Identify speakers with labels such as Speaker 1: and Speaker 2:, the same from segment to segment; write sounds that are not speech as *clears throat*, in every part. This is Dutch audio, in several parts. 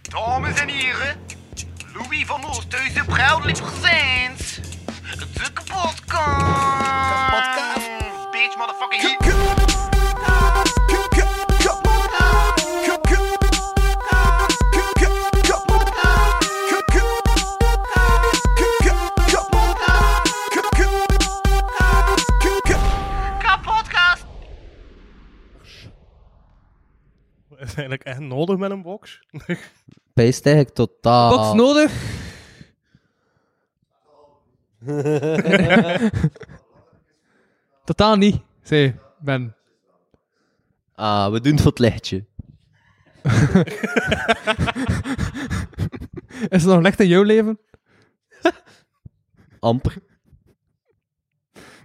Speaker 1: Dames en heren, Louis van Oosthuizen, proudly presents de kapotkast.
Speaker 2: Kapotkast.
Speaker 1: Bitch, motherfucking hit. Kapotkast.
Speaker 3: Is eigenlijk echt nodig met een box? *laughs*
Speaker 4: Pijst eigenlijk totaal.
Speaker 5: Box nodig. Totaal niet, zei Ben.
Speaker 4: Ah, we doen het voor het lichtje.
Speaker 5: Is er nog licht in jouw leven?
Speaker 4: Amper.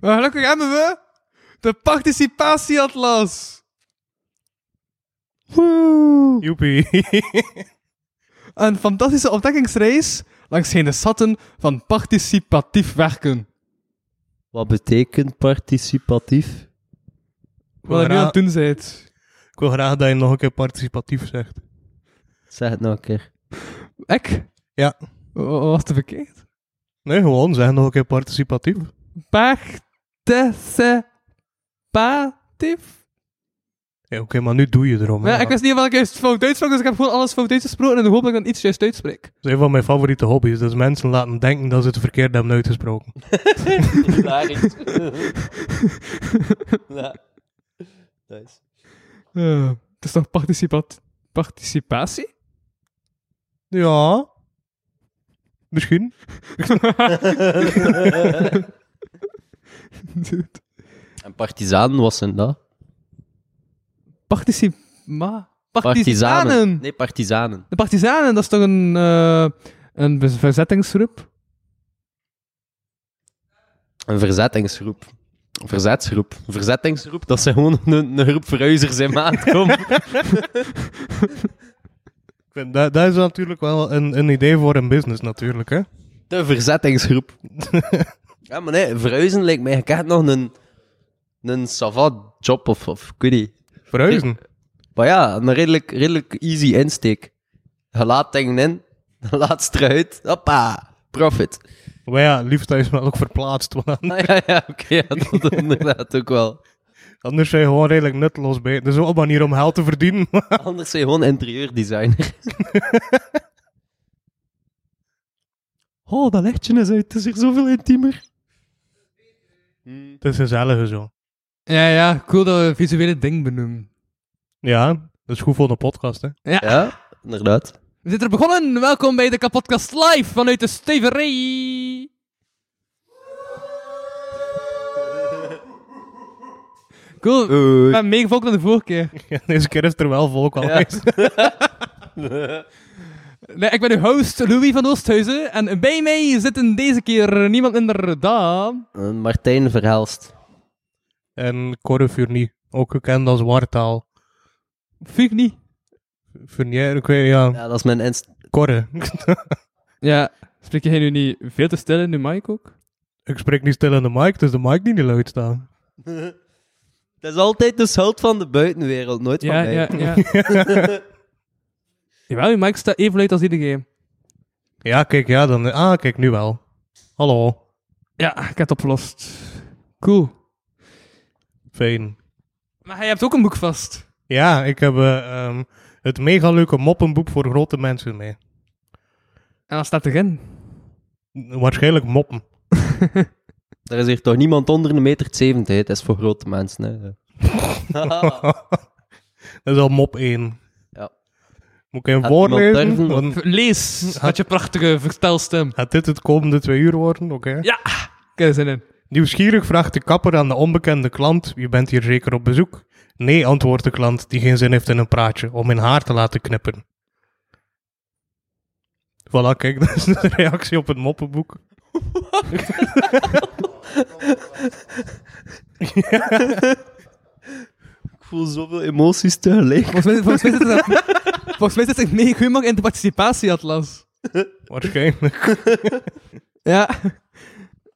Speaker 5: Maar gelukkig hebben we de participatieatlas. Woe!
Speaker 3: Joepie.
Speaker 5: Een fantastische ontdekkingsreis langs de schatten van participatief werken.
Speaker 4: Wat betekent participatief?
Speaker 5: Wat je nu aan het doen bent.
Speaker 3: Ik wil graag dat je nog een keer participatief zegt.
Speaker 4: Zeg het nog een keer.
Speaker 5: Ik?
Speaker 3: Ja.
Speaker 5: Wa- wa- Was het verkeerd?
Speaker 3: Nee, gewoon zeg nog een keer participatief.
Speaker 5: Participatief?
Speaker 3: Ja, Oké, maar nu doe je erom.
Speaker 5: Ja, ik wist niet of ik juist fout uitsprak, dus ik heb gewoon alles fout uitgesproken in de hoop dat ik dan iets juist uitspreek.
Speaker 3: Dat is een van mijn favoriete hobby's. Dus mensen laten denken dat ze het verkeerd hebben uitgesproken.
Speaker 4: ja. Nice.
Speaker 5: Eh, het is toch participat participatie? *laughs*
Speaker 3: Ja. Misschien.
Speaker 5: Dude.
Speaker 4: En partizaan was een dat?
Speaker 5: Particip... Ma... Partizanen!
Speaker 4: Nee, partizanen.
Speaker 5: De partizanen, dat is toch een, eh, een bez- verzettingsgroep?
Speaker 4: Een verzettingsgroep. Een verzetsgroep. Een verzettingsgroep, dat zijn gewoon een, een groep verhuizers in
Speaker 5: *laughs*
Speaker 4: maat. Kom.
Speaker 3: Ik vind Dat, dat is natuurlijk wel een, een idee voor een business, natuurlijk. Hè?
Speaker 4: De verzettingsgroep. ja, maar nee, verhuizen lijkt mij echt nog een, een savat job of, of ik weet niet.
Speaker 3: Verhuizen.
Speaker 4: Maar ja, een redelijk, redelijk easy insteek. Je laat dingen in, *laughs* dan laat het eruit. Hoppa, profit. *laughs*
Speaker 3: Maar ja, liefst dat je ze wel ook verplaatst. Want
Speaker 4: Ah, ja, ja, oké, ja, dat *laughs* is inderdaad ook wel.
Speaker 3: anders zijn je gewoon redelijk nutteloos bij. Dat is wel een manier om geld te verdienen. *laughs*
Speaker 4: Anders zijn je gewoon interieurdesigner. oh, dat lichtje is uit. Het is hier zoveel intiemer.
Speaker 3: het is gezellig zo.
Speaker 5: Ja, ja, cool dat we visuele ding benoemen.
Speaker 3: Ja, dat is goed voor een podcast. Hè?
Speaker 4: Ja, *laughs* inderdaad.
Speaker 5: We zitten er begonnen. Welkom bij de Kapotkast Live vanuit de Steverij. *laughs* Cool.
Speaker 4: Eh,
Speaker 5: Ik ben meegevolgd dan de vorige keer.
Speaker 3: Ja, *laughs* deze keer is er wel volk al.
Speaker 4: Ja.
Speaker 5: Nee, ik ben uw host Louis van Oosthuizen. En bij mij zitten deze keer niemand minder dan...
Speaker 4: Eh, Martijn
Speaker 3: *laughs*
Speaker 4: Verhelst.
Speaker 3: En Corre Furnie, ook gekend als Wartaal.
Speaker 5: Fuck niet.
Speaker 3: Furnier, ik weet ja,
Speaker 4: Ja, dat is mijn inst...
Speaker 3: Corre.
Speaker 5: Ja, spreek jij nu niet veel te stil in de mic ook?
Speaker 3: *laughs* ik spreek niet stil in de mic, dus de mic die niet luid staat.
Speaker 4: Dat is altijd de schuld van de buitenwereld, nooit van
Speaker 5: Ja,
Speaker 4: mij.
Speaker 5: ja, ja. *laughs* Jawel, je mic staat even luid als iedereen.
Speaker 3: Ja, kijk, ja, dan... Ah, kijk, nu wel. Hallo.
Speaker 5: Ja, ik heb het opgelost. Cool.
Speaker 3: Fijn.
Speaker 5: Maar jij hebt ook een boek vast.
Speaker 3: Ja, ik heb eh, ehm, het mega leuke moppenboek voor grote mensen mee.
Speaker 5: En wat staat erin?
Speaker 3: Waarschijnlijk moppen. *laughs*
Speaker 4: Er is hier toch niemand onder de meter 70, het is voor grote mensen. Hè.
Speaker 5: *laughs*
Speaker 4: *laughs*
Speaker 3: Dat is al mop 1.
Speaker 4: Ja.
Speaker 3: Moet ik hem
Speaker 4: Had iemand
Speaker 3: voorlezen?
Speaker 4: durven?
Speaker 3: Want
Speaker 5: Lees met je prachtige vertelstem.
Speaker 3: gaat dit het komende twee uur worden? Oké.
Speaker 5: Ja, ik heb er zin in.
Speaker 3: Nieuwsgierig vraagt de kapper aan de onbekende klant: Je bent hier zeker op bezoek? Nee, antwoordt de klant, die geen zin heeft in een praatje, om in haar te laten knippen. Voilà, kijk, *laughs* dat is de reactie op het moppenboek.
Speaker 4: Ik voel zoveel emoties tegelijk.
Speaker 5: Volgens mij, volgens mij zit het er- volgens mij zit het mega goed in de participatieatlas.
Speaker 3: Waarschijnlijk.
Speaker 5: Ja.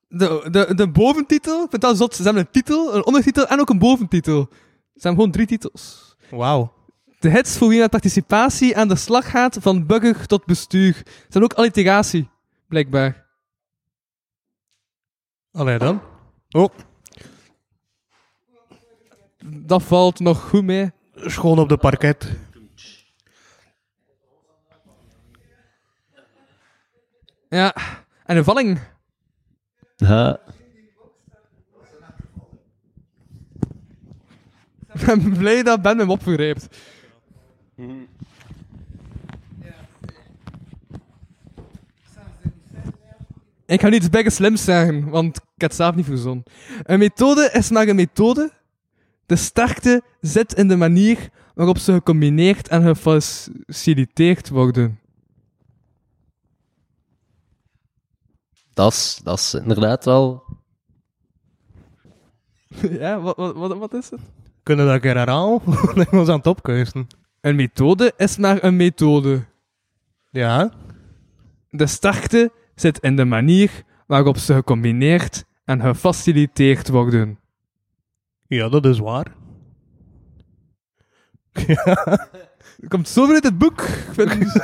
Speaker 5: De, de, de boventitel, ik vind dat zot. Ze hebben een titel, een ondertitel en ook een boventitel. Ze hebben gewoon drie titels.
Speaker 3: Wauw.
Speaker 5: De hits voor wie naar participatie aan de slag gaat van buggig tot bestuur. Het zijn ook alliteratie, blijkbaar.
Speaker 3: Allee dan. Oh,
Speaker 5: Dat valt nog goed mee.
Speaker 3: schoon op de parket.
Speaker 5: Ja, en een valling.
Speaker 4: Ja.
Speaker 5: Ik ben blij dat Ben hem opgreept. Ik ga nu iets bijge slims zeggen, want ik heb het zelf niet verzonnen. Een methode is maar een methode. De sterkte zit in de manier waarop ze gecombineerd en gefaciliteerd worden.
Speaker 4: Dat is, dat is inderdaad wel...
Speaker 5: *laughs* ja, wat, wat, wat, wat is het?
Speaker 3: Kunnen we dat een keer herhalen? *laughs* We zijn ons aan het opkuisen.
Speaker 5: Een methode is maar een methode.
Speaker 3: Ja.
Speaker 5: De sterkte zit in de manier waarop ze gecombineerd en gefaciliteerd worden.
Speaker 3: Ja, dat is waar.
Speaker 5: komt zoveel uit het boek. Ik vind-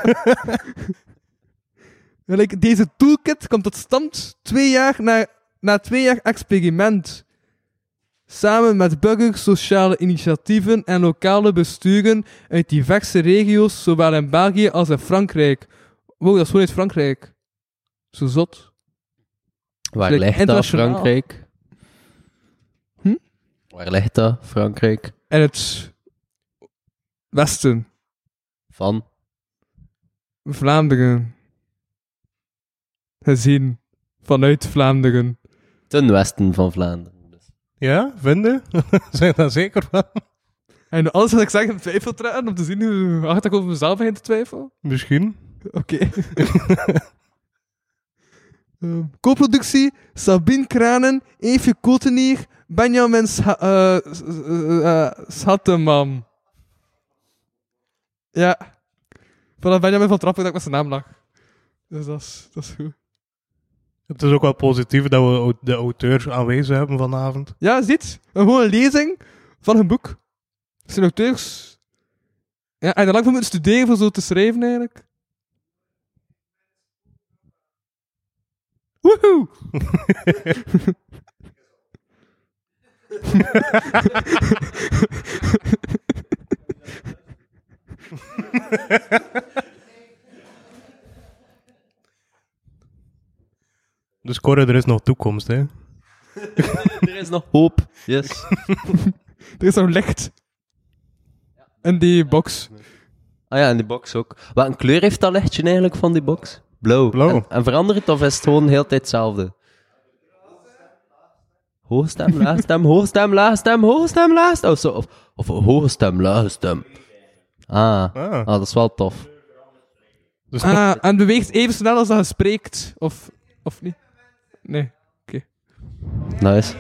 Speaker 5: Gelijk, deze toolkit komt tot stand twee jaar na, na twee jaar experiment. Samen met burgers, sociale initiatieven en lokale besturen uit diverse regio's, zowel in België als in Frankrijk. Wow, dat is gewoon uit Frankrijk. Zo zot.
Speaker 4: Waar
Speaker 5: Like,
Speaker 4: ligt dat,
Speaker 5: internationaal.
Speaker 4: Frankrijk?
Speaker 5: Hm?
Speaker 4: Waar ligt dat, Frankrijk?
Speaker 5: En het Westen,
Speaker 4: Van?
Speaker 5: Vlaanderen. Gezien vanuit Vlaanderen.
Speaker 4: Ten westen van Vlaanderen. Dus.
Speaker 3: Ja, vinden? *laughs* zijn daar zeker van?
Speaker 5: En alles wat ik zeg in twijfel trekken, om te zien hoe hard ik over mezelf heen te twijfel.
Speaker 3: Misschien.
Speaker 5: Oké. *laughs* Ehm, co-productie, Sabine Kranen, Eefje Kotenier, Benjamin Scha eh, s- eh, eh, Schatteman. Ja. Vanaf Benjamin van Trappen dat ik met zijn naam lag. Dus dat is, dat is goed.
Speaker 3: Het is ook wel positief dat we au- de auteur aanwezig hebben vanavond.
Speaker 5: Ja, ziet. Een gewone lezing van een boek. Het zijn auteurs. Ja, en daar lang voor moeten studeren voor zo te schrijven eigenlijk. Woehoe!
Speaker 3: Dus Corre, er is nog toekomst, hè?
Speaker 4: *laughs* Er is nog hoop. Yes.
Speaker 5: Er is zo'n licht. In die box.
Speaker 4: *laughs* Ah ja, en die box ook. Wat een kleur heeft dat lichtje eigenlijk van die box? Blauw.
Speaker 3: Blauw.
Speaker 4: En, en verandert het of is het gewoon de hele tijd hetzelfde? Hoge stem, lage stem, hoge stem, lage stem, hoge stem, lage stem. Of, zo, of, of hoge stem, lage stem. Ah.
Speaker 3: Ah.
Speaker 4: ah, dat is wel tof.
Speaker 3: Dus
Speaker 5: Ah, en beweegt even snel als dat je spreekt. Of, of niet? Nee.
Speaker 4: Nice.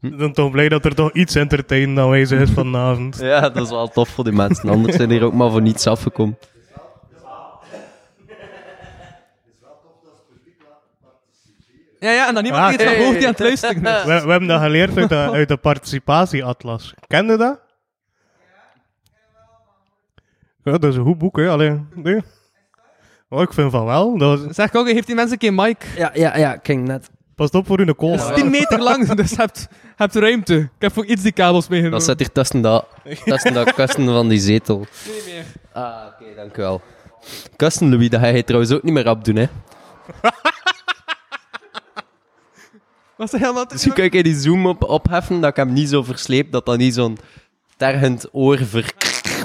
Speaker 3: ik ben toch blij dat er toch iets entertainend aanwezig is
Speaker 4: *laughs*
Speaker 3: vanavond.
Speaker 4: Ja, dat is wel tof voor die mensen. Anders zijn hier ook maar voor niets afgekomen.
Speaker 5: Ja, ja, en dan niemand
Speaker 3: Ah,
Speaker 5: die het van hoort die aan het luisteren is.
Speaker 3: We, we hebben dat geleerd uit de, uit de participatieatlas. Kende dat? Ja, dat is een goed boek, hè? Alleen, nee. Oh, ik vind van wel. Dat was-
Speaker 5: Zeg ook, heeft die mensen een keer mic?
Speaker 4: Ja, ja, ja, kijk net.
Speaker 3: Pas op voor hun kool.
Speaker 4: Ah.
Speaker 5: Het is 10 meter lang, dus je hebt, je hebt ruimte. Ik heb voor iets die kabels meegenomen.
Speaker 4: Dat zit hier tussen dat, tussen dat kussen van die zetel.
Speaker 5: niet meer.
Speaker 4: Ah, oké, dank u wel. Kussen, Louis, dat ga je trouwens ook niet meer opdoen, hè.
Speaker 5: Was dat helemaal te
Speaker 4: Dus kan ik die zoom op, opheffen, dat ik hem niet zo versleep, dat dat niet zo'n tergend oor ver,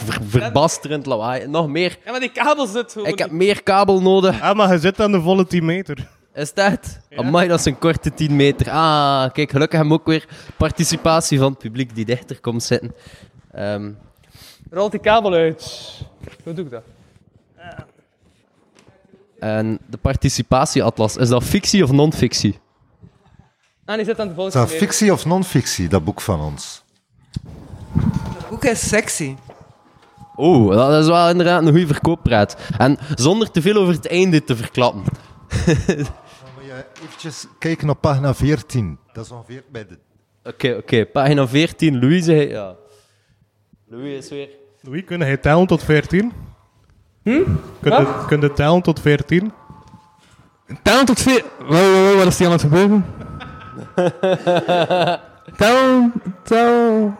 Speaker 4: ver- verbasterend lawaai. Nog meer.
Speaker 5: Ja, maar die kabel zit gewoon.
Speaker 4: Ik heb meer kabel nodig.
Speaker 3: Ah, maar je zit aan de volle 10 meter.
Speaker 4: Is dat? Amai, dat is een korte 10 meter. Ah, kijk, gelukkig hebben we ook weer participatie van het publiek die dichter komt zitten. Ehm,
Speaker 5: Rolt die kabel uit. Hoe doe ik dat?
Speaker 4: en de participatieatlas, is dat fictie of non-fictie?
Speaker 5: Ah, die zit aan de
Speaker 2: Is dat
Speaker 5: volgende.
Speaker 2: fictie of non-fictie, dat boek van ons?
Speaker 6: Ook is sexy.
Speaker 4: Oeh, dat is wel inderdaad een goede verkooppraat. En zonder te veel over het einde te verklappen.
Speaker 2: Even kijken op pagina 14. Dat is ongeveer bij de...
Speaker 4: Oké, oké. Pagina 14, Louise. Ja. Louis is weer.
Speaker 3: Louis, kun je tellen tot 14? Kun je, kun je tellen tot 14?
Speaker 5: Tellen tot vier. Wow, wow, wow, wat is die aan het gebeuren? tel, tel.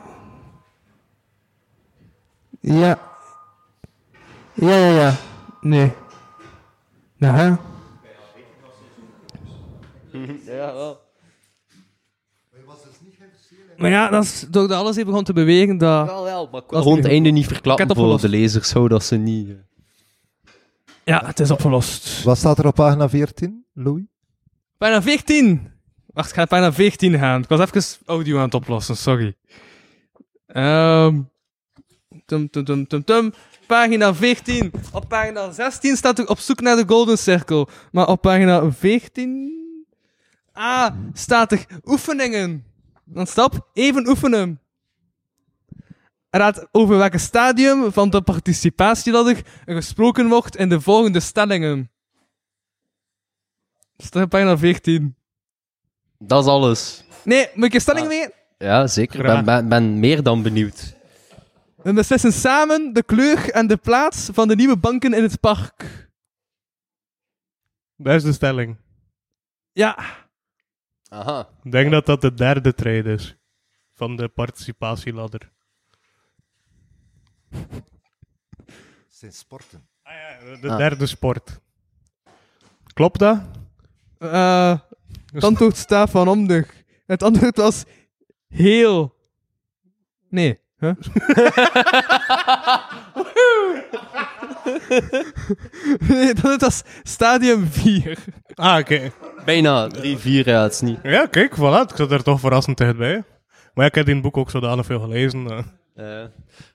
Speaker 5: Ja. Ja, ja, ja. Nee. Nou, hè?
Speaker 4: Ja, wel.
Speaker 5: Maar ja, dat is, doordat alles even begon te bewegen, dat...
Speaker 4: Wel, wel, maar ik
Speaker 5: Dat
Speaker 4: wil
Speaker 5: is
Speaker 4: gewoon
Speaker 5: nu
Speaker 4: het
Speaker 5: goed.
Speaker 4: einde niet
Speaker 5: Ik
Speaker 4: verklappen
Speaker 5: heb het
Speaker 4: voor de
Speaker 5: opgelost.
Speaker 4: lezers, zodat ze niet... eh,
Speaker 5: Ja, het is opgelost.
Speaker 2: Wat staat er op pagina 14, Louis?
Speaker 5: Bijna 14. Wacht, ik ga bijna 14 gaan. Ik was even audio aan het oplossen, sorry. Ehm tum, tum, tum, tum, tum. Pagina 14. Op pagina 16 staat er op zoek naar de Golden Circle. Maar op pagina 14. Ah, staat er oefeningen. Dan stap, even oefenen. Raad over welk stadium van de participatie dat er gesproken wordt in de volgende stellingen. Staat op pagina 14.
Speaker 4: Dat is alles.
Speaker 5: Nee, moet ik een stelling
Speaker 4: Ah.
Speaker 5: mee?
Speaker 4: Ja, zeker. Ik
Speaker 3: Graag.
Speaker 4: ben, ben, ben meer dan benieuwd.
Speaker 5: We beslissen samen de kleur en de plaats van de nieuwe banken in het park.
Speaker 3: Dat is de stelling.
Speaker 5: Ja,
Speaker 4: Aha.
Speaker 3: Ik denk dat dat de derde trade is van de participatieladder.
Speaker 2: Zijn sporten.
Speaker 3: De
Speaker 4: Ah.
Speaker 3: derde sport. Klopt dat?
Speaker 5: Eh het antwoord staat van onder. Het antwoord was heel. Nee. Huh? nee, dat was stadium 4.
Speaker 3: Ah, oké.
Speaker 4: Bijna. Drie, vier, ja, het is niet.
Speaker 3: Ja, kijk, voilà. Ik zat er toch verrassend dichtbij. Maar ja, ik heb die boek ook zodanig veel gelezen. eh.
Speaker 4: eh.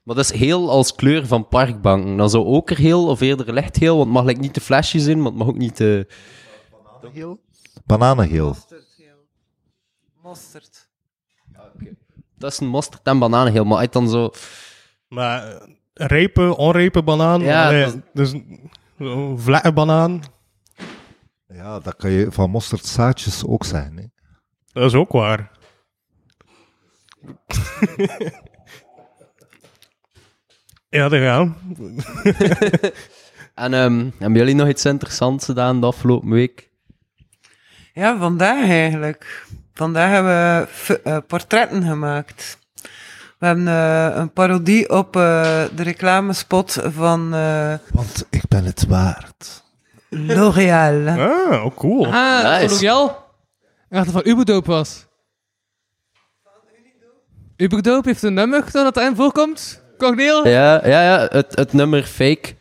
Speaker 4: maar dat is heel als kleur van parkbanken. Dan zou ook er heel, of eerder licht heel, want het mag like, niet de flesjes in, maar het mag ook niet eh, de...
Speaker 2: Bananengeel.
Speaker 6: Mosterd.
Speaker 4: Dat is een mosterd en bananengeel, maar uit dan zo...
Speaker 3: Maar eh, rijpe, onrijpe banaan.
Speaker 4: Ja,
Speaker 3: allee,
Speaker 4: dat
Speaker 3: dus een vlakke banaan.
Speaker 2: Ja, dat kan je van mosterdzaadjes ook zijn. Hè?
Speaker 3: Dat is ook waar. *laughs* ja, dat ja.
Speaker 4: En ehm, hebben jullie nog iets interessants gedaan de afgelopen week?
Speaker 6: Ja, vandaag eigenlijk. Vandaag hebben we f- eh, portretten gemaakt. We hebben eh, een parodie op eh, de reclamespot van eh,
Speaker 2: Want ik ben het waard.
Speaker 6: L'Oréal.
Speaker 3: Ah, oh, cool.
Speaker 5: Ah,
Speaker 4: Nice.
Speaker 5: L'Oreal. Ik dacht dat van Uberdope was. Uberdope heeft een nummer dat dat erin voorkomt. Corneel?
Speaker 4: Ja, ja, ja het, het nummer fake.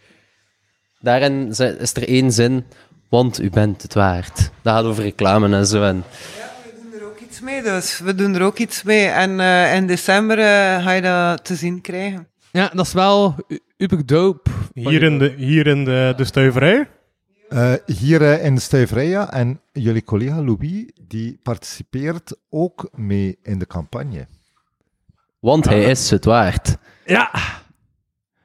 Speaker 4: Daarin zi- is er één zin. Want u bent het waard. Dat gaat over reclame en zo. En
Speaker 6: We doen er ook iets mee, dus we doen er ook iets mee. En eh, in december eh, ga je dat te zien krijgen.
Speaker 5: Ja, dat is wel u- Uberdope.
Speaker 3: Hier in de, hier in de, de stuiverij.
Speaker 2: Eh, hier eh, in de Stuiveria en jullie collega Louis, die participeert ook mee in de campagne.
Speaker 4: Want hij is het waard.
Speaker 5: Ja.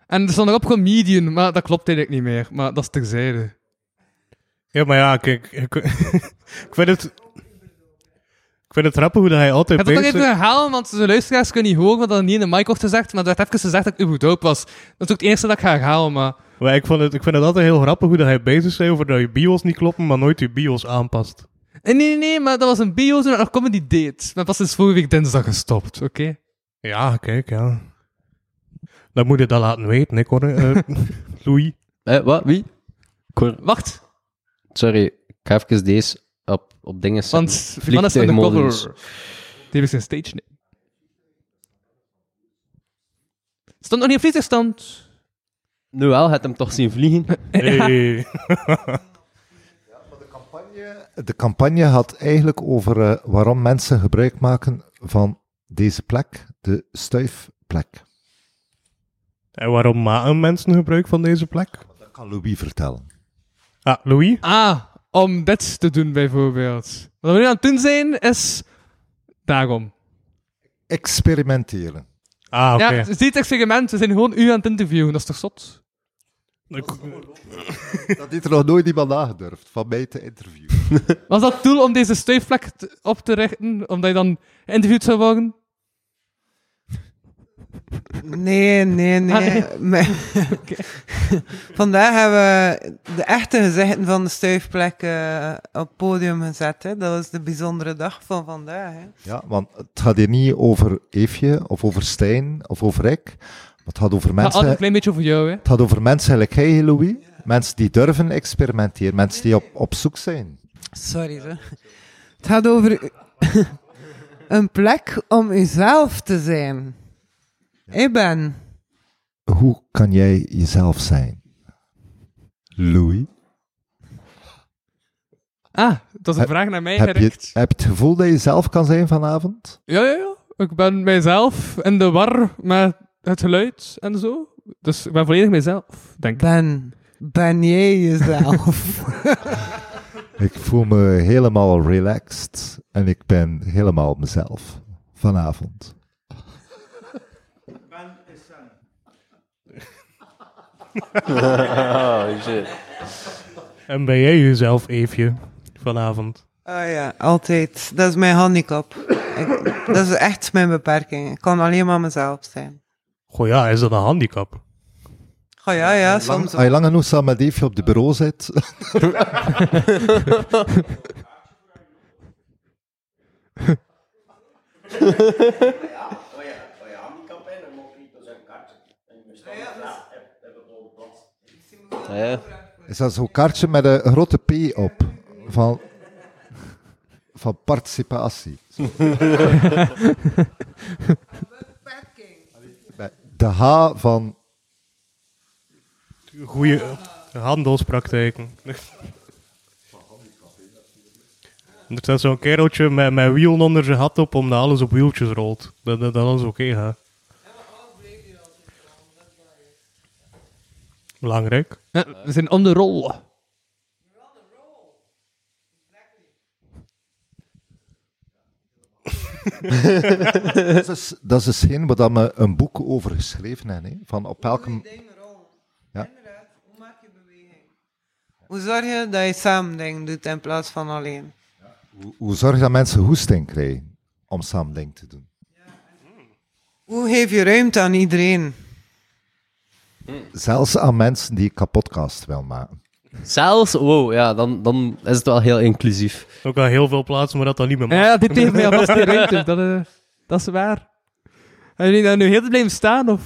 Speaker 5: En er stond nog op comedian, maar dat klopt eigenlijk niet meer. Maar dat is terzijde.
Speaker 3: Ja, maar ja, kijk. *laughs* Ik, ik vind het... Ik vind het grappig hoe dat hij
Speaker 5: Ik
Speaker 3: altijd
Speaker 5: heb het nog
Speaker 3: bezig
Speaker 5: even herhalen, want de luisteraars kunnen niet horen, want dat niet in de mic wordt gezegd. Maar er werd even gezegd dat ik Uberdope was. Dat is ook het eerste dat ik ga herhalen, maar...
Speaker 3: Maar ik, vond het, ik vind het altijd heel grappig hoe dat hij bezig is over dat je bios niet kloppen, maar nooit je bios aanpast.
Speaker 5: Eh, Nee, nee, nee, maar dat was een bio toen ik nog comedy deed. Maar pas sinds vorige week dinsdag gestopt, oké?
Speaker 3: Ja, kijk, ja. Dan moet je dat laten weten, ik hoor. eh, *laughs* Louis.
Speaker 4: Eh, wat? Wie? Ik hoor-
Speaker 5: Wacht,
Speaker 4: Sorry, ik ga even deze op, op dingen zetten.
Speaker 5: want Fernandes van de cover.
Speaker 4: Vliegtuigmodus.
Speaker 5: Die heeft zijn stage name. Stond nog niet op vliegtuigstand.
Speaker 4: Nu wel, het hem toch zien vliegen.
Speaker 3: Hey.
Speaker 2: De campagne had eigenlijk over eh, waarom mensen gebruik maken van deze plek, de stuifplek.
Speaker 3: En waarom maken mensen gebruik van deze plek?
Speaker 2: Dat kan Louis vertellen.
Speaker 3: Ah, Louis?
Speaker 5: Ah, om dit te doen bijvoorbeeld. Wat we nu aan het doen zijn, is daarom.
Speaker 2: Experimenteren. *laughs*
Speaker 3: Ah, oké.
Speaker 5: Ja, het is niet het experiment, we zijn gewoon u aan het interviewen, dat is toch zot?
Speaker 3: Ik-
Speaker 2: Dat dit er nog nooit iemand aangedurfd van mij te interviewen.
Speaker 5: Was dat het doel om deze stuifvlek te- op te richten, omdat je dan geïnterviewd zou worden?
Speaker 6: Nee, nee, nee.
Speaker 5: Ah, nee.
Speaker 6: Maar-
Speaker 5: *laughs*
Speaker 6: *laughs* Vandaag hebben we de echte gezichten van de stuifplek eh, op het podium gezet. Hè. Dat was de bijzondere dag van vandaag. Hè.
Speaker 2: Ja, want het gaat hier niet over Eefje of over Stijn of over ik. Maar het gaat over
Speaker 5: gaat altijd
Speaker 2: mensen.
Speaker 5: een klein beetje over jou, hè.
Speaker 2: Het gaat over mensen gelijk jij, Louis. Mensen die durven experimenteren, mensen die op, op zoek zijn.
Speaker 6: Sorry. Zo. Het gaat over u- *laughs* een plek om uzelf te zijn. Ik ben.
Speaker 2: Hoe kan jij jezelf zijn? Louis,
Speaker 5: Ah, dat is een
Speaker 2: Heb-
Speaker 5: vraag naar mij
Speaker 2: heb je,
Speaker 5: gericht.
Speaker 2: heb je het gevoel dat je zelf kan zijn vanavond?
Speaker 5: Ja, ja, ja. Ik ben mijzelf in de war met het geluid en zo. Dus ik ben volledig mijzelf, denk ik.
Speaker 6: Ben. Ben jij jezelf?
Speaker 2: Ik voel me helemaal relaxed en ik ben helemaal mezelf vanavond.
Speaker 4: Oh, shit.
Speaker 3: En ben jij jezelf, Eefje, vanavond?
Speaker 6: Oh ja, altijd. Dat is mijn handicap. Ik- dat is echt mijn beperking. Ik kan alleen maar mezelf zijn.
Speaker 3: Goh ja, is dat een handicap?
Speaker 6: Goh, ja, ja, soms
Speaker 2: Als je lang genoeg samen met Eefje op de bureau zit,
Speaker 4: *laughs* Ja.
Speaker 2: is dat zo'n kaartje met een grote P op van, van participatie. De H van
Speaker 3: Goeie eh, handelspraktijken. *laughs* Er staat zo'n kereltje met, met wielen onder zijn hat op, omdat alles op wieltjes rolt. Dat, dat, dat alles oké gaat. Belangrijk.
Speaker 5: Ja, we zijn on the roll.
Speaker 2: Dat is, dus- dat is hetgeen waar dat we een boek over geschreven hebben. Hè? Van op welke... Ja.
Speaker 6: Inderdaad, hoe maak je beweging? Hoe zorg je dat je samen dingen doet in plaats van alleen?
Speaker 2: hoe- Hoe zorg je dat mensen hoesting krijgen om samen dingen te doen?
Speaker 6: Hoe geef je ruimte aan iedereen?
Speaker 2: Zelfs aan mensen die kapotcast wil maken.
Speaker 4: Zelfs, wow, ja, dan, dan is het wel heel inclusief.
Speaker 3: Ook al heel veel plaatsen, maar dat dan niet meer mag.
Speaker 5: Ja, dit heeft mij alvast de ruimte. Dat, eh, dat is waar. En jullie daar nu heel te blijven staan, of...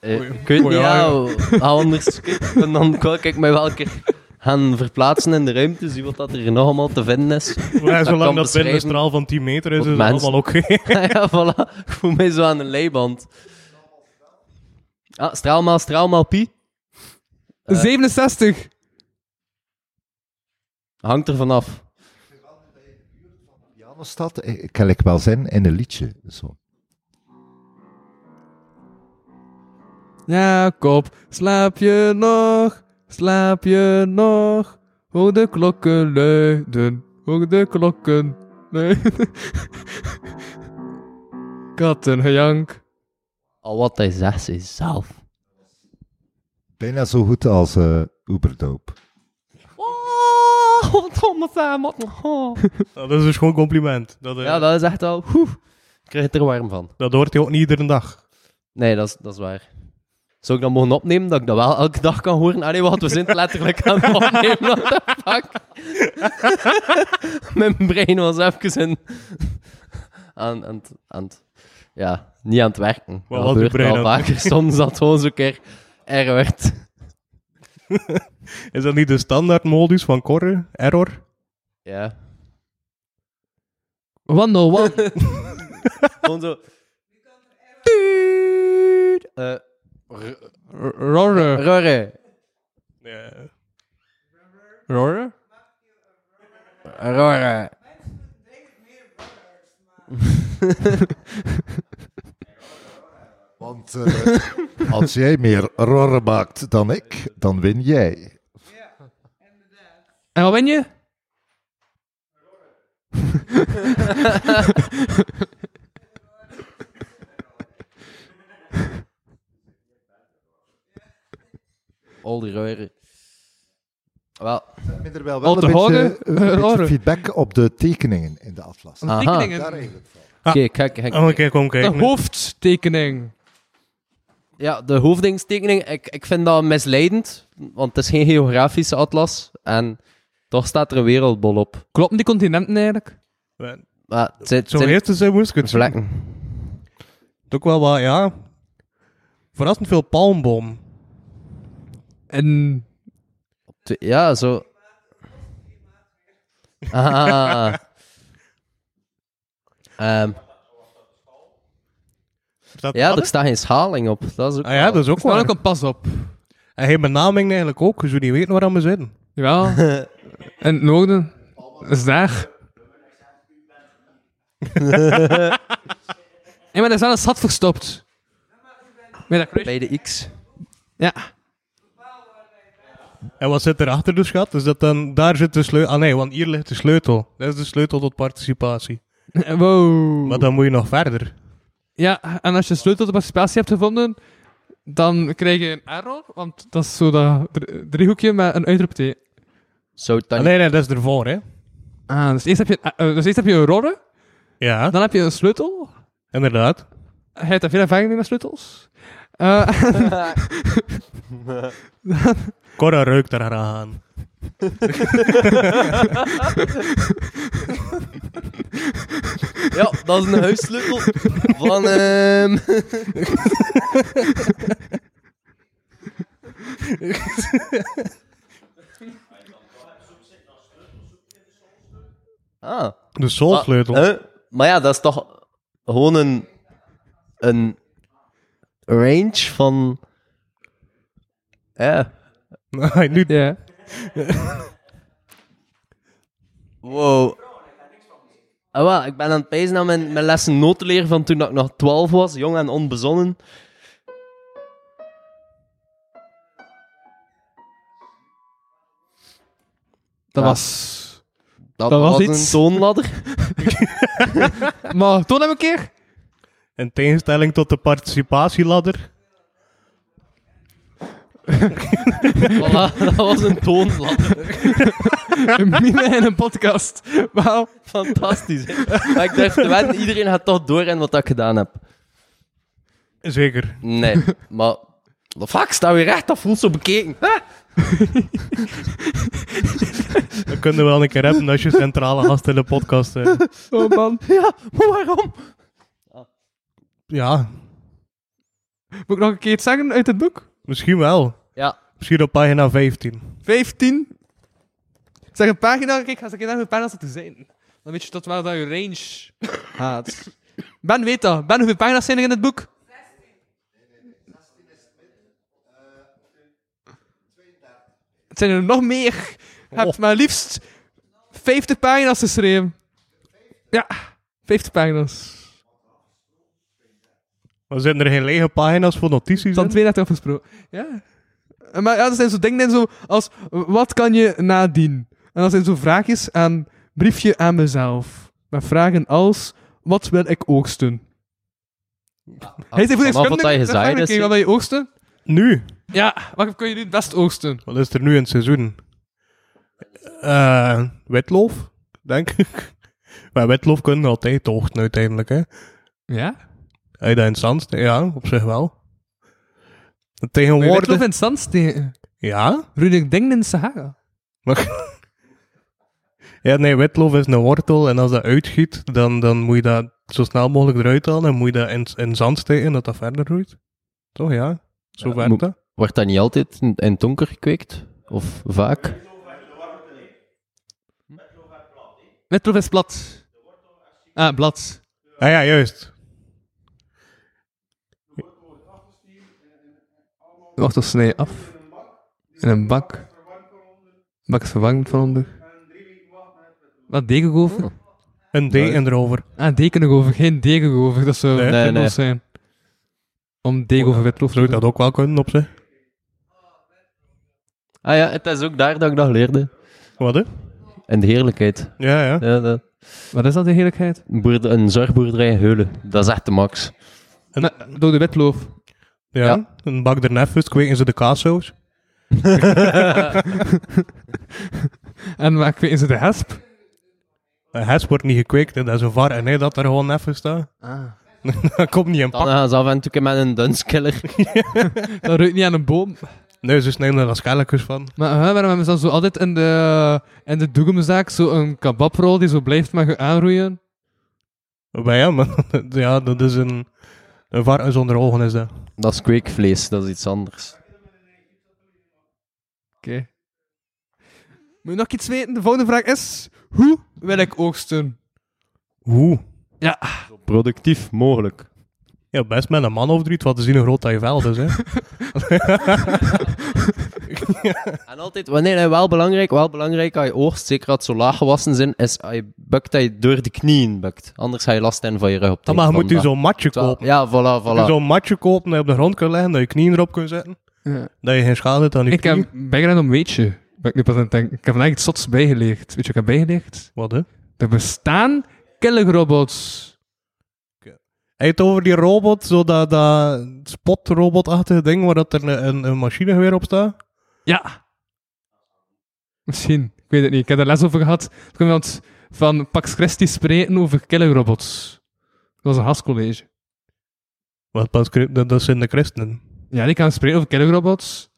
Speaker 4: Eh, ik weet niet, ja, hoe- *laughs* anders en dan kan ik mij wel een keer gaan verplaatsen in de ruimte, zien wat dat er nog allemaal te vinden is.
Speaker 3: Maar
Speaker 4: kan
Speaker 3: zolang dat binnen een
Speaker 4: beschrijven.
Speaker 3: straal van 10 meter is,
Speaker 4: Wat
Speaker 3: is het
Speaker 4: mensen-
Speaker 3: allemaal oké. *laughs*
Speaker 4: *laughs* ja, voilà. Ik voel mij zo aan een leiband. Ah, straalmaal, straalmaal, pi.
Speaker 5: Eh. 67.
Speaker 4: Hangt er vanaf.
Speaker 2: Pianostad, eh, ik kan ik wel zijn in een liedje. Zo.
Speaker 5: Jacob, slaap je nog? Slaap je nog? Hoor de klokken luiden. Hoor de klokken luiden. *laughs* Kattengejank.
Speaker 4: Al wat hij zegt is zelf.
Speaker 2: Bijna zo goed als eh Uberdoop.
Speaker 4: Oh, wat allemaal samen. Oh.
Speaker 3: Dat is dus gewoon een compliment. Dat, eh,
Speaker 4: Ja, dat is echt wel... Oeh, ik krijg het er warm van.
Speaker 3: dat hoort hij ook niet iedere dag.
Speaker 4: Nee, dat is, dat is waar. Zou ik dat mogen opnemen, dat ik dat wel elke dag kan horen? Allee, wat, we zijn het letterlijk aan het opnemen. What the fuck? Mijn brein was even in... Aan, aan, het- aan het... Ja, niet aan het werken.
Speaker 3: Wat
Speaker 4: dat
Speaker 3: was uw
Speaker 4: gebeurt
Speaker 3: brein
Speaker 4: al
Speaker 3: aan
Speaker 4: vaker. Soms dat het gewoon zo'n keer erg werd.
Speaker 3: Is dat niet de standaard modus van Corre? Error?
Speaker 4: Ja.
Speaker 5: One on one. *laughs*
Speaker 4: Gewoon zo... Tuut. Eh,
Speaker 5: R- Roar.
Speaker 4: Rorre.
Speaker 3: Ja.
Speaker 5: Roar?
Speaker 4: Rorre.
Speaker 2: Want eh, *laughs* als jij meer roren maakt dan ik, dan win jij.
Speaker 5: En wat ben je?
Speaker 4: Olde Rorre. Wel...
Speaker 3: Ah.
Speaker 2: Minder wel,
Speaker 5: Al
Speaker 2: wel
Speaker 5: te *laughs*
Speaker 2: een, beetje,
Speaker 5: horen,
Speaker 2: een
Speaker 5: eh,
Speaker 2: beetje
Speaker 5: roeren.
Speaker 2: feedback op de tekeningen in de atlas.
Speaker 5: Ah.
Speaker 4: Aha.
Speaker 5: Tekeningen.
Speaker 2: Daar eigenlijk van.
Speaker 3: Ah,
Speaker 4: Oké, kijk, kijk.
Speaker 3: Oh, kijk, kom kijken.
Speaker 5: Een hoofdtekening.
Speaker 4: ja, de hoofdingstekening, ik, ik vind dat misleidend, want het is geen geografische atlas en toch staat er een wereldbol op.
Speaker 5: Kloppen die continenten eigenlijk?
Speaker 4: Maar het zijn, het
Speaker 3: Zo'n
Speaker 4: zijn
Speaker 3: eerste zijn moest ik het zien.
Speaker 4: vlekken.
Speaker 3: Het is Ook wel wat, ja. Verrassend veel palmboom.
Speaker 5: En
Speaker 4: Twee- Ja, zo. Ah. Ehm,
Speaker 3: Staat
Speaker 4: ja,
Speaker 3: dat
Speaker 4: er
Speaker 3: er?
Speaker 4: staat geen schaling op. Dat is ook
Speaker 3: Ah ja, dat is ook
Speaker 5: ik sta
Speaker 3: wel.
Speaker 5: ook een pas op.
Speaker 3: En geen benaming eigenlijk ook, je zou niet weten waar we zitten.
Speaker 5: Jawel. en het noorden is daar. Hé, maar er is wel een stad verstopt. Met dat kruis.
Speaker 4: bij de X.
Speaker 5: Ja.
Speaker 3: En wat zit er achter de schat? Is dat dan, daar zit de sleutel. Ah nee, want hier ligt de sleutel. Dat is de sleutel tot participatie.
Speaker 5: Wow.
Speaker 3: Maar dan moet je nog verder.
Speaker 5: Ja, en als je sleutel tot de participatie hebt gevonden, dan krijg je een error, want dat is zo dat dr- driehoekje met een uitroepteken.
Speaker 4: Zou het dan
Speaker 3: Ah, nee, nee, dat is ervoor, hè?
Speaker 5: Ah, dus eerst heb je, een- eh, dus eerst heb je een rodde,
Speaker 3: Ja,
Speaker 5: dan heb je een sleutel.
Speaker 3: inderdaad.
Speaker 5: Hij heeft daar veel ervaring mee met sleutels. Eh, *laughs*
Speaker 3: Cora ruikt daar aan.
Speaker 4: Ja, dat is een huissleutel van... ehm *laughs* ah.
Speaker 3: De solsleutel.
Speaker 4: Ah, eh, maar ja, dat is toch gewoon een, een range van... eh. Ja.
Speaker 3: Nee, nu,
Speaker 5: ja.
Speaker 4: Wow. Ah, wel, ik ben aan het pijzen naar mijn, mijn lessen noten leren van toen dat ik nog 12 was, jong en onbezonnen. Ja.
Speaker 5: Dat was...
Speaker 4: Dat,
Speaker 5: Dat was
Speaker 4: was,
Speaker 5: iets.
Speaker 4: een
Speaker 5: *laughs*
Speaker 4: toonladder.
Speaker 5: Maar toon hem een keer.
Speaker 3: in tegenstelling tot de participatieladder.
Speaker 4: voilà, dat was een toonladder.
Speaker 5: Een mime in een podcast. Wauw.
Speaker 4: Fantastisch. hè. Maar ik durf te wedden, iedereen gaat toch doorrennen wat ik gedaan heb.
Speaker 3: Zeker.
Speaker 4: Nee, maar... Fuck, sta weer recht, dat voelt zo bekeken. Hè?
Speaker 3: Dat kunnen we wel een keer hebben als je centrale gast in de podcast eh.
Speaker 5: Oh man.
Speaker 4: Ja, maar waarom?
Speaker 3: Ja,
Speaker 5: Moet ik nog een keer iets zeggen uit het boek?
Speaker 3: misschien wel.
Speaker 4: Ja,
Speaker 3: Misschien op pagina 15.
Speaker 5: 15. Zeg een pagina. Kijk, ga eens een keer naar hoeveel pagina's dat er zijn. Dan weet je tot waar dat je range gaat. Ben weet dat. Ben, hoeveel pagina's zijn er in het boek? 16. Het zijn er nog meer. Je hebt
Speaker 3: Oh.
Speaker 5: maar liefst 50 pagina's geschreven. Ja, 50 pagina's.
Speaker 3: Maar zijn er geen lege pagina's voor notities
Speaker 5: Dan
Speaker 3: in?
Speaker 5: 32 afgesproken. Ja. Eh, Maar ja, er zijn zo dingen zo als, wat kan je nadien? En dat zijn zo vraagjes aan, briefje aan mezelf. Met vragen als, wat wil ik oogsten? Hij zei voor
Speaker 4: vanaf wat je gezaaid is.
Speaker 5: Wat wil je oogsten?
Speaker 3: Nu?
Speaker 5: Ja, wat kun je nu het best oogsten?
Speaker 3: Wat is er nu in het seizoen? Eh witloof, denk ik. Maar witloof kunnen altijd oogsten uiteindelijk, hè.
Speaker 5: Ja?
Speaker 3: Als je dat in het zand steekt, ja, op zich wel.
Speaker 5: Moet je witloof
Speaker 3: Tegenwoordig...
Speaker 5: in het zand steken?
Speaker 3: Ja?
Speaker 5: Rudig dingen in de Sahara?
Speaker 3: Maar... Ja, nee, witloof is een wortel en als dat uitgiet, dan, dan moet je dat zo snel mogelijk eruit halen en moet je dat in, in zand steken dat dat verder groeit. Toch, ja? Zo
Speaker 4: Ja,
Speaker 3: werkt
Speaker 4: moet-
Speaker 3: dat.
Speaker 4: Wordt dat niet altijd in, in het donker gekweekt? Of vaak?
Speaker 5: Witloof is blad. Ah, blad.
Speaker 3: Ah ja, juist.
Speaker 5: Wacht, of snij je af. In een bak. De bak is verwarmd van onder. Wat, deken over?
Speaker 3: Een D en erover.
Speaker 5: Ah, deken over, geen deken over. Dat zou
Speaker 3: Nee.
Speaker 5: nee,
Speaker 4: Nee, nee.
Speaker 5: zijn. Om deken over witlof te
Speaker 3: Zou
Speaker 5: doen.
Speaker 3: dat ook wel kunnen op zich?
Speaker 4: Ah ja, het is ook daar dat ik dat leerde.
Speaker 3: Wat, hè?
Speaker 4: En de heerlijkheid.
Speaker 3: Ja, ja.
Speaker 4: Ja, dat,
Speaker 5: Wat is dat in heerlijkheid?
Speaker 4: een, boerder- een zorgboerderij in Heulen. Dat is echt de max.
Speaker 5: Nou, door de witloof.
Speaker 3: Ja,
Speaker 4: Ja.
Speaker 3: een bak daarnaast is, kweken ze de kaassaus.
Speaker 5: En waar kweken ze de hesp?
Speaker 3: Een hesp wordt niet gekweekt, hè, dat is een var en hij dat er gewoon even staat.
Speaker 5: Ah.
Speaker 3: *laughs* dat komt niet in
Speaker 4: Dan
Speaker 3: pak.
Speaker 4: gaan ze af en toe met een dunskiller.
Speaker 5: Dat ruikt niet aan een boom.
Speaker 3: Nee, ze snijden er rascalikus van.
Speaker 5: Maar hè, waarom hebben ze dan zo altijd in de, in de doegemzaak zo'n kebabrol die zo blijft maar aanroeien?
Speaker 3: Bij ja, maar *laughs* ja, dat is een... Een varken zonder ogen is dat.
Speaker 4: Dat is kweekvlees, dat is iets anders.
Speaker 5: Oké. Moet je nog iets weten? De volgende vraag is: hoe wil ik oogsten?
Speaker 3: Hoe?
Speaker 4: Zo productief mogelijk.
Speaker 3: Ja, best met een man of drie, wat te zien hoe groot dat je veld
Speaker 5: *laughs*
Speaker 3: is, hè.
Speaker 4: En altijd, wanneer hij wel belangrijk, wel belangrijk als je oogst, zeker als het zo laag gewassen zijn, is als je bukt, dat je door de knieën bukt. Anders ga je last hebben van je rug op het
Speaker 3: Dan maar je
Speaker 4: eind
Speaker 3: moet je
Speaker 4: van de
Speaker 3: zo'n matje
Speaker 4: dag.
Speaker 3: kopen.
Speaker 4: Ja, voilà,
Speaker 3: Moet je
Speaker 4: voilà.
Speaker 3: zo'n matje kopen dat je op de grond kunt leggen, dat je knieën erop kunt zetten.
Speaker 5: Ja.
Speaker 3: Dat je geen schade hebt aan je
Speaker 5: Ik
Speaker 3: knieën.
Speaker 5: heb bijgelegd om weetje. Ben ik nu pas aan het denken. Ik heb vandaag iets zots bijgeleerd. Weet je wat ik heb bijgeleerd?
Speaker 3: Wat, hè?
Speaker 5: Er bestaan killingrobots.
Speaker 3: Hij heeft over die robot, zo dat, dat spotrobotachtige ding waar dat er een, een, een machinegeweer op staat.
Speaker 5: Ja. Misschien. Ik weet het niet. Ik heb er les over gehad. Toen kwam iemand van Pax Christi spreken over killingrobots. Dat was een hascollege.
Speaker 3: Wat, pas- dat, dat zijn de christenen.
Speaker 5: Ja, die kan spreken over killingrobots.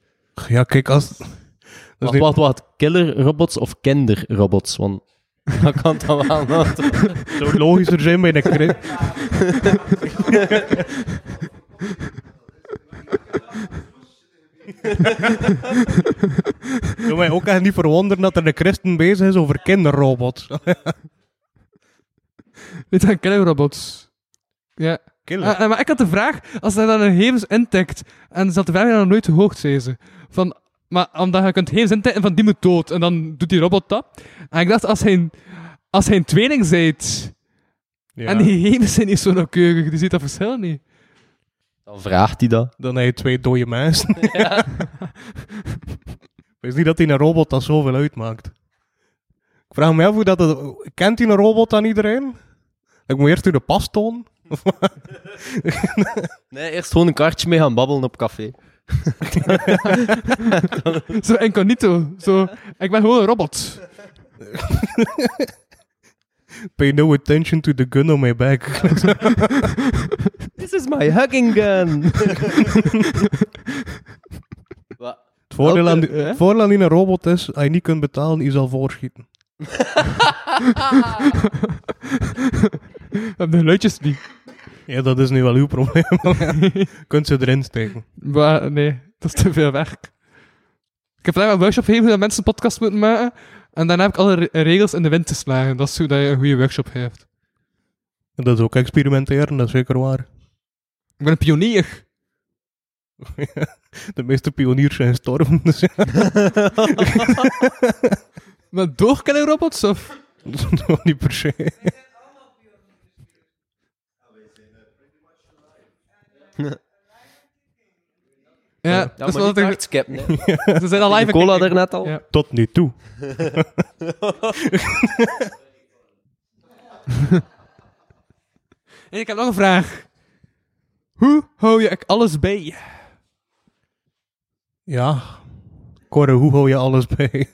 Speaker 3: Ja, kijk, als... dat is
Speaker 4: Wacht,
Speaker 3: niet-
Speaker 4: Dus wacht, wacht. Killer robots of kinderrobots? Want *laughs* dat kan dan wel. want-
Speaker 3: zou logischer zijn bij een christen. Doe mij ook echt niet verwonderen dat er een christen bezig is over kinderrobots. Ah,
Speaker 5: Dit zijn killingrobots. Ja.
Speaker 3: Killer.
Speaker 5: Ah, ah, maar ik had de vraag, als hij dan een gegevens intikt, en ze had de vraag dan nog nooit gehoord, zei ze. Van, maar omdat je kunt gegevens intikken van die moet dood, en dan doet die robot dat. En ik dacht, als hij een, als hij een tweeling zijt,
Speaker 3: Ja,
Speaker 5: en die gegevens zijn niet zo nauwkeurig, die ziet dat verschil niet.
Speaker 4: Dan vraagt hij dat.
Speaker 3: Dan heb je twee dode
Speaker 5: *laughs*
Speaker 3: mensen. Wees niet dat die een robot dat zoveel uitmaakt. Ik vraag me af hoe dat... het- Kent die een robot aan iedereen? Ik moet eerst u de pas tonen.
Speaker 4: Nee, eerst gewoon een kaartje mee gaan babbelen op café.
Speaker 5: Zo incognito. Zo, ik ben gewoon een robot.
Speaker 3: Pay no attention to the gun on my back.
Speaker 4: This is my hugging
Speaker 3: *laughs*
Speaker 4: gun. Wat?
Speaker 3: Het voordeel, aan die,
Speaker 4: Elke- hè?
Speaker 3: het voordeel aan die een robot is, als je niet kunt betalen, die zal voorschieten.
Speaker 5: We hebben de luidjes niet.
Speaker 3: Ja, dat is nu wel uw probleem. *laughs* kunt ze erin steken.
Speaker 5: Maar nee, dat is te veel werk. Ik heb vandaag een workshop gegeven hoe dat mensen een podcast moeten maken. En daarna heb ik alle re- regels in de wind geslagen. Dat is hoe dat je een goede workshop heeft.
Speaker 3: En Dat is ook experimenteren, dat is zeker waar.
Speaker 5: Ik ben een pionier.
Speaker 3: De meeste pioniers zijn gestorven. *laughs* Dus ja,
Speaker 5: Maar door killing robots of?
Speaker 3: nog niet per se.
Speaker 5: Ja,
Speaker 3: dus
Speaker 5: dat is wel dat er-
Speaker 4: skip. Nee.
Speaker 5: ze zijn al live.
Speaker 4: Cola daarnet al.
Speaker 5: Ja.
Speaker 3: Tot nu toe.
Speaker 5: En ik heb nog een vraag. Hoe hou je alles bij?
Speaker 3: Ja. Corre, hoe hou je alles bij?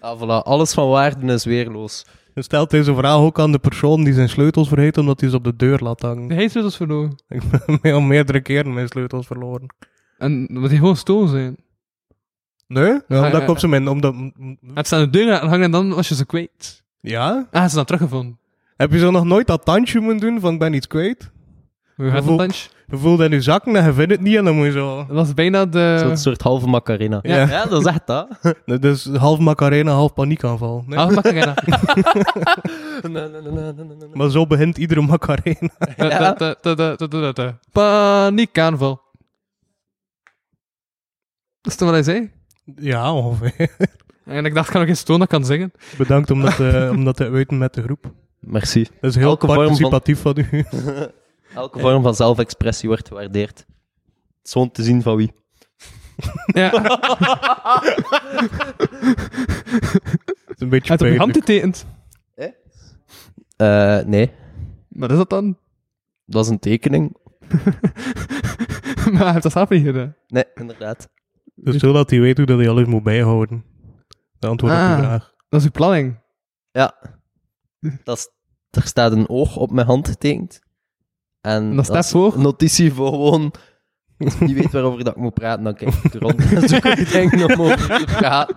Speaker 4: Ah, voilà. Alles van waarde is weerloos.
Speaker 3: Je stelt deze vraag ook aan de persoon die zijn sleutels vergeet omdat hij ze op de deur laat
Speaker 5: De nou.
Speaker 3: hangen.
Speaker 5: heetsels verloren.
Speaker 3: Ik ben *laughs* al meerdere keren mijn sleutels verloren.
Speaker 5: En omdat die gewoon stoel zijn.
Speaker 3: Nee? Ja,
Speaker 5: ja,
Speaker 3: omdat
Speaker 5: ja.
Speaker 3: komt ze mijn... Omdat,
Speaker 5: Het staan de deuren aan hangen en dan was je ze kwijt.
Speaker 3: ja?
Speaker 5: Ah, ze zijn dan teruggevonden.
Speaker 3: Heb je zo nog nooit dat tandje moeten doen van ik ben iets kwijt?
Speaker 5: Hoe gaat
Speaker 3: Hoeveel-
Speaker 5: het, lunch?
Speaker 3: Je voelt in je zakken en je vindt het niet en dan moet je zo...
Speaker 5: Dat was bijna de...
Speaker 3: Eh.
Speaker 4: Zo'n soort halve macarena.
Speaker 3: Ja.
Speaker 4: ja dat is echt dat.
Speaker 3: Dat is half Macarena, half paniekaanval. Nee?
Speaker 5: Ah, Macarena. *laughs*
Speaker 4: Na, na, na, na, na, na, na.
Speaker 3: Maar zo begint iedere Macarena.
Speaker 5: Da, da, da, da, da, da, da. Paniekaanval. Dat is toch wat hij zei?
Speaker 3: Ja, ongeveer.
Speaker 5: En ik dacht, ik ga nog eens toon dat kan *laughs* zingen.
Speaker 3: *laughs* Bedankt om dat, eh, om dat te uiten met de groep.
Speaker 4: *laughs* Merci.
Speaker 3: Dat is heel
Speaker 4: Elke vorm van-
Speaker 3: participatief van... u. *laughs*
Speaker 4: Elke vorm van zelfexpressie wordt gewaardeerd. Zo'n te zien van wie.
Speaker 5: Ja,
Speaker 3: Het is een beetje
Speaker 5: uit op je hand
Speaker 3: pijnlijk.
Speaker 5: getekend.
Speaker 4: Eh, nee,
Speaker 5: Wat is dat dan?
Speaker 4: dat is een tekening.
Speaker 5: *laughs* maar hij heeft dat zelf niet gedaan.
Speaker 4: Nee, inderdaad.
Speaker 3: Dus zodat hij weet hoe dat hij alles moet bijhouden. De antwoord op
Speaker 5: Ah.
Speaker 3: die vraag.
Speaker 5: Dat is uw planning.
Speaker 4: Ja. Dat is Er staat een oog op mijn hand getekend. En
Speaker 5: En dat staat
Speaker 4: als
Speaker 5: voor?
Speaker 4: notitie voor gewoon... Als ik niet weet waarover dat ik moet praten, dan kijk ik rond. Dan *laughs* zoek ik het ding om over te praten.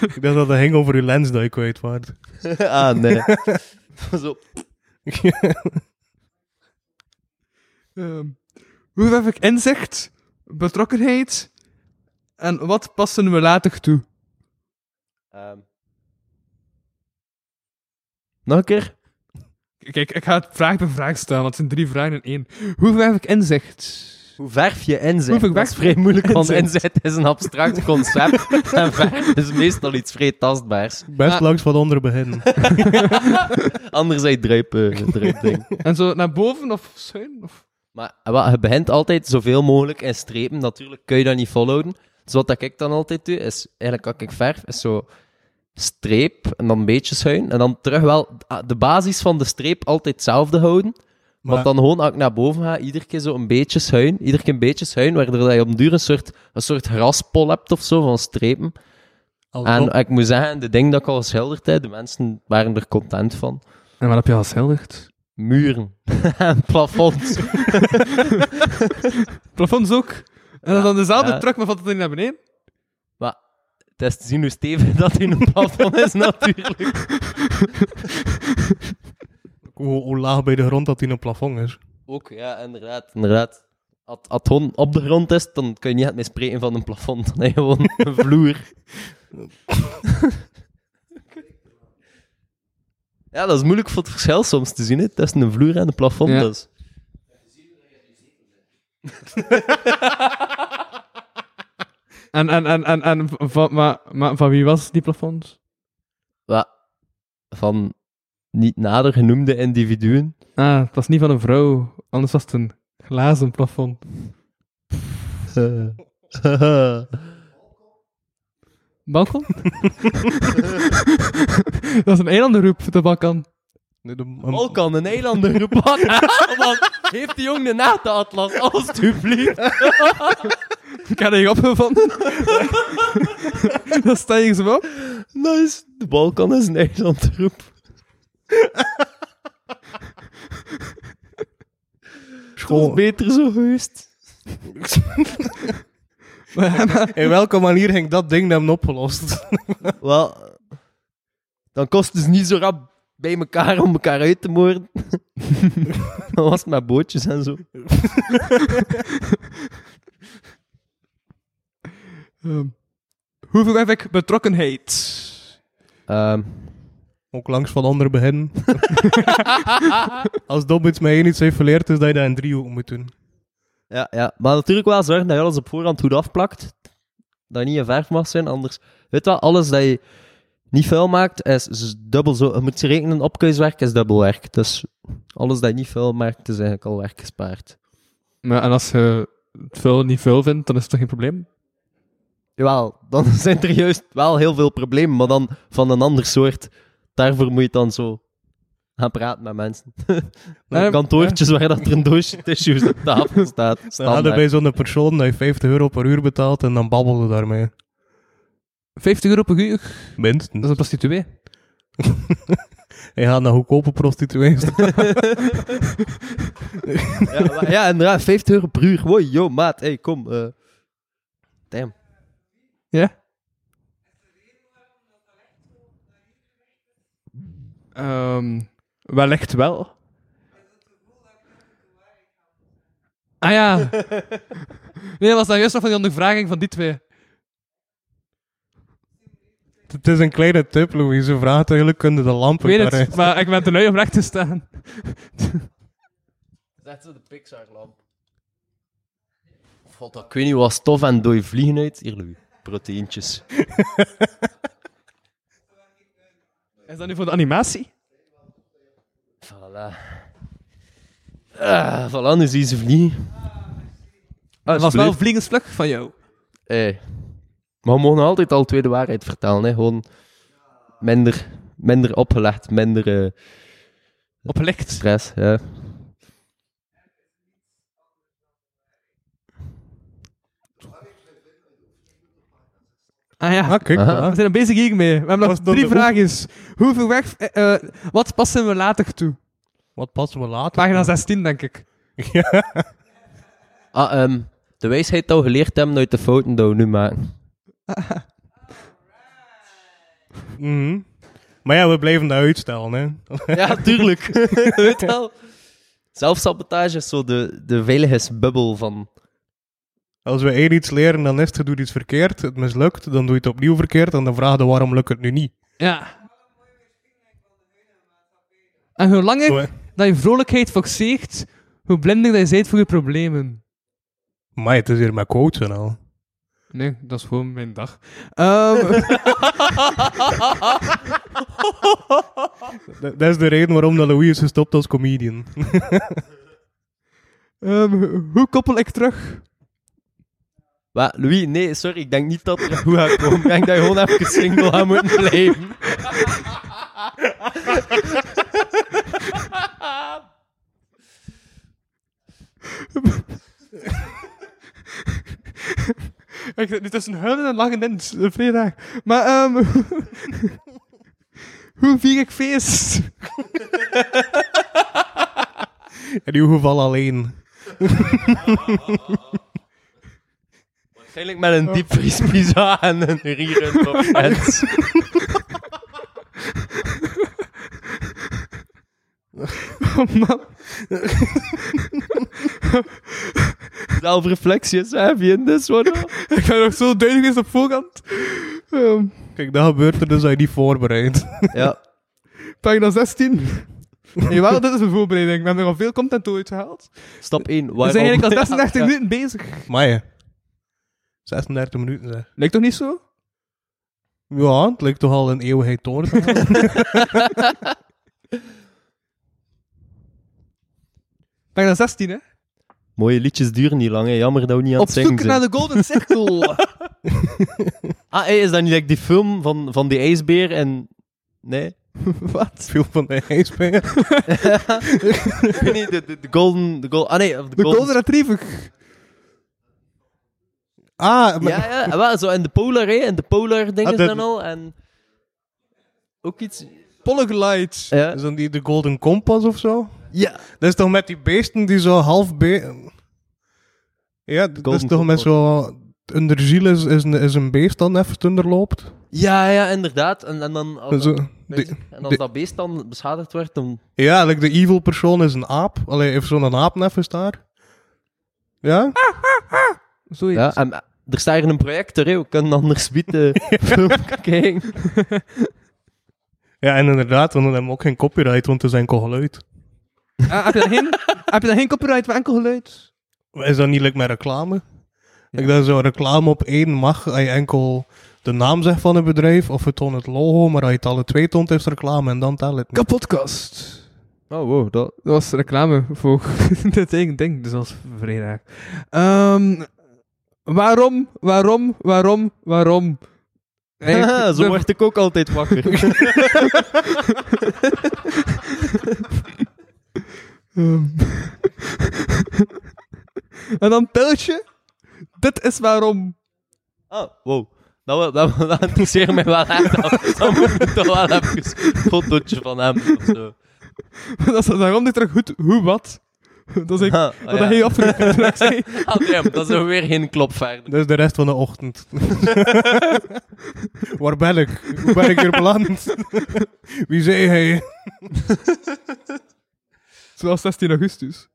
Speaker 3: Ik dacht dat het ging over uw lens dat je kwijt waard.
Speaker 4: *laughs* ah, nee. Zo.
Speaker 5: Ehm, hoe heb ik inzicht, betrokkenheid en wat passen we later toe?
Speaker 4: Ehm. Nog een keer?
Speaker 5: Kijk, ik ga het vraag per vraag stellen, want het zijn drie vragen in één. Hoe heb ik inzicht? *laughs*
Speaker 4: Hoe verf je inzet?
Speaker 5: Hoe
Speaker 4: Dat
Speaker 5: verwerk
Speaker 4: is vrij moeilijk, want
Speaker 5: inzet?
Speaker 4: inzet is een abstract
Speaker 5: *laughs*
Speaker 4: concept. en verf is meestal iets vrij tastbaars.
Speaker 3: Best
Speaker 5: Ah.
Speaker 3: langs van onder beginnen.
Speaker 4: Anderzij druipen, druipding.
Speaker 5: En zo naar boven of schuin? Of...
Speaker 4: Maar eh, wel, je begint altijd zoveel mogelijk in strepen. Natuurlijk kun je dat niet volhouden. Dus wat dat ik dan altijd doe, is eigenlijk als ik verf, is zo streep en dan een beetje schuin. En dan terug wel ah, de basis van de streep altijd hetzelfde houden.
Speaker 3: Maar-
Speaker 4: Want dan gewoon, als ik naar boven ga, iedere keer zo een beetje schuin. Iedere keer een beetje schuin, waardoor dat je op een duur een soort, een soort graspol hebt of zo van strepen.
Speaker 3: Als
Speaker 4: En
Speaker 3: Bob-
Speaker 4: ik moet zeggen, de ding dat ik al geschilderd heb, de mensen waren er content van.
Speaker 5: En wat heb je al schilderd?
Speaker 4: Muren *laughs* en plafonds.
Speaker 5: Plafonds ook. En dan dezelfde
Speaker 4: ja.
Speaker 5: truc, maar valt het niet naar beneden?
Speaker 4: Het is te zien hoe stevig dat in een plafond is, natuurlijk.
Speaker 3: hoe, hoe laag bij de grond dat hij een plafond is.
Speaker 4: Ook, ja, inderdaad. inderdaad. Als als het gewoon op de grond is, dan kun je niet echt meer spreken van een plafond. Dan heb je gewoon een vloer. ja, dat is moeilijk voor het verschil soms te zien, hè, tussen een vloer en een plafond.
Speaker 5: Ja.
Speaker 4: Dus.
Speaker 5: En, en, en, en, en van, maar, maar van wie was die plafond?
Speaker 4: Wa- van niet nader genoemde individuen.
Speaker 5: Ah, het was niet van een vrouw, anders was het een glazen plafond. Balkon? *laughs* dat is een eilandenroep, de Balkan.
Speaker 3: Nee, de-
Speaker 4: *laughs*
Speaker 3: een-
Speaker 4: Balkan, een eilander, *laughs* gebak. Oh, Heeft die jongen de NATO-atlas, alstublieft.
Speaker 5: Ik had er *laughs* opgevonden. dat sta je zo op.
Speaker 4: *laughs* Nice. De Balkan is een eilandroep. School.
Speaker 3: Schoon.
Speaker 4: Beter zo geweest.
Speaker 3: *laughs* In welke manier ging dat ding hem opgelost?
Speaker 4: Wel, dan kost het dus niet zo rap bij elkaar om elkaar uit te moorden. *laughs* dan was het met bootjes en zo.
Speaker 5: Ehm, hoeveel heb ik betrokkenheid?
Speaker 4: Ehm,
Speaker 3: Ook langs van onder
Speaker 5: *laughs*
Speaker 3: beginnen. Als Dob iets mij één iets heeft geleerd, is dat je dat in driehoek moet doen.
Speaker 4: ja, ja, maar natuurlijk wel zorgen dat je alles op voorhand goed afplakt. Dat je niet in verf mag zijn, anders... Weet je wel, alles dat je niet vuil maakt, is z- dubbel zo... Je moet je rekenen, opkuiswerk is dubbel werk. Dus alles dat je niet vuil maakt, is eigenlijk al werk gespaard.
Speaker 5: Maar, en als je het vuil niet vuil vindt, dan is het toch geen probleem?
Speaker 4: Jawel, dan *laughs* zijn er juist wel heel veel problemen, maar dan van een ander soort. Daarvoor moet je dan zo gaan praten met mensen. *laughs*
Speaker 5: Ehm,
Speaker 4: Kantoortjes waar dat er een doosje tissues op tafel staat.
Speaker 3: Dan hadden
Speaker 4: Standaard.
Speaker 3: bij zo'n persoon dat je 50 euro per uur betaalt en dan babbelde daarmee.
Speaker 5: 50 euro per uur, dat
Speaker 3: Minstens.
Speaker 5: is een prostituee.
Speaker 3: Je gaat naar goedkope
Speaker 5: *laughs*
Speaker 3: prostituees.
Speaker 4: Ja, maar- ja, inderdaad, 50 euro per uur. Wow, yo, maat, hey, kom. eh. damn.
Speaker 5: Ja? Ehm wellicht wel. Ah ja. *laughs* Nee, dat was dan juist nog van die ondervraging van die twee.
Speaker 3: Het is een kleine tip, Louis. Ze vraagt eigenlijk, kunnen de
Speaker 5: Ik
Speaker 3: lampen
Speaker 5: weet
Speaker 3: daarin?
Speaker 5: het, maar ik ben te lui om recht te staan.
Speaker 4: Dat is de Pixar-lamp. God, dat ik weet niet wat stof en dooi vliegen uit. Hier, Louis, proteïntjes.
Speaker 5: Is dat nu voor de animatie?
Speaker 4: Voilà. Ah, voilà, nu zie je ze vliegen. Ah,
Speaker 5: dat Ah, was wel vliegensvlug van jou.
Speaker 4: Hey. Maar we mogen altijd al twee de waarheid vertellen. Hè. Gewoon minder, minder opgelegd, minder eh,
Speaker 5: Oplicht.
Speaker 4: stress. Ja.
Speaker 5: Ah ja.
Speaker 3: Ah, kijk.
Speaker 4: Aha.
Speaker 5: We
Speaker 3: voilà.
Speaker 5: zijn er bezig hiermee. We hebben nog
Speaker 3: Was dat
Speaker 5: drie
Speaker 3: de
Speaker 5: vraagjes. Hoeveel weg... eh, eh, wat passen we later toe?
Speaker 3: Wat passen we later?
Speaker 5: Pagina 16, denk ik.
Speaker 3: Ja.
Speaker 4: Ah, ehm, de wijsheid dat we geleerd hebben uit de fouten die we nu maken.
Speaker 3: Mhm. Maar ja, we blijven dat uitstellen, hè. *laughs*
Speaker 4: Ja, tuurlijk. *laughs* Weet wel. Zelfsabotage is zo de, de veiligheidsbubbel van...
Speaker 3: Als we één iets leren, dan is het, je doet iets verkeerd, het mislukt, dan doe je het opnieuw verkeerd en dan vraag je waarom lukt het nu niet.
Speaker 5: Ja. En hoe langer
Speaker 3: Zo, hè.
Speaker 5: dat je vrolijkheid foxeert, hoe blinder dat je bent voor je problemen.
Speaker 3: Maar het is hier met quotes en al.
Speaker 5: Nee, dat is gewoon mijn dag. *laughs* Ehm,
Speaker 3: Dat- Dat is de reden waarom dat Louis is gestopt als comedian. *laughs*
Speaker 5: ehm, hoe koppel ik terug?
Speaker 4: Wat, Louis, nee, sorry, ik denk niet dat het goed gaat komen. Ik denk dat je gewoon even single gaat moeten blijven.
Speaker 5: Ik zit nu tussen huilen en lachen in, dat is vrij raar. Maar ehm, *laughs* hoe vier ik feest?
Speaker 3: In uw geval alleen.
Speaker 4: Waarschijnlijk met een diepvriespizza en een rieren op
Speaker 5: *laughs*
Speaker 4: het.
Speaker 5: Oh man.
Speaker 4: Zelfreflecties heb je in dit soort.
Speaker 5: Ik ben nog zo duidelijk geweest op voorhand. Ehm,
Speaker 3: Kijk, dat gebeurt er dus dat je niet voorbereid.
Speaker 4: Ja.
Speaker 5: pagina *laughs* 16. Jawel, dit is een voorbereiding. We hebben er al veel content door uitgehaald.
Speaker 4: Stap 1. Waarom?
Speaker 5: We zijn
Speaker 4: *laughs*
Speaker 5: eigenlijk *laughs* al 36
Speaker 4: Ja, ja.
Speaker 5: minuten bezig.
Speaker 3: *laughs* Maar ja. 36 minuten, zeg.
Speaker 5: Lijkt toch niet zo?
Speaker 3: Ja, het lijkt toch al een eeuwigheid door. te gaan. *laughs*
Speaker 5: Pagina 16, hè?
Speaker 4: Mooie liedjes duren niet lang, hè. Jammer dat we niet aan
Speaker 5: Op
Speaker 4: het zingen
Speaker 5: zoek naar
Speaker 4: zijn.
Speaker 5: de
Speaker 4: *laughs*
Speaker 5: Golden Circle.
Speaker 4: Ah, hey, is dat niet like, die film van, van die ijsbeer en... Nee?
Speaker 5: Wat?
Speaker 3: Veel van de ijsbeer.
Speaker 4: Ik weet niet, de, de, de golden... De gol ah nee, of de,
Speaker 5: De
Speaker 4: golden...
Speaker 5: Golden Retriever.
Speaker 3: Ah, maar-
Speaker 4: Ja, ja, en wel, zo en de polar, hè. En de polar dingen
Speaker 3: Ah, de-
Speaker 4: dan al. En ook iets...
Speaker 5: Polyglide.
Speaker 4: Ja.
Speaker 3: is dan die de Golden Compass of zo?
Speaker 4: ja.
Speaker 3: Dat is toch met die beesten die zo half be... Ja, d- dat is
Speaker 4: Golden
Speaker 3: toch met
Speaker 4: Compass.
Speaker 3: zo... Een ziel is, is, een, is een beest dan even onderloopt.
Speaker 4: Ja, ja, inderdaad. En, en dan... Als
Speaker 3: Zo,
Speaker 4: dat,
Speaker 3: de-
Speaker 4: en als
Speaker 3: de-
Speaker 4: dat beest dan beschadigd wordt, dan...
Speaker 3: ja, like de evil persoon is een aap. Allee, heeft zo'n aap even daar. Ja?
Speaker 5: Zo
Speaker 4: Ja, en eh, er staat hier een projector, hè. We kunnen anders bieden film kijken.
Speaker 3: Ja, en inderdaad, want dan hebben we ook geen copyright, want het is enkel geluid.
Speaker 5: Ah, heb, je dan geen, *laughs* heb je dan geen copyright voor enkel geluid?
Speaker 3: Is dat niet like met reclame? Ik dat zo'n reclame op één mag, als je enkel de naam zegt van een bedrijf, of het toont het logo, maar als je het alle twee toont, is het reclame en dan telt het niet.
Speaker 5: Kapotkast.
Speaker 4: Oh, wow, dat...
Speaker 5: Dat was reclame voor *laughs* dit eigen ding, dus dat was vrij raar. Ehm, waarom, waarom, waarom,
Speaker 4: *laughs*
Speaker 5: waarom? Eigenlijk
Speaker 4: Haha,
Speaker 5: de-
Speaker 4: Ah, zo word ik ook altijd wakker.
Speaker 5: Ehm. en dan piltje. Dit is waarom. *laughs*
Speaker 4: Ah, wow. Dat, dat, dat, dat interesseert mij wel echt. *laughs* Dat, dat moet ik toch wel even een fotootje van hem of *laughs* zo.
Speaker 5: dat is daarom niet terug goed hoe wat. Dat is ik.
Speaker 4: *laughs* Ah, ah,
Speaker 5: Wat
Speaker 4: ja.
Speaker 5: heb je afgelopen
Speaker 4: Ah, damn, dat is nog weer geen klop verder.
Speaker 3: Dat is Dus de rest van de ochtend. *laughs* Waar ben ik? Hoe ben ik hier *laughs* beland? Wie zei hij?
Speaker 5: Zoals 16 augustus.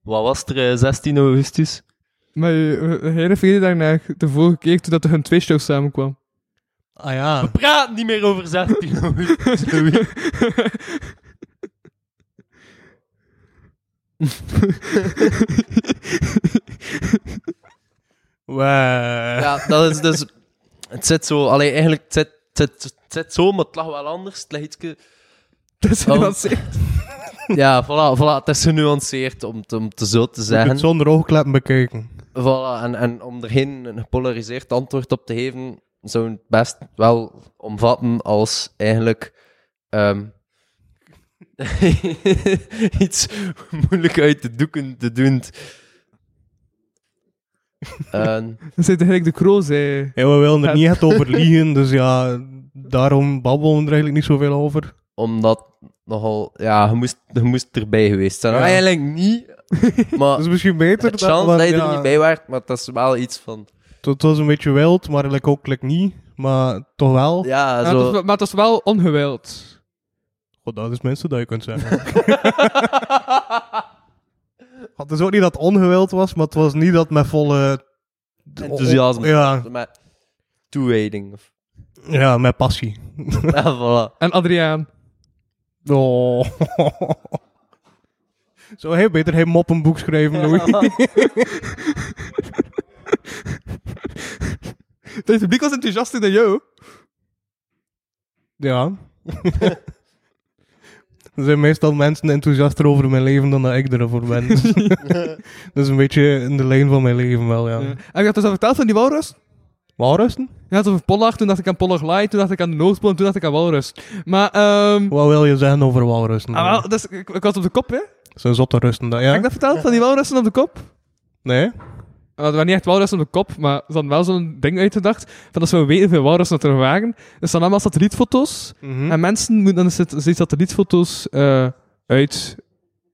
Speaker 4: Wat was er eh, 16 augustus?
Speaker 5: Maar eh, je- hij refereerde daarnaar de vorige keer toen dat er een twee-show samenkwam. *laughs*
Speaker 3: Ah ja.
Speaker 4: Praat niet meer over 16 augustus, Louis.
Speaker 3: Wauw.
Speaker 4: *laughs* Ja, dat is dus... Het zit zo... Allee, eigenlijk, het zit, het zit, het zit zo, maar het lag wel anders. Het lag *laughs* ietske-
Speaker 5: Dat is
Speaker 4: Oh.
Speaker 5: wat ze-
Speaker 4: Ja, voilà, voilà. Het is genuanceerd, om, te- om te zo te
Speaker 3: Je
Speaker 4: zeggen.
Speaker 3: kunt zonder oogkleppen bekijken.
Speaker 4: Voilà, en, en om er geen gepolariseerd antwoord op te geven, zou het best wel omvatten als eigenlijk ehm, *laughs* iets moeilijk uit de doeken te doen. En
Speaker 5: Dan zit eigenlijk de kroos, hè.
Speaker 3: Ja, we willen er niet echt over liegen, dus ja, daarom babbelen we er eigenlijk niet zoveel over.
Speaker 4: omdat nogal, ja, je moest, je moest erbij geweest zijn.
Speaker 3: Ja.
Speaker 4: Eigenlijk
Speaker 3: *laughs*
Speaker 4: niet, maar
Speaker 3: Dat is misschien beter.
Speaker 4: het
Speaker 3: dan-
Speaker 4: chance
Speaker 3: maar
Speaker 4: dat je
Speaker 3: ja,
Speaker 4: er niet bij waart, maar dat is wel iets van,
Speaker 3: Het was een beetje wild, maar like ook like niet. Maar toch wel.
Speaker 4: ja,
Speaker 5: Maar
Speaker 4: zo.
Speaker 5: het was- maar het was wel ongewild.
Speaker 3: God, dat is mensen dat je kunt zeggen. *laughs* Want het is ook niet dat het ongewild was, maar het was niet dat met volle...
Speaker 4: Enthousiasme.
Speaker 3: Ja,
Speaker 4: Met toewijding. of- *laughs*
Speaker 3: ja, met passie.
Speaker 4: Ja, voilà.
Speaker 5: En Adriaan.
Speaker 3: *laughs* Oh. Zou hij beter geen moppenboek schrijven, Louis?
Speaker 5: Het publiek was enthousiaster dan jou.
Speaker 3: ja. *laughs* Er zijn meestal mensen enthousiaster over mijn leven dan dat ik ervoor
Speaker 5: *laughs*
Speaker 3: ben. *laughs* dat is een beetje in de lijn van mijn leven wel, ja.
Speaker 5: Ja. En je had dus al verteld van die walrus?
Speaker 3: Walrussen?
Speaker 5: Je had het over Pollar, toen dacht ik aan Pollar Light, toen dacht ik aan de Noordpool, toen dacht ik aan walrus. Maar, ehm...
Speaker 3: Wat wil je zeggen over walrussen?
Speaker 5: ah, wel, dus, ik, ik was op de kop, hè?
Speaker 3: Het Zijn zotte rusten, dat,
Speaker 5: Heb ik
Speaker 3: ja?
Speaker 5: dat verteld, van die walrussen op de kop?
Speaker 3: Nee?
Speaker 5: Uh, er waren niet echt walrussen op de kop, maar ze hadden wel zo'n ding uitgedacht. Van als we weten hoeveel walrussen dat er waren. Dus dan allemaal satellietfoto's.
Speaker 3: Mhm.
Speaker 5: En mensen moeten dan zit- die satellietfoto's eh, uit,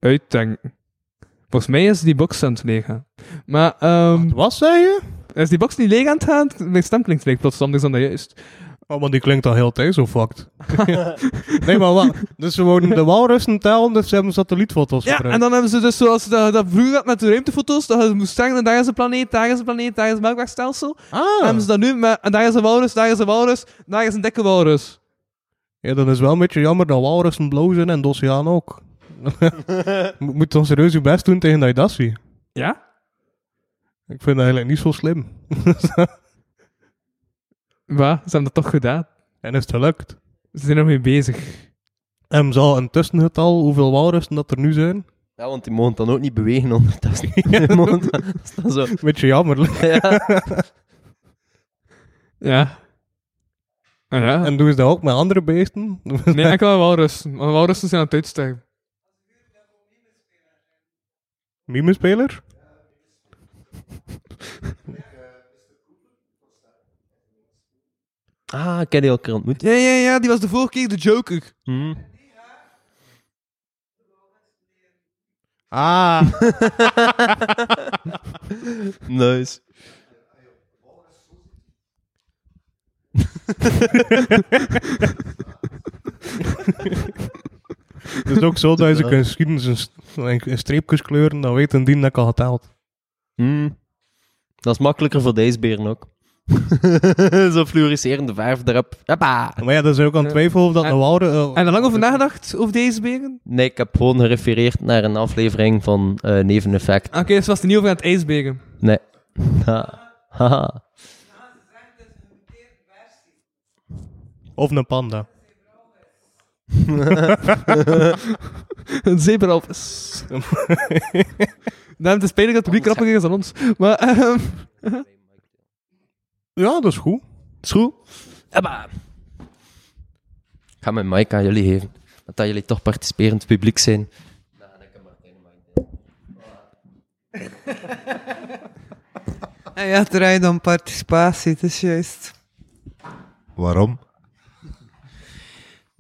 Speaker 5: uitdenken. Volgens mij is die box aan het leeggaan. Maar ehm,
Speaker 3: Wat zei je?
Speaker 5: is die box niet leeg aan het gaan? Mijn stem klinkt leeg plots anders dan dat juist.
Speaker 3: Oh, maar die klinkt al heel tijd zo
Speaker 5: *laughs*
Speaker 3: fucked. *laughs* nee, maar wat? Dus ze wouden de walrussen tellen, dus ze hebben satellietfoto's
Speaker 5: Ja,
Speaker 3: gebruikt.
Speaker 5: en dan hebben ze dus zoals dat, dat vroeger had met de ruimtefoto's, dat je moest zeggen, daar is een planeet, daar is een planeet, daar is een melkwegstelsel.
Speaker 3: Ah.
Speaker 5: En hebben ze dat nu met, en daar is een walrus, daar is een walrus, daar is een dikke walrus.
Speaker 3: Ja, dan is wel een beetje jammer dat walrussen blauw zijn en de oceaan
Speaker 5: *laughs*
Speaker 3: ook. Mo- Moet dan serieus je best doen tegen dat je dat ziet.
Speaker 5: Ja?
Speaker 3: Ik vind dat eigenlijk niet zo slim. *laughs*
Speaker 5: Waar? Ze hebben dat toch gedaan.
Speaker 3: en is het gelukt?
Speaker 5: Ze zijn er mee bezig.
Speaker 3: En zal een tussengetal, hoeveel walrussen dat er nu zijn?
Speaker 4: Ja, want die mogen dan ook niet bewegen ondertussen. Die mogen dan- dat is dan zo.
Speaker 3: Beetje jammer. *laughs*
Speaker 4: Ja.
Speaker 5: Ja. Ah, ja.
Speaker 3: En doen ze dat ook met andere beesten? *laughs*
Speaker 5: Nee, ik wil walrussen. Want walrussen zijn aan het uitstijgen.
Speaker 3: Mimespeler?
Speaker 4: Ah, ik heb die elkaar ontmoet.
Speaker 5: Ja, ja, ja. Die was de vorige keer de Joker.
Speaker 4: Hm.
Speaker 3: Ah.
Speaker 4: *laughs* Nice.
Speaker 3: Het is ook zo dat als ik een geschiedenis een, st- een streepjes kleuren, dan weet een dien dat ik al geteld.
Speaker 4: Hm. Dat is makkelijker voor deze beren ook. *laughs* Zo fluoriserende verf erop. Hoppa.
Speaker 3: Maar ja, dat is ook aan twijfel of dat
Speaker 5: En-
Speaker 3: een walrus... eh,
Speaker 5: En er lang over nagedacht, over deze beren?
Speaker 4: Nee, ik heb gewoon gerefereerd naar een aflevering van eh Neveneffect.
Speaker 5: Ah, Oké, ze was er niet over aan het ijsberen.
Speaker 4: Nee. *laughs* Ha. Haha.
Speaker 3: Of een panda.
Speaker 5: *laughs* Een *laughs* zebralvis. Dan het is pijnlijk dat het publiek krappiger is dan ons. Maar, ehm
Speaker 3: Ja, dat is goed.
Speaker 4: Is
Speaker 3: *laughs*
Speaker 4: goed? Hoppa. Ik ga mijn mic aan jullie geven. want Dat jullie toch participerend publiek zijn.
Speaker 6: En ja, het draait om participatie, het is juist.
Speaker 2: Waarom?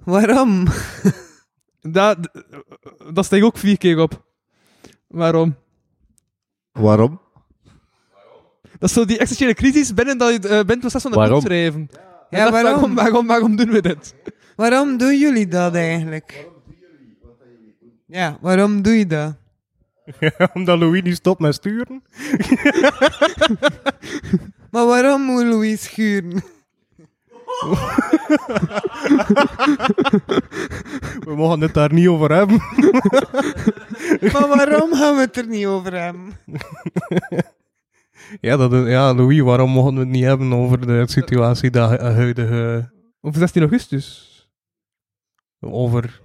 Speaker 6: Waarom?
Speaker 5: dat, dat steeg ook vier keer op. Waarom?
Speaker 2: Waarom?
Speaker 5: Dat is zo die existentiële crisis binnen, dat, je- eh, binnen het proces van het
Speaker 4: Waarom?
Speaker 5: schrijven.
Speaker 6: Ja, waarom?
Speaker 5: waarom, waarom, waarom doen we dit?
Speaker 6: Waarom doen jullie dat eigenlijk? Ja, waarom doe je dat?
Speaker 3: Omdat Louis niet stopt met sturen.
Speaker 6: Maar waarom moet Louis schuren?
Speaker 3: We mogen het daar niet over hebben.
Speaker 6: Maar waarom gaan we het er niet over hebben?
Speaker 3: Ja, dat is, ja, Louis, waarom mogen we het niet hebben over de situatie dat hu- huidige...
Speaker 5: Over 16 augustus.
Speaker 3: Over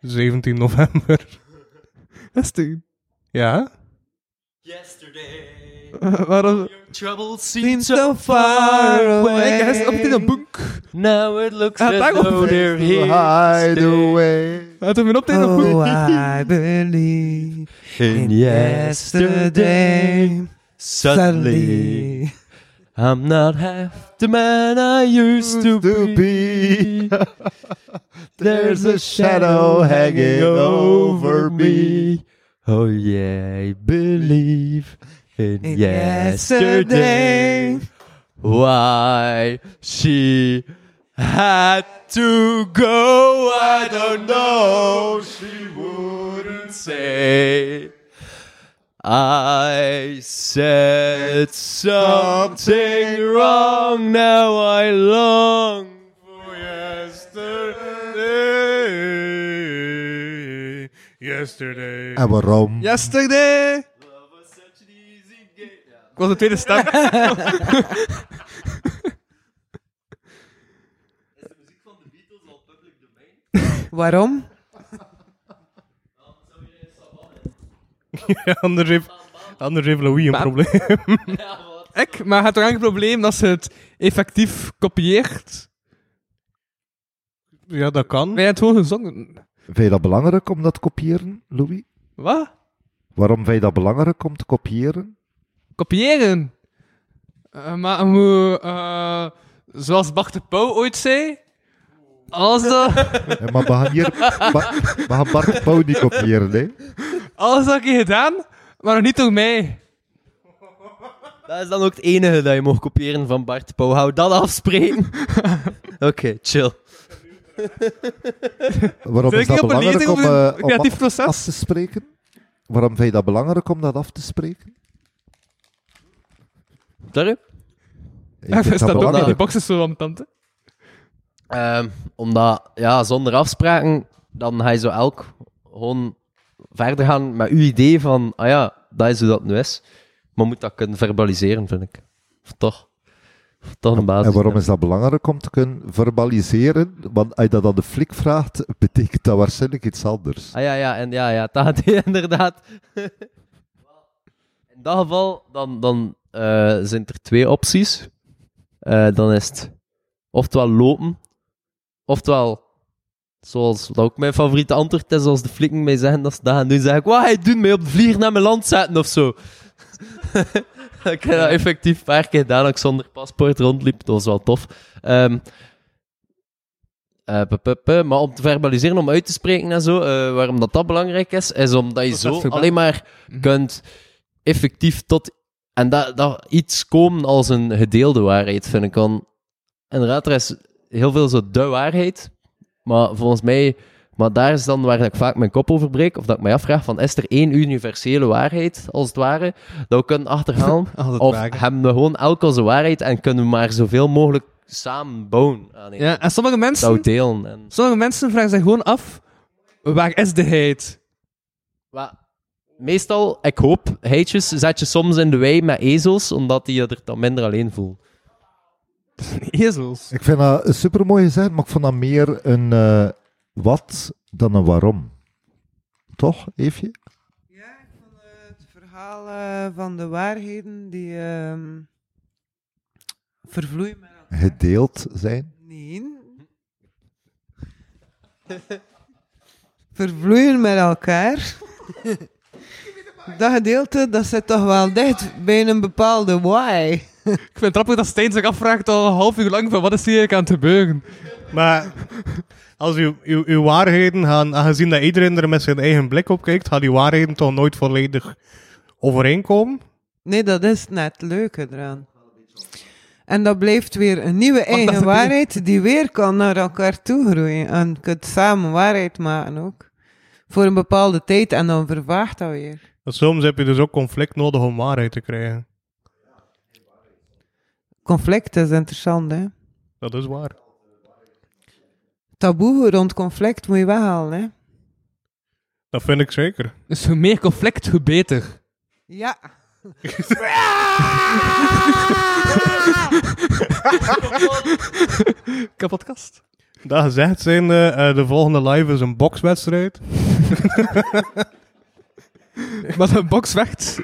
Speaker 3: 17 november.
Speaker 5: Rustig.
Speaker 3: Ja?
Speaker 5: waarom?
Speaker 4: Trouble
Speaker 6: Seems so far away.
Speaker 5: Hij is op een boek.
Speaker 4: Now it looks
Speaker 5: Ah,
Speaker 4: as
Speaker 5: daarom.
Speaker 4: though they're here.
Speaker 2: Hideaway.
Speaker 5: Hij heeft op een boek.
Speaker 6: Oh, I Oh, believe
Speaker 4: in
Speaker 6: yesterday.
Speaker 4: Suddenly, I'm not half the man I used to,
Speaker 2: To
Speaker 4: be.
Speaker 2: be.
Speaker 4: *laughs*
Speaker 2: There's a shadow hanging over me.
Speaker 4: Oh yeah, I believe in
Speaker 6: In
Speaker 4: yesterday.
Speaker 6: yesterday.
Speaker 4: Why she had to go, I don't know. She wouldn't say. I said something wrong, now I long for yesterday.
Speaker 3: Yesterday.
Speaker 2: En waarom?
Speaker 5: Yesterday! eh. Ik was de tweede stem.
Speaker 6: Waarom?
Speaker 3: anders, heeft, anders heeft Louis een
Speaker 5: Maar-
Speaker 3: probleem.
Speaker 5: Ik, maar het eigenlijk een probleem dat ze het effectief kopieert.
Speaker 3: Ja, dat kan.
Speaker 5: Wij hebben het gewoon gezongen.
Speaker 2: Vind je dat belangrijk om dat te kopiëren, Louis?
Speaker 5: Wat?
Speaker 2: Waarom vind je dat belangrijk om te kopiëren?
Speaker 5: Kopiëren! Eh, maar hoe, eh, zoals Bart de Pauw ooit zei. Als *laughs* dat,
Speaker 2: Eh, maar we gaan hier... maar- we gaan Bart de Pauw niet kopiëren, hè?
Speaker 5: alles dat heb je gedaan, maar nog niet door mij.
Speaker 4: Dat is dan ook het enige dat je mag kopiëren van Bart Pauw. Hou dat afspreken.
Speaker 2: *laughs*
Speaker 4: Oké, chill.
Speaker 2: Waarom
Speaker 5: Zijn ik
Speaker 2: is dat
Speaker 5: heel
Speaker 2: belangrijk
Speaker 5: beledigd
Speaker 2: om,
Speaker 5: over
Speaker 2: eh,
Speaker 5: een
Speaker 2: om
Speaker 5: creatief
Speaker 2: af-
Speaker 5: proces?
Speaker 2: af te spreken? Waarom vind je dat belangrijk om dat af te spreken?
Speaker 4: Sorry?
Speaker 2: Ik
Speaker 5: Ja, *laughs* dat
Speaker 2: vind
Speaker 5: staat ook in die
Speaker 2: belangrijk.
Speaker 5: boxen zo aan tante.
Speaker 4: Ehm, omdat, ja, zonder afspraken, dan ga je zo elk gewoon verder gaan met uw idee van, ah ja, dat is hoe dat nu is. Maar moet dat kunnen verbaliseren, vind ik. Of toch? Of toch een basis.
Speaker 2: En waarom is dat belangrijk om te kunnen verbaliseren? Want als je dat aan de flik vraagt, *laughs* betekent dat waarschijnlijk iets anders.
Speaker 4: Ah ja, ja, en ja, *laughs* ja, dat had hij inderdaad. *laughs* In dat geval, dan, dan eh, zijn er twee opties. Eh, dan is het oftewel lopen, oftewel, zoals dat ook mijn favoriete antwoord is, zoals de flikken mij zeggen, dat ze dat gaan doen, zeg ik, wat ga je doen, mij op de vlier naar mijn land zetten of zo. *laughs* ik heb dat effectief een paar keer gedaan, dat ik zonder paspoort rondliep, dat was wel tof. Ehm, eh, pup, pup, pup. maar om te verbaliseren, om uit te spreken en zo, eh, waarom dat, dat belangrijk is, is omdat je
Speaker 5: Dat
Speaker 4: zo
Speaker 5: is Mhm. wel-
Speaker 4: alleen maar kunt effectief tot en dat, dat iets komen als een gedeelde waarheid, vind ik dan. Inderdaad, er is heel veel zo de waarheid, maar volgens mij, maar daar is dan waar ik vaak mijn kop over breek, of dat ik mij afvraag van, is er één universele waarheid, als het ware, dat we kunnen
Speaker 5: *laughs*
Speaker 4: achterhalen? of hebben we gewoon elk onze waarheid en kunnen we maar zoveel mogelijk samen bouwen aan iets?
Speaker 5: Ja, en sommige
Speaker 4: Dat we
Speaker 5: mensen,
Speaker 4: delen. En...
Speaker 5: sommige mensen vragen zich gewoon af: waar is de heid?
Speaker 4: Maar meestal, ik hoop, heetjes zet je soms in de wei met ezels, omdat die je er dan minder alleen voelt.
Speaker 5: Ezels.
Speaker 2: Ik vind dat een supermooi gezegd, maar ik vond dat meer een eh, wat dan een waarom. Toch, Eefje?
Speaker 6: Ja, ik vond eh, het verhaal eh, van de waarheden die ehm, vervloeien met elkaar. *laughs*
Speaker 2: Gedeeld zijn.
Speaker 6: Nee. Vervloeien met
Speaker 5: *laughs*
Speaker 6: elkaar. Dat gedeelte, dat zit toch wel dicht bij een bepaalde why.
Speaker 5: Ik vind het grappig dat Stijn zich afvraagt al een half uur lang: van wat is hier eigenlijk aan het gebeuren?
Speaker 3: Maar als uw, uw, uw waarheden gaan, aangezien dat iedereen er met zijn eigen blik op kijkt, gaan die waarheden toch nooit volledig overeenkomen.
Speaker 6: Nee, dat is net het leuke eraan. En dat blijft weer een nieuwe
Speaker 5: is
Speaker 6: eigen
Speaker 5: het
Speaker 6: waarheid die weer kan naar elkaar toe groeien. En je kunt samen waarheid maken ook. Voor een bepaalde tijd en dan vervaagt dat weer.
Speaker 3: Want Soms heb je dus ook conflict nodig om waarheid te krijgen.
Speaker 6: Conflict is interessant, hè.
Speaker 3: Dat is waar.
Speaker 6: Taboe rond conflict moet je weghalen, hè.
Speaker 3: Dat vind ik zeker.
Speaker 5: Dus hoe meer conflict, hoe beter.
Speaker 6: Ja.
Speaker 5: Kapotkast.
Speaker 3: Dat gezegd zijnde, eh, de volgende live is een bokswedstrijd.
Speaker 5: Maar een box werkt.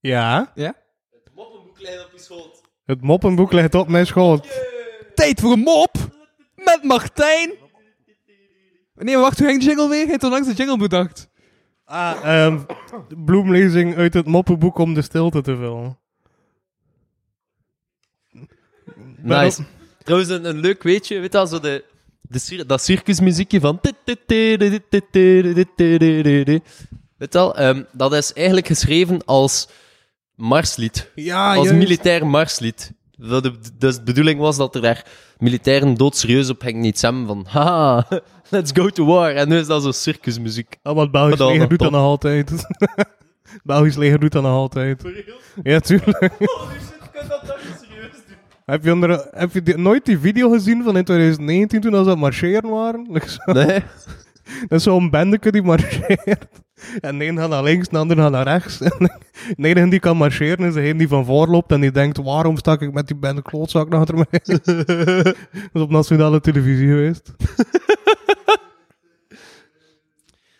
Speaker 3: Ja.
Speaker 5: Ja?
Speaker 3: Het moppenboek ligt op mijn schoot.
Speaker 5: Tijd voor een mop! Met Martijn! Nee, maar wacht, hoe ging de jingle weer? Hij heeft onlangs de jingle bedacht.
Speaker 3: Ah, ehm, bloemlezing uit het moppenboek om de stilte te vullen. Maar
Speaker 4: Nice. Trouwens, een, een leuk weetje. Weet je, wel, zo de, de, cir- dat circusmuziekje van... tit, tit, tit, tit, tit, tit, tit, tit, tit, tit, tit. Weet je wel, ehm, dat is eigenlijk geschreven als marslied.
Speaker 3: Ja,
Speaker 4: als
Speaker 3: Ah, juist.
Speaker 4: militair marslied. Dat de, dus de bedoeling was dat er daar militairen doodserieus op gingen. Niet samen van... Haha, *laughs* let's go to war. En nu is dat zo circusmuziek.
Speaker 3: Ah, maar het Belgisch
Speaker 4: Maar dan
Speaker 3: leger
Speaker 4: nog
Speaker 3: doet dat nog altijd. *laughs* het Belgisch leger doet dat nog altijd. Ja, tuurlijk. Heb je, onder, heb je die- nooit die video gezien van in 2019 toen ze aan het marcheren waren? Dat is zo-
Speaker 4: Nee?
Speaker 3: Dat is zo'n bendeke die marcheert. En de een gaat naar links, de ander gaat naar rechts. *laughs* En de enige die kan marcheren is degene die van voor loopt en die denkt: waarom stak ik met die bende klootzak nog achter mij? *laughs* dat is op nationale televisie geweest.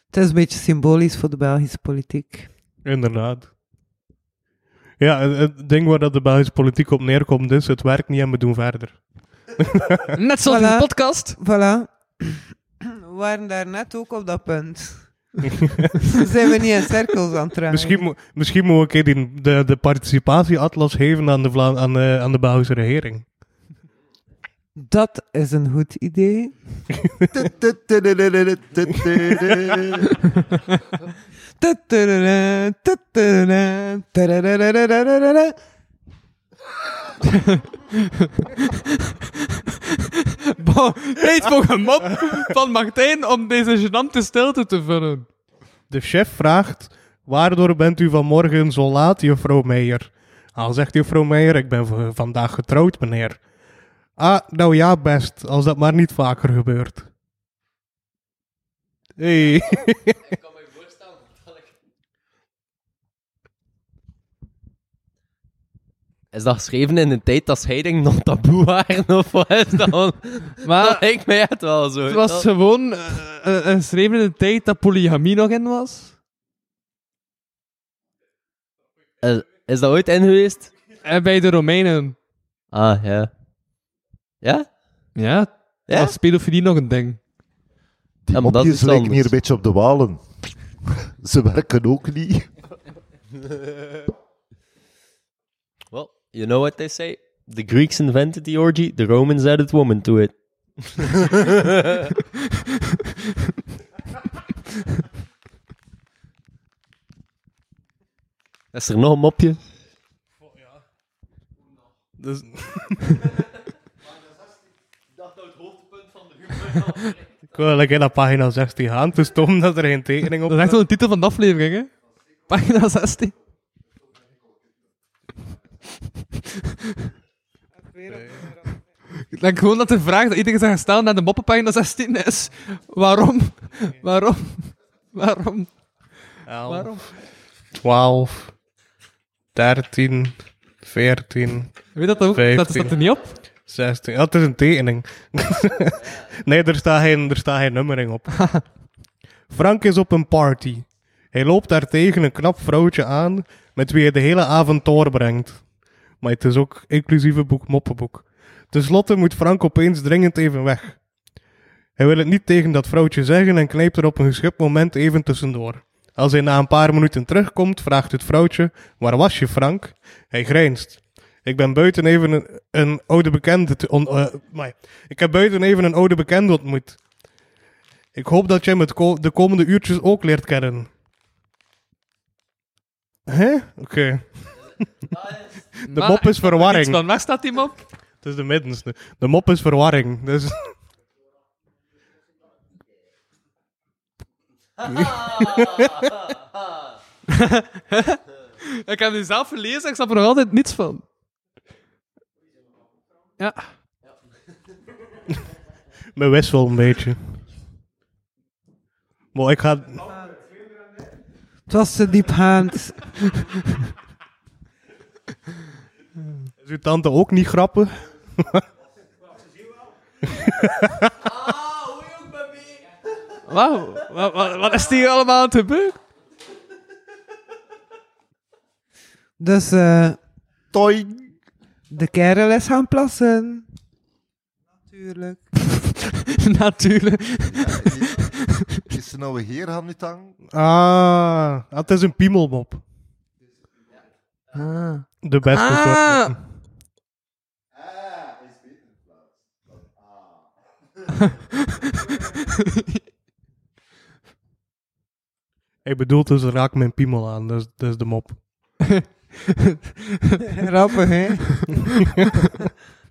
Speaker 6: Het is een beetje symbolisch voor de Belgische politiek.
Speaker 3: Inderdaad. Ja, het- het ding waar dat de Belgische politiek op neerkomt is, het werkt niet en we doen verder.
Speaker 5: Net zoals
Speaker 6: Voilà.
Speaker 5: in de *laughs* podcast.
Speaker 6: Voilà. *clears throat* We waren daar net ook op dat punt. Zijn we niet in cirkels aan het draaien?
Speaker 3: Misschien, moet- misschien moeten we een keer die- de, de participatieatlas geven aan de, Vla aan, de, aan de Belgische regering.
Speaker 6: Dat is een goed idee. Tutudada, tutudada, tutudada.
Speaker 5: Bon, tijd voor een mop van Martijn om deze genante stilte te vullen.
Speaker 3: De chef vraagt, waardoor bent u vanmorgen zo laat, juffrouw Meijer? Al zegt juffrouw Meijer, ik ben v- vandaag getrouwd, meneer. Ah, nou ja, best, als dat maar niet vaker gebeurt. Hey. *laughs*
Speaker 4: Is dat geschreven in een tijd dat scheidingen nog taboe waren? Of wat is dat? Want
Speaker 5: Maar
Speaker 4: dat lijkt mij echt wel zo.
Speaker 5: het was gewoon eh, eh, een schreven in de tijd dat polygamie nog in was.
Speaker 4: Is, is dat ooit in geweest?
Speaker 5: En bij de Romeinen.
Speaker 4: Ah, ja. Ja?
Speaker 5: Ja,
Speaker 4: Ja?
Speaker 5: was pedofilie nog een ding.
Speaker 2: Die
Speaker 4: Ja, maar dat
Speaker 2: mopjes
Speaker 4: is
Speaker 2: lijken
Speaker 4: anders.
Speaker 2: hier een beetje op de walen. *laughs* Ze werken ook niet.
Speaker 4: Well, you know what they say? The Greeks invented the orgy, the Romans added woman to *laughs* it. Is er nog een mopje?
Speaker 3: Dus- Ik wil lekker naar pagina 16 gaan. Het is stom dat er geen tekening op
Speaker 5: Dat is echt
Speaker 3: staat.
Speaker 5: wel de titel van de aflevering, hè? Pagina 16. Ik denk gewoon dat de vraag dat iedereen zou gaan stellen naar de moppenpagina 16 is: waarom? Waarom? Waarom?
Speaker 3: 11,
Speaker 5: Waarom?
Speaker 3: 12, 13, 14,
Speaker 5: Weet dat ook? Dat
Speaker 3: 15.
Speaker 5: staat er niet op.
Speaker 3: 16. Ja, het is een tekening. nee, er staat, geen, er staat geen nummering op. Frank is op een party. Hij loopt daar tegen een knap vrouwtje aan met wie hij de hele avond doorbrengt. Maar het is ook inclusieve boek moppenboek. Ten slotte moet Frank opeens dringend even weg. Hij wil het niet tegen dat vrouwtje zeggen en knijpt er op een geschikt moment even tussendoor. Als hij na een paar minuten terugkomt, vraagt het vrouwtje: Waar was je, Frank? Hij grijnst. Ik ben buiten even een, een oude bekende. te- on- eh, maar, ik heb buiten even een oude bekende ontmoet. Ik hoop dat jij me het ko- de komende uurtjes ook leert kennen. Hè? Oké. *laughs* De mop is verwarring.
Speaker 5: Van waar staat die mop?
Speaker 3: Het is de middenste. De mop is verwarring. Dus... *laughs*
Speaker 5: Ik heb die zelf gelezen, ik snap er nog altijd niets van. Ja.
Speaker 3: Mijn wissel een beetje. Maar ik ga...
Speaker 6: Het was te diepgaand.
Speaker 3: Is uw tante ook niet grappig?
Speaker 5: Wauw, wat, wat, wat is hier allemaal aan het gebeuren? *laughs*
Speaker 6: Dus eh,
Speaker 2: Toing.
Speaker 6: de kerel is gaan plassen. Natuurlijk. *laughs*
Speaker 5: Natuurlijk.
Speaker 2: Is de nou heer gaan nu tang?
Speaker 3: Ah, het is een piemelmop.
Speaker 5: Ah.
Speaker 3: De beste
Speaker 5: Ah.
Speaker 3: soort. Hij bedoelt dus raak mijn piemel aan, dat is, dat is de mop.
Speaker 6: Grappig, hè?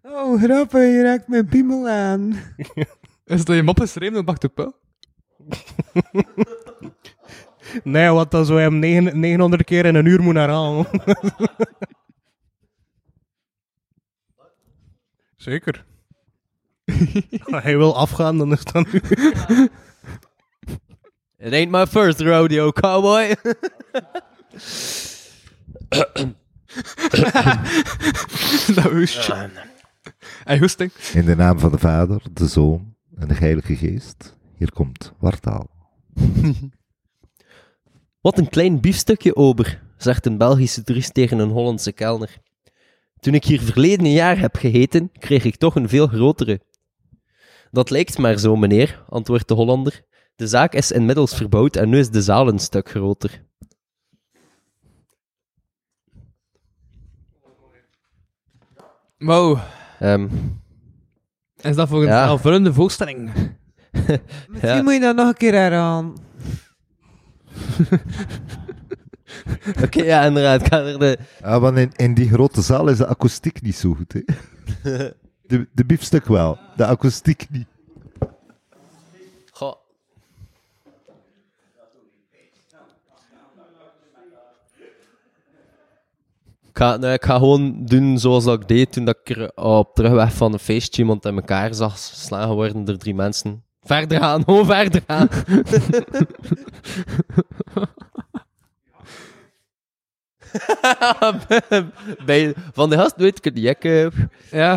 Speaker 6: oh, grappig, je raakt mijn piemel aan.
Speaker 5: Is dat je mop is reem, dan bakt de puil?
Speaker 3: Nee, want dan zou je hem negen- 900 keer in een uur moeten herhalen. *laughs* Zeker. Als hij wil afgaan, dan is dat nu...
Speaker 4: It ain't my first rodeo, cowboy.
Speaker 5: *laughs* dat wist je. Hey, hoesting.
Speaker 2: In de naam van de Vader, de Zoon en de Heilige Geest. Hier komt Wartaal.
Speaker 4: Wat een klein biefstukje, ober, zegt een Belgische toerist tegen een Hollandse kelner. Toen ik hier verleden jaar heb gegeten, kreeg ik toch een veel grotere. Dat lijkt maar zo, meneer, antwoordt de Hollander. De zaak is inmiddels verbouwd en nu is de zaal een stuk groter.
Speaker 5: Wow.
Speaker 4: Ehm, *laughs*
Speaker 5: Is dat voor een
Speaker 4: Ja.
Speaker 5: aanvullende voorstelling?
Speaker 6: Misschien
Speaker 4: Ja.
Speaker 6: moet je dat nog een keer herhalen.
Speaker 4: Oké, ja, inderdaad. ik ga er de...
Speaker 2: Ah, want in, in die grote zaal is de akoestiek niet zo goed, hè? De, de biefstuk wel, de akoestiek niet.
Speaker 4: Goh. Ik ga, nee, ik ga gewoon doen zoals dat ik deed toen dat ik er op terugweg van een feestje iemand in elkaar zag slaan geworden door drie mensen. Verder gaan, *laughs* gewoon verder gaan. Bij, van de gast weet ik het niet. Ik, eh,
Speaker 5: Ja.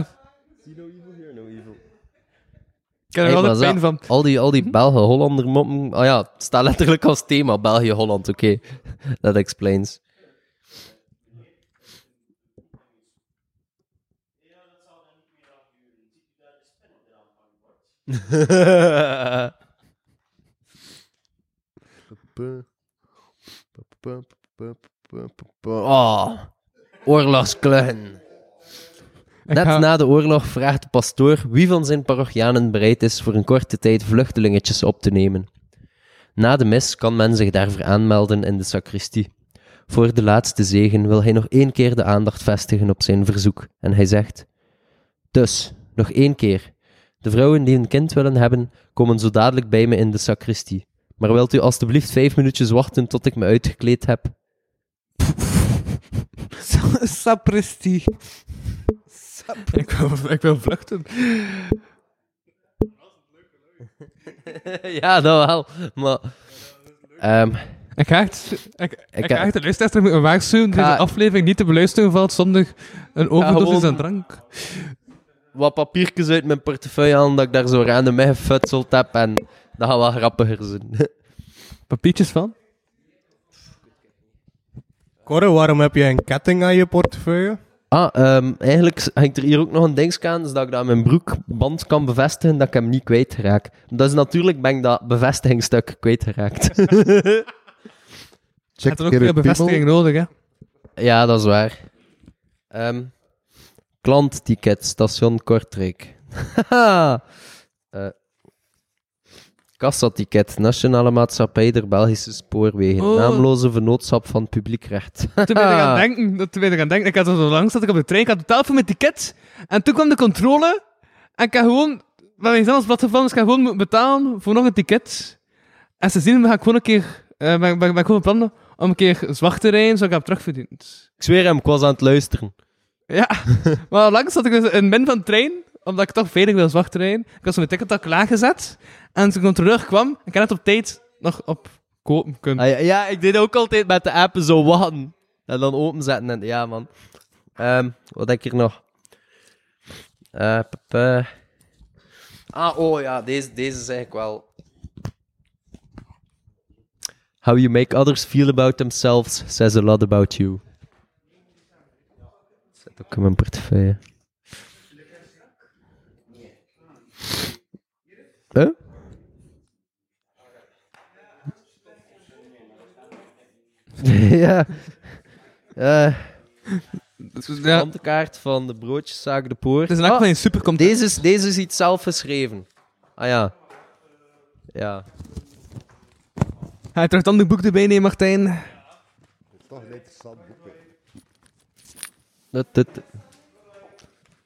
Speaker 5: Ik heb er
Speaker 4: Hey,
Speaker 5: altijd
Speaker 4: maar zo-
Speaker 5: pijn van. Hm?
Speaker 4: Al die, al die Belgen-Hollander moppen. Ah ja, het staat letterlijk als thema België-Holland. Oké, dat that
Speaker 5: *laughs*
Speaker 4: explains. Oh, oorlogsklugen. Net
Speaker 5: *laughs* ga-
Speaker 4: na de oorlog vraagt de pastoor wie van zijn parochianen bereid is voor een korte tijd vluchtelingetjes op te nemen. Na de mis kan men zich daarvoor aanmelden in de sacristie. Voor de laatste zegen wil hij nog één keer de aandacht vestigen op zijn verzoek en hij zegt: Dus, nog één keer. De vrouwen die een kind willen hebben, komen zo dadelijk bij me in de sacristie. Maar wilt u alstublieft vijf minuutjes wachten tot ik me uitgekleed heb? *laughs*
Speaker 6: Sa- Sapristi.
Speaker 5: Ik wil, ik wil vluchten.
Speaker 4: ja, dat wel. Maar. ehm,
Speaker 5: Ik ga echt, ik, ik,
Speaker 4: heb-
Speaker 5: ga echt de luisteraar moeten waarschuwen
Speaker 4: Ga-
Speaker 5: deze aflevering niet te beluisteren valt zonder een overdosis
Speaker 4: gewoon-
Speaker 5: aan drank.
Speaker 4: wat papiertjes uit mijn portefeuille aan dat ik daar zo random mee gefutseld heb. En dat gaat wel grappiger zijn. *laughs*
Speaker 5: Papiertjes van?
Speaker 3: Corre, waarom heb jij een ketting aan je portefeuille?
Speaker 4: ah, ehm, eigenlijk hangt er hier ook nog een ding aan, dus dat ik dat aan mijn broekband kan bevestigen dat ik hem niet kwijtraak. Dat is natuurlijk, ben ik dat bevestigingstuk kwijtgeraakt. *laughs*
Speaker 5: Je
Speaker 2: Check
Speaker 5: hebt er ook
Speaker 2: keer
Speaker 5: weer
Speaker 2: het
Speaker 5: bevestiging
Speaker 2: piemel.
Speaker 5: nodig, hè?
Speaker 4: ja, dat is waar. Ehm, klantticket, station Kortrijk. *laughs* Haha. Eh, Kassaticket, Nationale Maatschappij der Belgische Spoorwegen.
Speaker 5: Oh.
Speaker 4: Naamloze vernootschap van publiek recht.
Speaker 5: Toen ben ik
Speaker 4: Ah.
Speaker 5: aan het denken, dat- toen ben ik aan het denken. Ik had er zo langs dat ik op de trein, ik had betaald voor mijn ticket. En toen kwam de controle. En ik had gewoon, waar mijn zelfs blad gevallen is, ik had gewoon moeten betalen voor nog een ticket. En ze zien me, ga ik gewoon een keer, eh, ben, ben, ben ik gewoon van plan om een keer zwart te rijden, zodat ik heb terugverdiend.
Speaker 4: Ik zweer hem, ik was aan het luisteren. *laughs*
Speaker 5: Ja, maar langs zat ik dus in min van de trein, omdat ik toch veilig wil zwart rijden. Ik had zo mijn ticket al klaargezet. En toen de controleur kwam, ik had het op tijd nog op kopen kunnen.
Speaker 4: Ah, ja, ja, ik deed ook altijd met de appen zo wachten. En dan openzetten. En, ja, man. Ehm, wat heb ik hier nog? Eh, p- p- Ah, oh ja, deze, deze zeg ik wel. How you make others feel about themselves says a lot about you. Zet ook in mijn portefeuille. Huh? *laughs* ja. Eh
Speaker 5: Ja,
Speaker 4: plantenkaart van de broodjeszaak De Poort.
Speaker 5: het is een echt
Speaker 4: Ah,
Speaker 5: wel een supercom.
Speaker 4: deze, is, deze is iets zelf geschreven. Ah ja. Ja.
Speaker 5: Ga je terug dan de boek erbij nemen, Martijn?
Speaker 4: Dat, dat,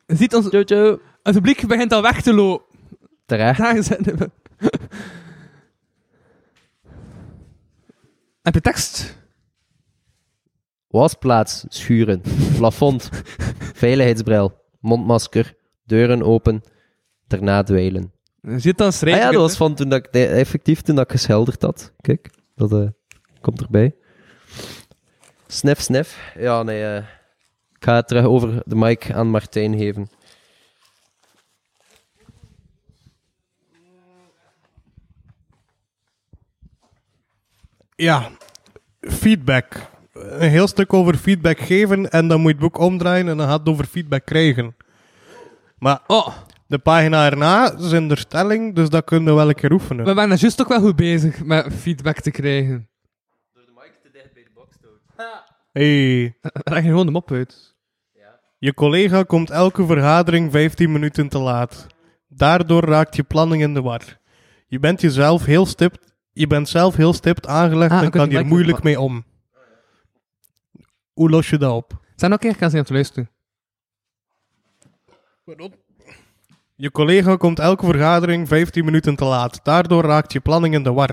Speaker 5: Ziet ons...
Speaker 4: Tjo, tjo.
Speaker 5: Het publiek begint al weg te lopen.
Speaker 4: Terecht.
Speaker 5: Daar zijn we. *laughs* Heb je tekst?
Speaker 4: Wasplaats, schuren,
Speaker 5: *laughs*
Speaker 4: plafond, veiligheidsbril, mondmasker, deuren open, daarna dweilen.
Speaker 5: Zit dan
Speaker 4: Ah
Speaker 5: schrijven.
Speaker 4: ja, dat was van toen dat ik, nee, effectief toen dat ik geschilderd had. Kijk, dat eh, komt erbij. Snef, snef. Ja, nee. eh, ik ga het terug over de mic aan Martijn geven.
Speaker 3: Ja, feedback. Een heel stuk over feedback geven en dan moet je het boek omdraaien en dan gaat het over feedback krijgen. Maar
Speaker 5: Oh,
Speaker 3: de pagina erna zijn er stelling, dus dat kunnen we wel een keer oefenen.
Speaker 5: we waren juist ook wel goed bezig met feedback te krijgen.
Speaker 3: Hey,
Speaker 5: Leg je gewoon hem op uit.
Speaker 3: je collega komt elke vergadering 15 minuten te laat. Daardoor raakt je planning in de war. Je bent jezelf heel stipt, je bent zelf heel stipt aangelegd
Speaker 5: Ah,
Speaker 3: en
Speaker 5: ik
Speaker 3: kan
Speaker 5: weet
Speaker 3: hier
Speaker 5: het,
Speaker 3: moeilijk
Speaker 5: maar-
Speaker 3: mee om. Hoe los je dat op?
Speaker 5: Zijn ook echt kansen om te luisteren.
Speaker 3: Je collega komt elke vergadering 15 minuten te laat. Daardoor raakt je planning in de war.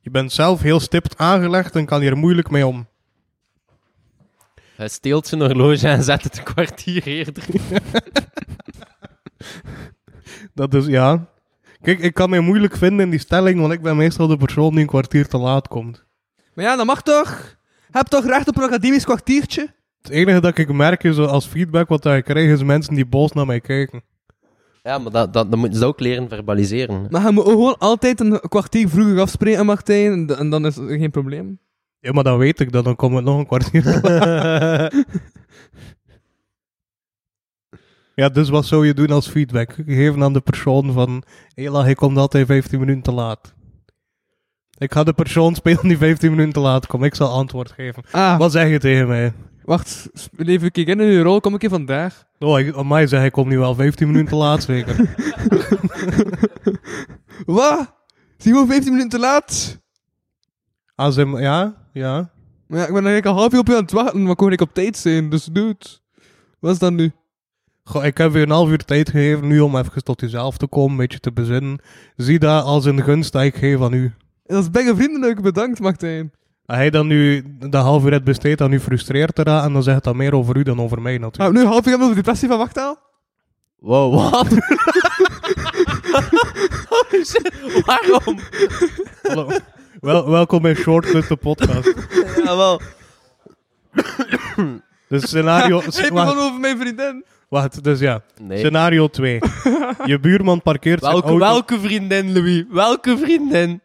Speaker 3: Je bent zelf heel stipt aangelegd en kan hier moeilijk mee om.
Speaker 4: Hij steelt zijn horloge en zet het een kwartier eerder.
Speaker 3: Dat is ja. Kijk, ik kan mij moeilijk vinden in die stelling, want ik ben meestal de persoon die een kwartier te laat komt.
Speaker 5: Maar ja, dat mag toch? Heb toch recht op een academisch kwartiertje?
Speaker 3: Het enige dat ik merk is eh, als feedback wat ik krijg, is mensen die boos naar mij kijken.
Speaker 4: Ja, maar dat, dat, dat moeten ze ook leren verbaliseren.
Speaker 5: Maar je moet ook gewoon altijd een kwartier vroeger afspreken, Martijn. En, d- en dan is er geen probleem.
Speaker 3: Ja, maar dan weet ik dat, dan komt het nog een kwartier te laat. ja, dus wat zou je doen als feedback? Geven aan de persoon van, hela, hij komt altijd 15 minuten te laat. Ik ga de persoon spelen die 15 minuten te laat komt. Ik zal antwoord geven.
Speaker 5: Ah,
Speaker 3: Wat zeg je tegen mij?
Speaker 5: wacht. sp- Leef ik in uw rol, kom ik hier vandaag.
Speaker 3: Oh, ik, mij zeg ik kom nu wel 15 minuten te laat, zeker.
Speaker 5: Wat? Zie je 15 minuten te laat?
Speaker 3: Als hem, ja, ja.
Speaker 5: Maar ja, ik ben eigenlijk al half uur op je aan het wachten, maar ik kon ik op tijd zijn, dus dude. Wat is dat nu?
Speaker 3: Goh, ik heb je een half uur tijd gegeven nu om even tot jezelf te komen, een beetje te bezinnen. Zie dat als een gunst dat ik geef aan u.
Speaker 5: Dat is bijna vriendelijk, bedankt Martijn.
Speaker 3: Als hij dan nu de half uur het besteedt aan u frustreert eraan, en dan zegt dat meer over u dan over mij natuurlijk.
Speaker 5: Ah, nu half uur hebben we de depressie van wachttaal?
Speaker 4: Wow, wat? Oh, shit, Waarom?
Speaker 5: Ah,
Speaker 3: Hallo. Wel, welkom bij Shortcut, de
Speaker 5: *laughs*
Speaker 3: podcast.
Speaker 4: Ja, wel.
Speaker 3: Dus
Speaker 5: *laughs*
Speaker 3: scenario...
Speaker 5: Ik ben
Speaker 3: wacht,
Speaker 5: gewoon over mijn vriendin.
Speaker 3: wacht, dus ja.
Speaker 4: Nee.
Speaker 3: Scenario
Speaker 5: *laughs*
Speaker 3: 2. Je buurman parkeert zijn
Speaker 4: Welke,
Speaker 3: auto...
Speaker 4: welke vriendin, Louis? Welke vriendin?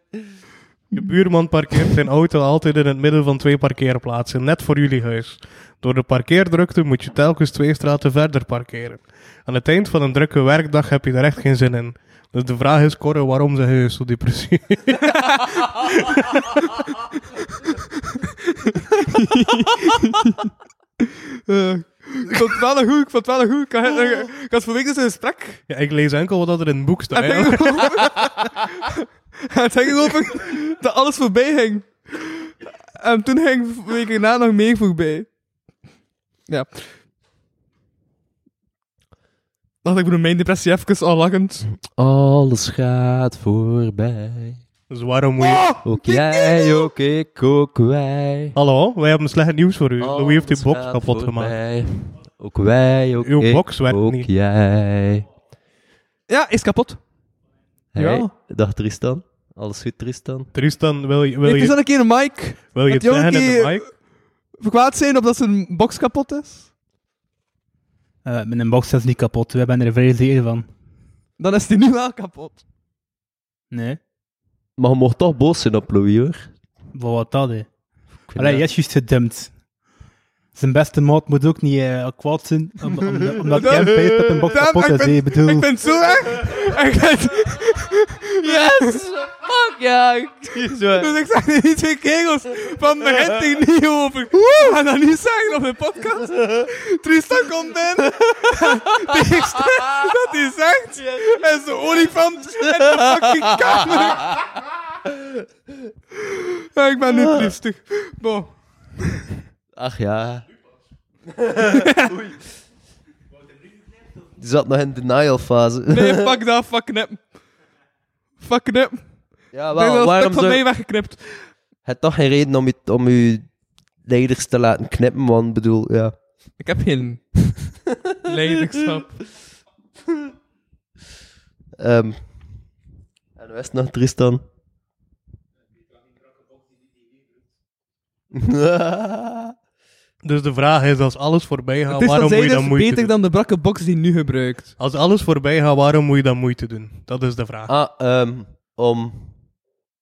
Speaker 3: Je buurman parkeert zijn auto altijd in het midden van twee parkeerplaatsen, net voor jullie huis. Door de parkeerdrukte moet je telkens twee straten verder parkeren. Aan het eind van een drukke werkdag heb je daar echt geen zin in. Dus de vraag is, Corre, waarom zijn huis zo depressief? *laughs*
Speaker 5: Eh, ik vond het wel een goed, ik vond het wel een goed. Ik had, ik had voor week dus een gesprek.
Speaker 3: Ja, ik lees enkel wat er in het boek staat.
Speaker 5: En
Speaker 3: hè.
Speaker 5: het ging over- *laughs* Het ging over dat alles voorbij ging. En toen ging weken na nog meer voorbij. Ja. Dacht ik bedoel mijn depressie even al lachend.
Speaker 4: Alles gaat voorbij.
Speaker 3: Dus waarom moet je...
Speaker 4: Ook jij, ook ik, ook wij.
Speaker 3: Hallo, wij hebben slecht nieuws voor u.
Speaker 5: Oh,
Speaker 3: Louis heeft uw
Speaker 4: Alles
Speaker 3: box
Speaker 4: gaat
Speaker 3: kapot gemaakt.
Speaker 4: voorbij. Ook wij, ook
Speaker 3: Uw
Speaker 4: ik,
Speaker 3: box werkt
Speaker 4: ook
Speaker 3: niet.
Speaker 4: jij.
Speaker 5: Ja, is kapot.
Speaker 4: Hey,
Speaker 5: Ja.
Speaker 4: Dag Tristan. Alles goed, Tristan?
Speaker 3: Tristan, wil je, wil
Speaker 5: Ik is
Speaker 3: je,
Speaker 5: dan een keer een mic.
Speaker 3: wil je het
Speaker 5: dat jongen
Speaker 3: zeggen in de
Speaker 5: die-
Speaker 3: mic?
Speaker 5: Verkwaad zijn omdat zijn box kapot is.
Speaker 7: Eh, mijn box is niet kapot, wij hebben er vrij zeker van.
Speaker 5: Dan is die nu wel kapot.
Speaker 7: Nee,
Speaker 4: Maar je mocht toch boos zijn op Louis, hoor.
Speaker 7: voor wat dat hè.
Speaker 4: Ik
Speaker 7: Allee,
Speaker 4: vind
Speaker 7: hij is juist gedumpt. Zijn beste maat moet ook niet eh, kwaad zijn, om- om- omdat hij hem feit op een box
Speaker 5: Damn,
Speaker 7: kapot
Speaker 5: ik
Speaker 7: is.
Speaker 5: ben-
Speaker 7: hè. Ik bedoel,
Speaker 5: Ik ben zo erg. En Gent,
Speaker 4: Yes! Fuck ja! ik- Zo.
Speaker 5: dus ik zag die twee kegels van begin tegen niet over. We gaan dat niet zeggen op de podcast. Tristan komt in. *laughs* Het eerste dat hij zegt is de olifant in de fucking kamer. Ja, ik ben nu
Speaker 4: Ah.
Speaker 5: triestig. Bon.
Speaker 4: Ach
Speaker 3: *laughs*
Speaker 4: ja. Die zat nog in denial fase.
Speaker 5: Nee, pak dat, fuck knip. Fuck knip.
Speaker 4: Ja,
Speaker 5: Ik denk
Speaker 4: wel,
Speaker 5: dat het
Speaker 4: waarom
Speaker 5: stuk van
Speaker 4: zou...
Speaker 5: mij weggeknipt.
Speaker 4: Het toch geen reden om je, om je leiders te laten knippen, want ik bedoel, ja.
Speaker 5: Ik heb *laughs* geen leiderschap.
Speaker 4: Ehm en de rest nog nou, Tristan. *laughs*
Speaker 3: Dus de vraag is, als alles voorbij gaat,
Speaker 5: Het is
Speaker 3: waarom
Speaker 5: dat
Speaker 3: moet
Speaker 5: zij
Speaker 3: je dan
Speaker 5: dus
Speaker 3: moeite
Speaker 5: beter
Speaker 3: doen?
Speaker 5: dan de brakke box die nu gebruikt.
Speaker 3: Als alles voorbij gaat, waarom moet je dan moeite doen? Dat is de vraag.
Speaker 4: ah, ehm om...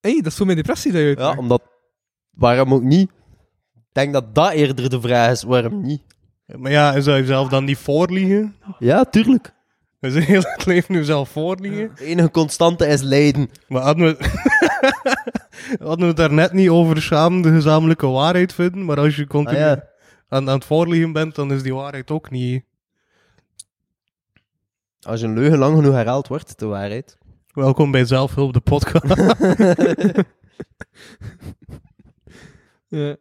Speaker 5: Hé, dat is voor mijn depressie dat je
Speaker 4: Ja,
Speaker 5: uitmaakt.
Speaker 4: omdat... Waarom ook niet? Ik denk dat dat eerder de vraag is, waarom niet?
Speaker 3: Maar ja, zou je zelf dan niet voorliegen?
Speaker 4: Ja, tuurlijk.
Speaker 3: Dus heel het leven nu zelf voorliegen?
Speaker 4: De enige constante is lijden.
Speaker 3: Maar hadden we... *laughs* hadden we het daarnet niet over samen de gezamenlijke waarheid vinden? Maar als je
Speaker 4: Ah,
Speaker 3: continu
Speaker 4: ja.
Speaker 3: aan, aan het voorliegen bent, dan is die waarheid ook niet...
Speaker 4: Als je een leugen lang genoeg herhaald wordt, het de waarheid.
Speaker 3: Welkom bij Zelfhulp, de podcast.
Speaker 5: *laughs* Ja.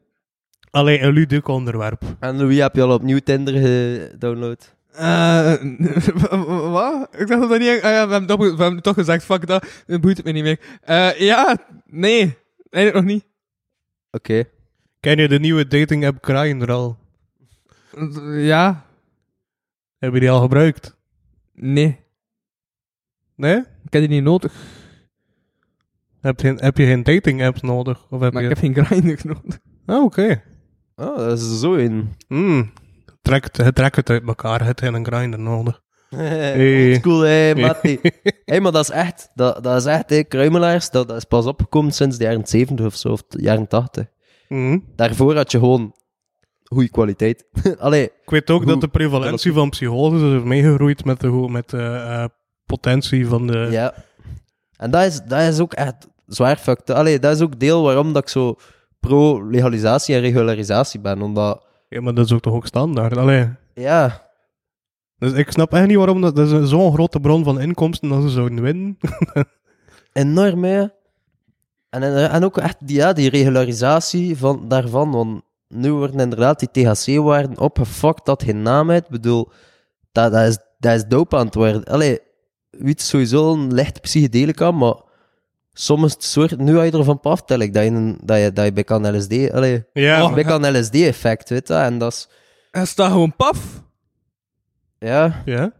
Speaker 3: Alleen een ludiek onderwerp.
Speaker 4: En Louis, heb je al opnieuw Tinder gedownload?
Speaker 5: Eh, *laughs* wat? Ik dacht dat dat niet... Ah ja, we hebben, toch, we hebben toch gezegd, fuck dat, dat boeit het me niet meer. Eh, ja, nee, eigenlijk nog niet.
Speaker 4: Oké.
Speaker 3: Ken je de nieuwe dating app Grindr al?
Speaker 5: Ja,
Speaker 3: Heb je die al gebruikt?
Speaker 5: nee.
Speaker 3: Nee?
Speaker 5: Ik heb die niet nodig,
Speaker 3: Heb je, heb je geen dating apps nodig? Of heb
Speaker 5: maar
Speaker 3: je...
Speaker 5: ik heb geen grinder *laughs* nodig.
Speaker 3: Ah, oké.
Speaker 4: Oh, dat is zo in.
Speaker 3: Hmm. Trekt, het trekt het uit elkaar. Het heeft een grinder nodig.
Speaker 4: hey. Eh, Cool, hé, Matti. hey, maar dat is echt, dat, dat is echt, hé, Kruimelaars, dat, dat is pas opgekomen sinds de jaren 70 of zo, of de jaren 80.
Speaker 3: Hmm.
Speaker 4: Daarvoor had je gewoon goede kwaliteit. *laughs* Allee,
Speaker 3: Ik weet ook
Speaker 4: Hoe-
Speaker 3: dat de prevalentie van psychose is meegegroeid met de, ho- met de eh, potentie van de...
Speaker 4: ja. En dat is, dat is ook echt zwaar fucked. Allee, dat is ook deel waarom dat ik zo pro-legalisatie en regularisatie ben, omdat,
Speaker 3: Ja, maar dat is ook toch ook standaard. Allee.
Speaker 4: ja...
Speaker 3: Dus ik snap echt niet waarom dat, dat is een- zo'n grote bron van inkomsten dat ze zouden winnen.
Speaker 4: enorm, hè. En, en, en ook echt die, ja, die regularisatie van, daarvan, want nu worden inderdaad die THC-waarden opgefokt dat geen naam uit. Ik bedoel, dat, dat, is, dat is dope aan het worden. Allee, wiet is sowieso een licht psychedelica, maar soms soort, nu had je ervan paf, tel ik, dat je, een- dat je, dat je bij kan LSD... Allee,
Speaker 3: *laughs* Ja,
Speaker 4: bij kan LSD-effect, weet je, en dat is...
Speaker 5: Hij staat gewoon paf.
Speaker 4: Ja,
Speaker 3: Ja.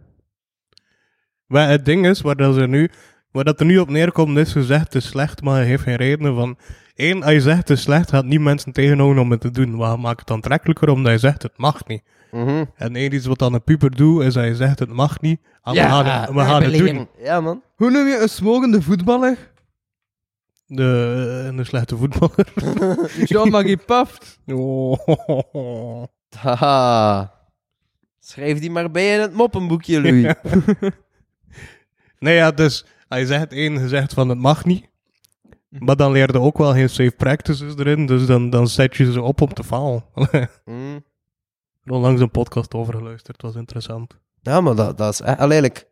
Speaker 3: Maar het ding is, waar dat, ze nu, waar dat er nu op neerkomt, is je zegt het is slecht, maar je heeft geen redenen van... Eén, als je zegt het is slecht, gaat niet mensen tegenhouden om het te doen. Wat maakt het aantrekkelijker omdat je zegt het mag niet.
Speaker 4: mhm.
Speaker 3: En één iets wat dan een puber doet, is dat je zegt het mag niet. Ah, we gaan, het- we gaan het doen.
Speaker 4: ja man.
Speaker 5: Hoe noem je een smogende voetballer?
Speaker 3: De, een slechte voetballer. *laughs*
Speaker 5: Jean-Marie Paft.
Speaker 3: Oh.
Speaker 4: Haha. Schrijf die maar bij in het moppenboekje,
Speaker 3: *laughs*
Speaker 4: Louis.
Speaker 3: Nee, ja, dus hij zegt één, je zegt van het mag niet. Maar dan leerde ook wel geen safe practices erin, dus dan, dan zet je ze op om te falen.
Speaker 4: Mm.
Speaker 3: Ik heb er onlangs een podcast over geluisterd, het was interessant.
Speaker 4: Ja, maar dat, dat is echt al eigenlijk.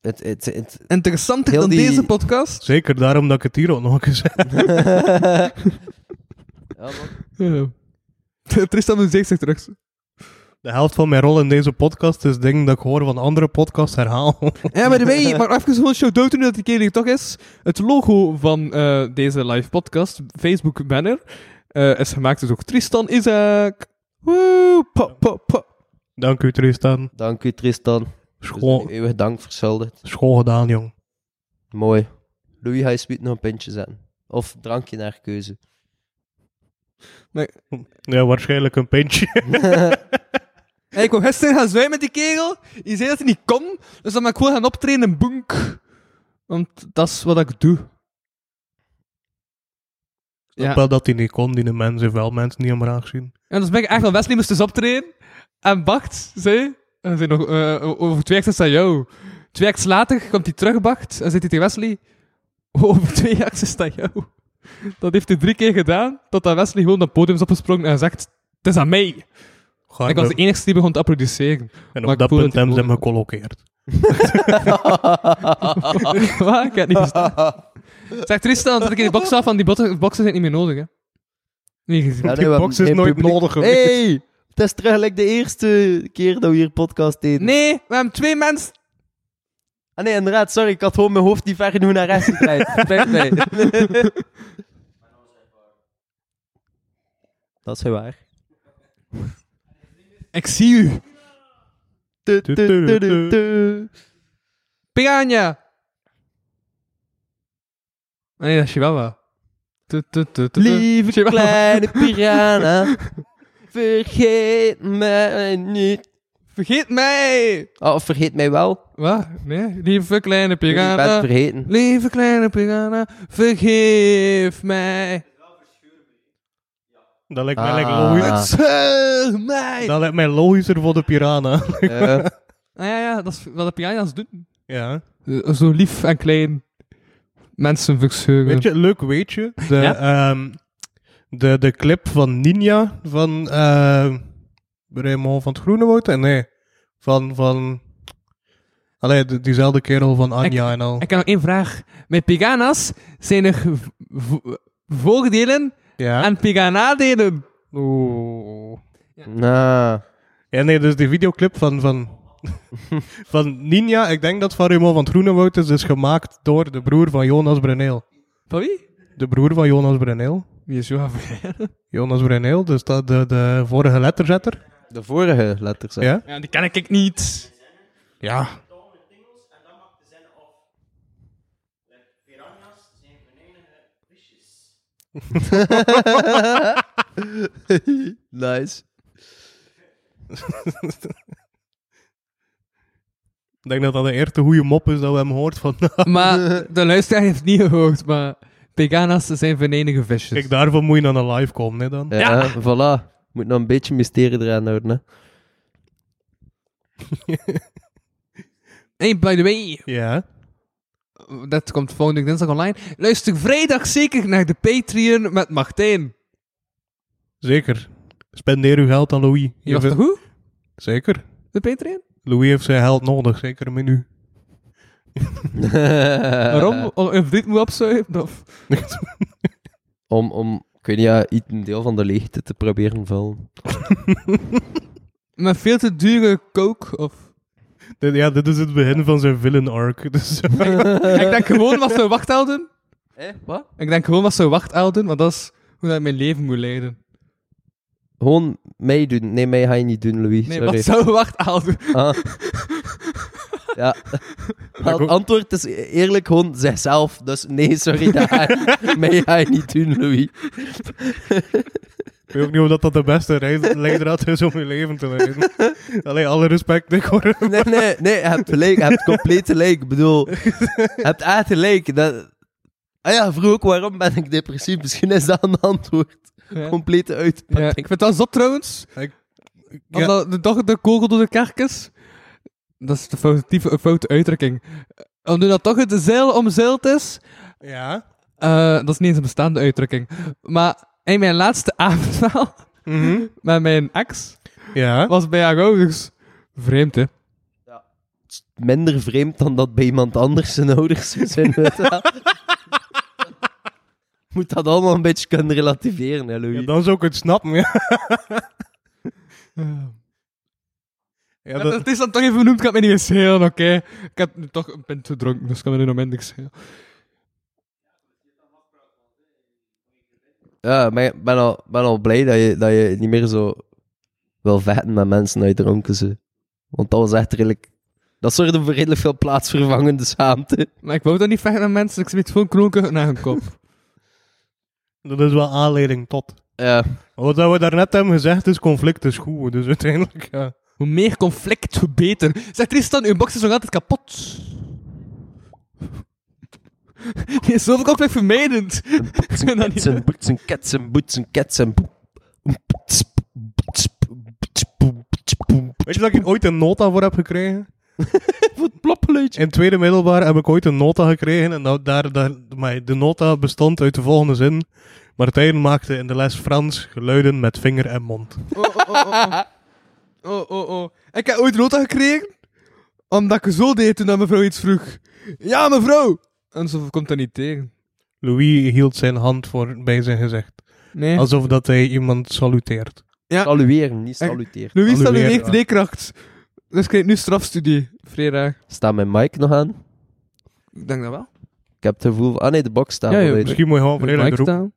Speaker 4: Het, het, het, *laughs*
Speaker 5: Interessanter
Speaker 4: Heel
Speaker 5: dan
Speaker 4: die-
Speaker 5: deze podcast.
Speaker 3: Zeker daarom dat ik het hier ook nog eens heb.
Speaker 4: ja, man.
Speaker 5: Ja. *laughs* Tristan doet zich terug.
Speaker 3: De helft van mijn rol in deze podcast is dingen dat ik hoor van andere podcasts herhaal. *laughs*
Speaker 5: Ja, by the way, ik mag nog even gewoon een shout-out doen dat die keer hier toch is. Het logo van eh, deze live podcast, Facebook banner, eh, is gemaakt dus ook Tristan Isaac. Woe, pop, pop, pop.
Speaker 3: Dank u Tristan.
Speaker 4: Dank u, Tristan. Dus
Speaker 3: Schoon,
Speaker 4: eeuwig dank verschuldigd.
Speaker 3: schoon gedaan, jong.
Speaker 4: Mooi. Louis, ga je sweet nog een pintje zetten? Of drankje naar
Speaker 3: *laughs*
Speaker 4: keuze.
Speaker 3: Ja, waarschijnlijk een pintje.
Speaker 5: Hey, ik wou gisteren gaan zwijn met die kerel. Je zei dat hij niet kon, dus dan mag ik gewoon gaan optreden in Bunk. Want dat is wat ik doe.
Speaker 3: Ja.
Speaker 5: Ja.
Speaker 3: Wel dat die niet kon, die mensen heeft wel mensen die hem graag zien.
Speaker 5: En dus ben ik eigenlijk wel Wesley moest dus optreden. En Bart zei... en zei nog, eh, over twee extra's aan jou. Twee acts later komt hij terug, Bart, en zit hij tegen Wesley... *laughs* Over twee acts is dat jou. Dat heeft hij drie keer gedaan, totdat Wesley gewoon naar het podium is opgesprongen en zegt... Het is aan mij.
Speaker 3: Ga
Speaker 5: ik was de
Speaker 3: maar-
Speaker 5: enige die begon te applaudisseren.
Speaker 3: en
Speaker 5: maar
Speaker 3: op
Speaker 5: ik
Speaker 3: dat
Speaker 5: voel
Speaker 3: punt hebben
Speaker 5: dat ik
Speaker 3: ze hem gecolloqueerd.
Speaker 5: *laughs* Waar? Ik heb het niet verstaan. Zeg Tristan, zet ik in die box af, want die botten- boxen zijn niet meer nodig, hè. Nee, gezien.
Speaker 4: Ja,
Speaker 3: Die
Speaker 4: want
Speaker 3: box is
Speaker 4: mijn
Speaker 3: nooit
Speaker 4: publiek-
Speaker 3: nodig geweest.
Speaker 4: Hey, het is terug like de eerste keer dat we hier podcast deden.
Speaker 5: Nee, we hebben twee mensen.
Speaker 4: Ah nee, inderdaad, sorry, ik had gewoon mijn hoofd niet ver genoeg naar rechts gedraaid. Spijt mij. *laughs* Dat is heel waar.
Speaker 5: Ik zie u.
Speaker 4: Tu, tu, tu, tu, tu.
Speaker 5: Piranha. Nee, dat is je wel wel. Tu, tu, tu, tu, tu.
Speaker 4: Lieve
Speaker 5: Chihuahua.
Speaker 4: kleine piranha, vergeet mij niet.
Speaker 5: Vergeet mij.
Speaker 4: Oh, of vergeet mij wel.
Speaker 5: Wat? Nee, lieve kleine
Speaker 4: Ik ben het
Speaker 5: piranha.
Speaker 4: vergeten.
Speaker 5: *laughs* Lieve kleine piranha, vergeef mij.
Speaker 3: Dat lijkt mij
Speaker 4: Ah.
Speaker 3: like logischer.
Speaker 5: Zeg mij.
Speaker 3: Dat lijkt mij logischer voor de piranha.
Speaker 4: Eh,
Speaker 5: Ah ja, ja, dat is wat de piranha's doen.
Speaker 3: ja.
Speaker 5: Eh, Zo lief en klein. Mensen verscheuren.
Speaker 3: Weet je, leuk weetje. De,
Speaker 5: Ja?
Speaker 3: ehm, de, de clip van Ninja van eh, Raymond van het Groenewoud. En nee, van... van allee, de- diezelfde kerel van Anja en al.
Speaker 5: Ik heb nog één vraag. Met piranha's zijn er v- v- voordelen
Speaker 3: ja.
Speaker 5: en piranadelen.
Speaker 3: Oeh.
Speaker 4: nou,
Speaker 3: Ja, nee, dus die videoclip van... van van Ninja, ik denk dat van Raymond van het Groenewoud is, is gemaakt door de broer van Jonas Breneel.
Speaker 5: Van wie?
Speaker 3: De broer van Jonas Breneel.
Speaker 5: Wie is Johan Verheyen?
Speaker 3: Jonas Breneel, dus dat, de, de vorige letterzetter.
Speaker 4: de vorige letters. hè.
Speaker 3: Ja?
Speaker 5: Ja, die ken ik niet.
Speaker 3: Ja.
Speaker 4: nice.
Speaker 3: Ik denk dat dat de eerste goede mop is dat we hem hoort vandaag.
Speaker 5: *laughs* Maar de luisteraar heeft niet gehoord, maar piranha's zijn venenige visjes.
Speaker 3: Kijk, daarvoor moet je dan een live komen, hè, dan.
Speaker 4: Ja, Eh, voilà. Moet nog een beetje mysterie eraan houden, hè.
Speaker 5: Hey, by the way,
Speaker 3: Ja.
Speaker 5: dat komt volgende dinsdag online. Luister vrijdag zeker naar de Patreon met Martijn.
Speaker 3: Zeker. Spendeer uw geld aan Louis.
Speaker 5: Je was
Speaker 3: Even-
Speaker 5: toch goed,
Speaker 3: Zeker.
Speaker 5: de Patreon?
Speaker 3: Louis heeft zijn geld nodig, zeker een menu.
Speaker 4: Eh.
Speaker 5: Waarom? Om een vriend moet opzuigen? Of...
Speaker 4: *laughs* Om, om ik weet niet, ja, iets- een deel van de leegte te proberen vullen.
Speaker 5: Met veel te dure coke? Of...
Speaker 3: Dit- ja, dit is het begin van zijn villain arc. *laughs* Dus
Speaker 5: ik denk gewoon wat ze wacht houden.
Speaker 4: Eh, wat?
Speaker 5: Ik denk gewoon wat ze wacht houden, want dat is hoe dat ik mijn leven moet leiden.
Speaker 4: Gewoon meedoen. Nee, mij ga je niet doen, Louis.
Speaker 5: Nee,
Speaker 4: Sorry.
Speaker 5: wat zou wacht houden? *laughs*
Speaker 4: Ah. ja. Maar het antwoord is eerlijk gewoon zijzelf. Dus nee, sorry, dat ga
Speaker 5: *laughs*
Speaker 4: je, mij ga je niet doen, Louis.
Speaker 3: ik weet ook niet of dat, dat de beste reis- leidraad is om je leven te *laughs* leiden. Allee, alle respect, ik hoor.
Speaker 4: Nee, nee, nee, je hebt gelijk. Je hebt compleet gelijk. Ik bedoel, je hebt echt gelijk. Dat... Ah ja, vroeg ook waarom ben ik depressief. Misschien is dat een antwoord.
Speaker 5: Ja.
Speaker 4: Complete uit.
Speaker 5: Ja, ik vind dat zot trouwens.
Speaker 3: Ik- ja.
Speaker 5: Omdat de dag de kogel door de kerk is. Dat is de foutieve, foute uitdrukking. Eh, Omdat dat toch het zeil omzeild is.
Speaker 3: Ja.
Speaker 5: eh, dat is niet eens een bestaande uitdrukking. Maar in mijn laatste *laughs* avondmaal
Speaker 3: Mhm.
Speaker 5: met mijn ex
Speaker 3: Ja.
Speaker 5: was bij haar ouders. Vreemd, hè?
Speaker 4: Minder vreemd dan dat bij iemand anders zijn ouders zijn. weet je
Speaker 5: *laughs*
Speaker 4: wel. Moet dat allemaal een beetje kunnen relativeren, hè, Louis?
Speaker 3: Ja, dan zou ik het snappen, *laughs* ja. Ja,
Speaker 5: Ja,
Speaker 3: dat-
Speaker 5: Het is dan toch even genoemd, ik had me niet eens heel, oké. Ik heb nu toch een pint gedronken, dus ik kan me nu nog minder schelen.
Speaker 4: Ja, maar ik ben al, ben al blij dat je, dat je niet meer zo wil vechten met mensen uit dronken ze. Want dat was echt redelijk... Dat zorgde voor redelijk veel plaatsvervangende schaamte.
Speaker 5: Maar ik wou dat niet vechten met mensen, ik smeet gewoon kronken naar hun kop.
Speaker 3: dat is wel aanleiding tot.
Speaker 4: Ja.
Speaker 3: Wat we daarnet hebben gezegd is, conflict is goed. Dus uiteindelijk, ja.
Speaker 5: Hoe meer conflict, hoe beter. Zeg Tristan, uw box is nog altijd kapot. *laughs* Die is zoveel conflict vermijdend.
Speaker 4: Zijn
Speaker 5: dat niet-
Speaker 4: ketsen, boetsen, ketsen, boetsen, ketsen, boe- boets, boets, boets, boets, boets, boets,
Speaker 3: *laughs*
Speaker 4: boets.
Speaker 3: Weet je dat ik er ooit een nota voor heb gekregen?
Speaker 4: Voor het plopgeluidje.
Speaker 3: In tweede middelbaar heb ik ooit een nota gekregen. En nou, daar, daar, maar de nota bestond uit de volgende zin. Martijn maakte in de les Frans geluiden met vinger en mond.
Speaker 5: Oh, oh, oh, oh. Oh, oh, oh. Ik heb ooit rota gekregen, omdat ik zo deed toen dat mevrouw iets vroeg. Ja, mevrouw! En zo komt dat niet tegen.
Speaker 3: Louis hield zijn hand voor bij zijn gezicht.
Speaker 5: Nee.
Speaker 3: Alsof dat hij iemand saluteert.
Speaker 4: Salueren, niet saluteren.
Speaker 5: Louis
Speaker 3: Annuleer,
Speaker 5: Stalu heeft
Speaker 3: ja.
Speaker 5: leerkracht. Dus krijg nu strafstudie, vrijdag.
Speaker 4: Staat mijn mic nog aan?
Speaker 5: Ik denk dat wel.
Speaker 4: Ik heb het gevoel van... Ah nee, de box staat
Speaker 5: Ja,
Speaker 4: al
Speaker 5: ja,
Speaker 4: uit.
Speaker 3: Misschien moet je gewoon voor heel
Speaker 5: Mic
Speaker 3: de roep.
Speaker 5: staan.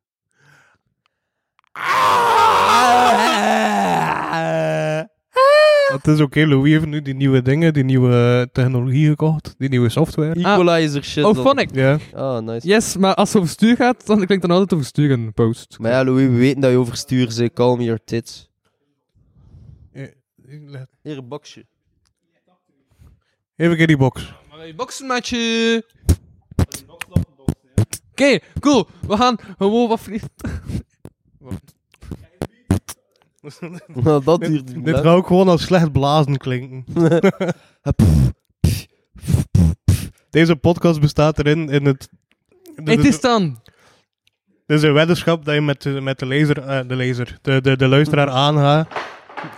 Speaker 3: Het is oké, Louis heeft nu die nieuwe dingen, die nieuwe eh, technologie gekocht, die nieuwe software.
Speaker 4: Equalizer shit.
Speaker 5: Oh,
Speaker 4: dan-
Speaker 5: Phonic.
Speaker 3: Ja.
Speaker 4: Oh, nice.
Speaker 5: Yes, maar als het over stuur gaat, dan klinkt dan altijd over stuur een post.
Speaker 4: Maar ja, Louis, we weten dat je overstuur zit. Calm your tits. Hier, een boxje.
Speaker 3: Even in die box.
Speaker 5: Boksenmatje! Oké, cool. We gaan gewoon wat vliegen.
Speaker 4: *laughs* Nou, dat duurt niet
Speaker 3: Dit
Speaker 4: lang.
Speaker 3: gaat ook gewoon als slecht blazen klinken. Deze podcast bestaat erin in het...
Speaker 5: Het is dan.
Speaker 3: Dit is een weddenschap dat je met de, met de lezer, eh, de lezer, de, de, de luisteraar aangaat,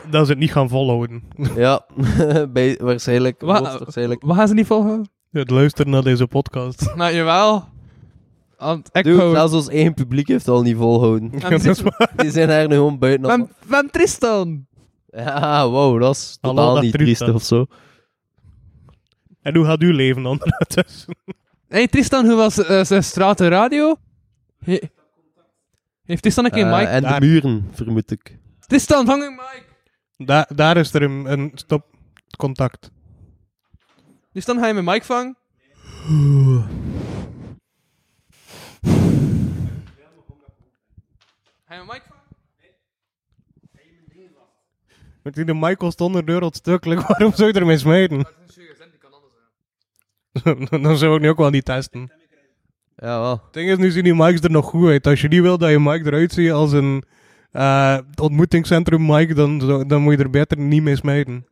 Speaker 3: dat ze het niet gaan volhouden.
Speaker 4: Ja, *laughs* bij, waarschijnlijk.
Speaker 5: Wa-
Speaker 4: waarschijnlijk.
Speaker 5: We gaan ze niet volgen.
Speaker 3: Het luisteren naar deze podcast.
Speaker 5: Nou, jawel. Want ik
Speaker 4: Dude,
Speaker 5: hou-
Speaker 4: zelfs ons eigen publiek heeft het al niet
Speaker 3: *laughs*
Speaker 4: volhouden.
Speaker 3: Dat is waar.
Speaker 4: *laughs* Die zijn daar nu gewoon buiten. aan
Speaker 5: Van, van Tristan.
Speaker 4: het- Ja, wow, dat is
Speaker 3: Hallo,
Speaker 4: totaal
Speaker 3: dag,
Speaker 4: niet
Speaker 3: Tristan.
Speaker 4: triest of zo.
Speaker 3: En hoe gaat uw leven dan *laughs* ondertussen?
Speaker 5: Hey, Tristan, hoe was eh, zijn stratenradio? He- heeft Tristan een keer
Speaker 4: Eh,
Speaker 5: mic?
Speaker 4: en
Speaker 3: Daar.
Speaker 4: de muren, vermoed ik.
Speaker 5: Tristan, vang een mic!
Speaker 3: Da daar is er een, een stop contact.
Speaker 5: Tristan, ga je mijn mic vangen? Ga je mijn mic vangen?
Speaker 3: Want die de Michael stond er deur ontstukkelijk, waarom zou je ermee smijten? *laughs* dan zou ik nu ook wel niet testen. Het
Speaker 4: Ja, wel.
Speaker 3: ding is, nu zien die mics er nog goed uit. Als je niet wil dat je mic eruit ziet als een eh, ontmoetingscentrum mic, dan, zou- dan moet je er beter niet mee smijten.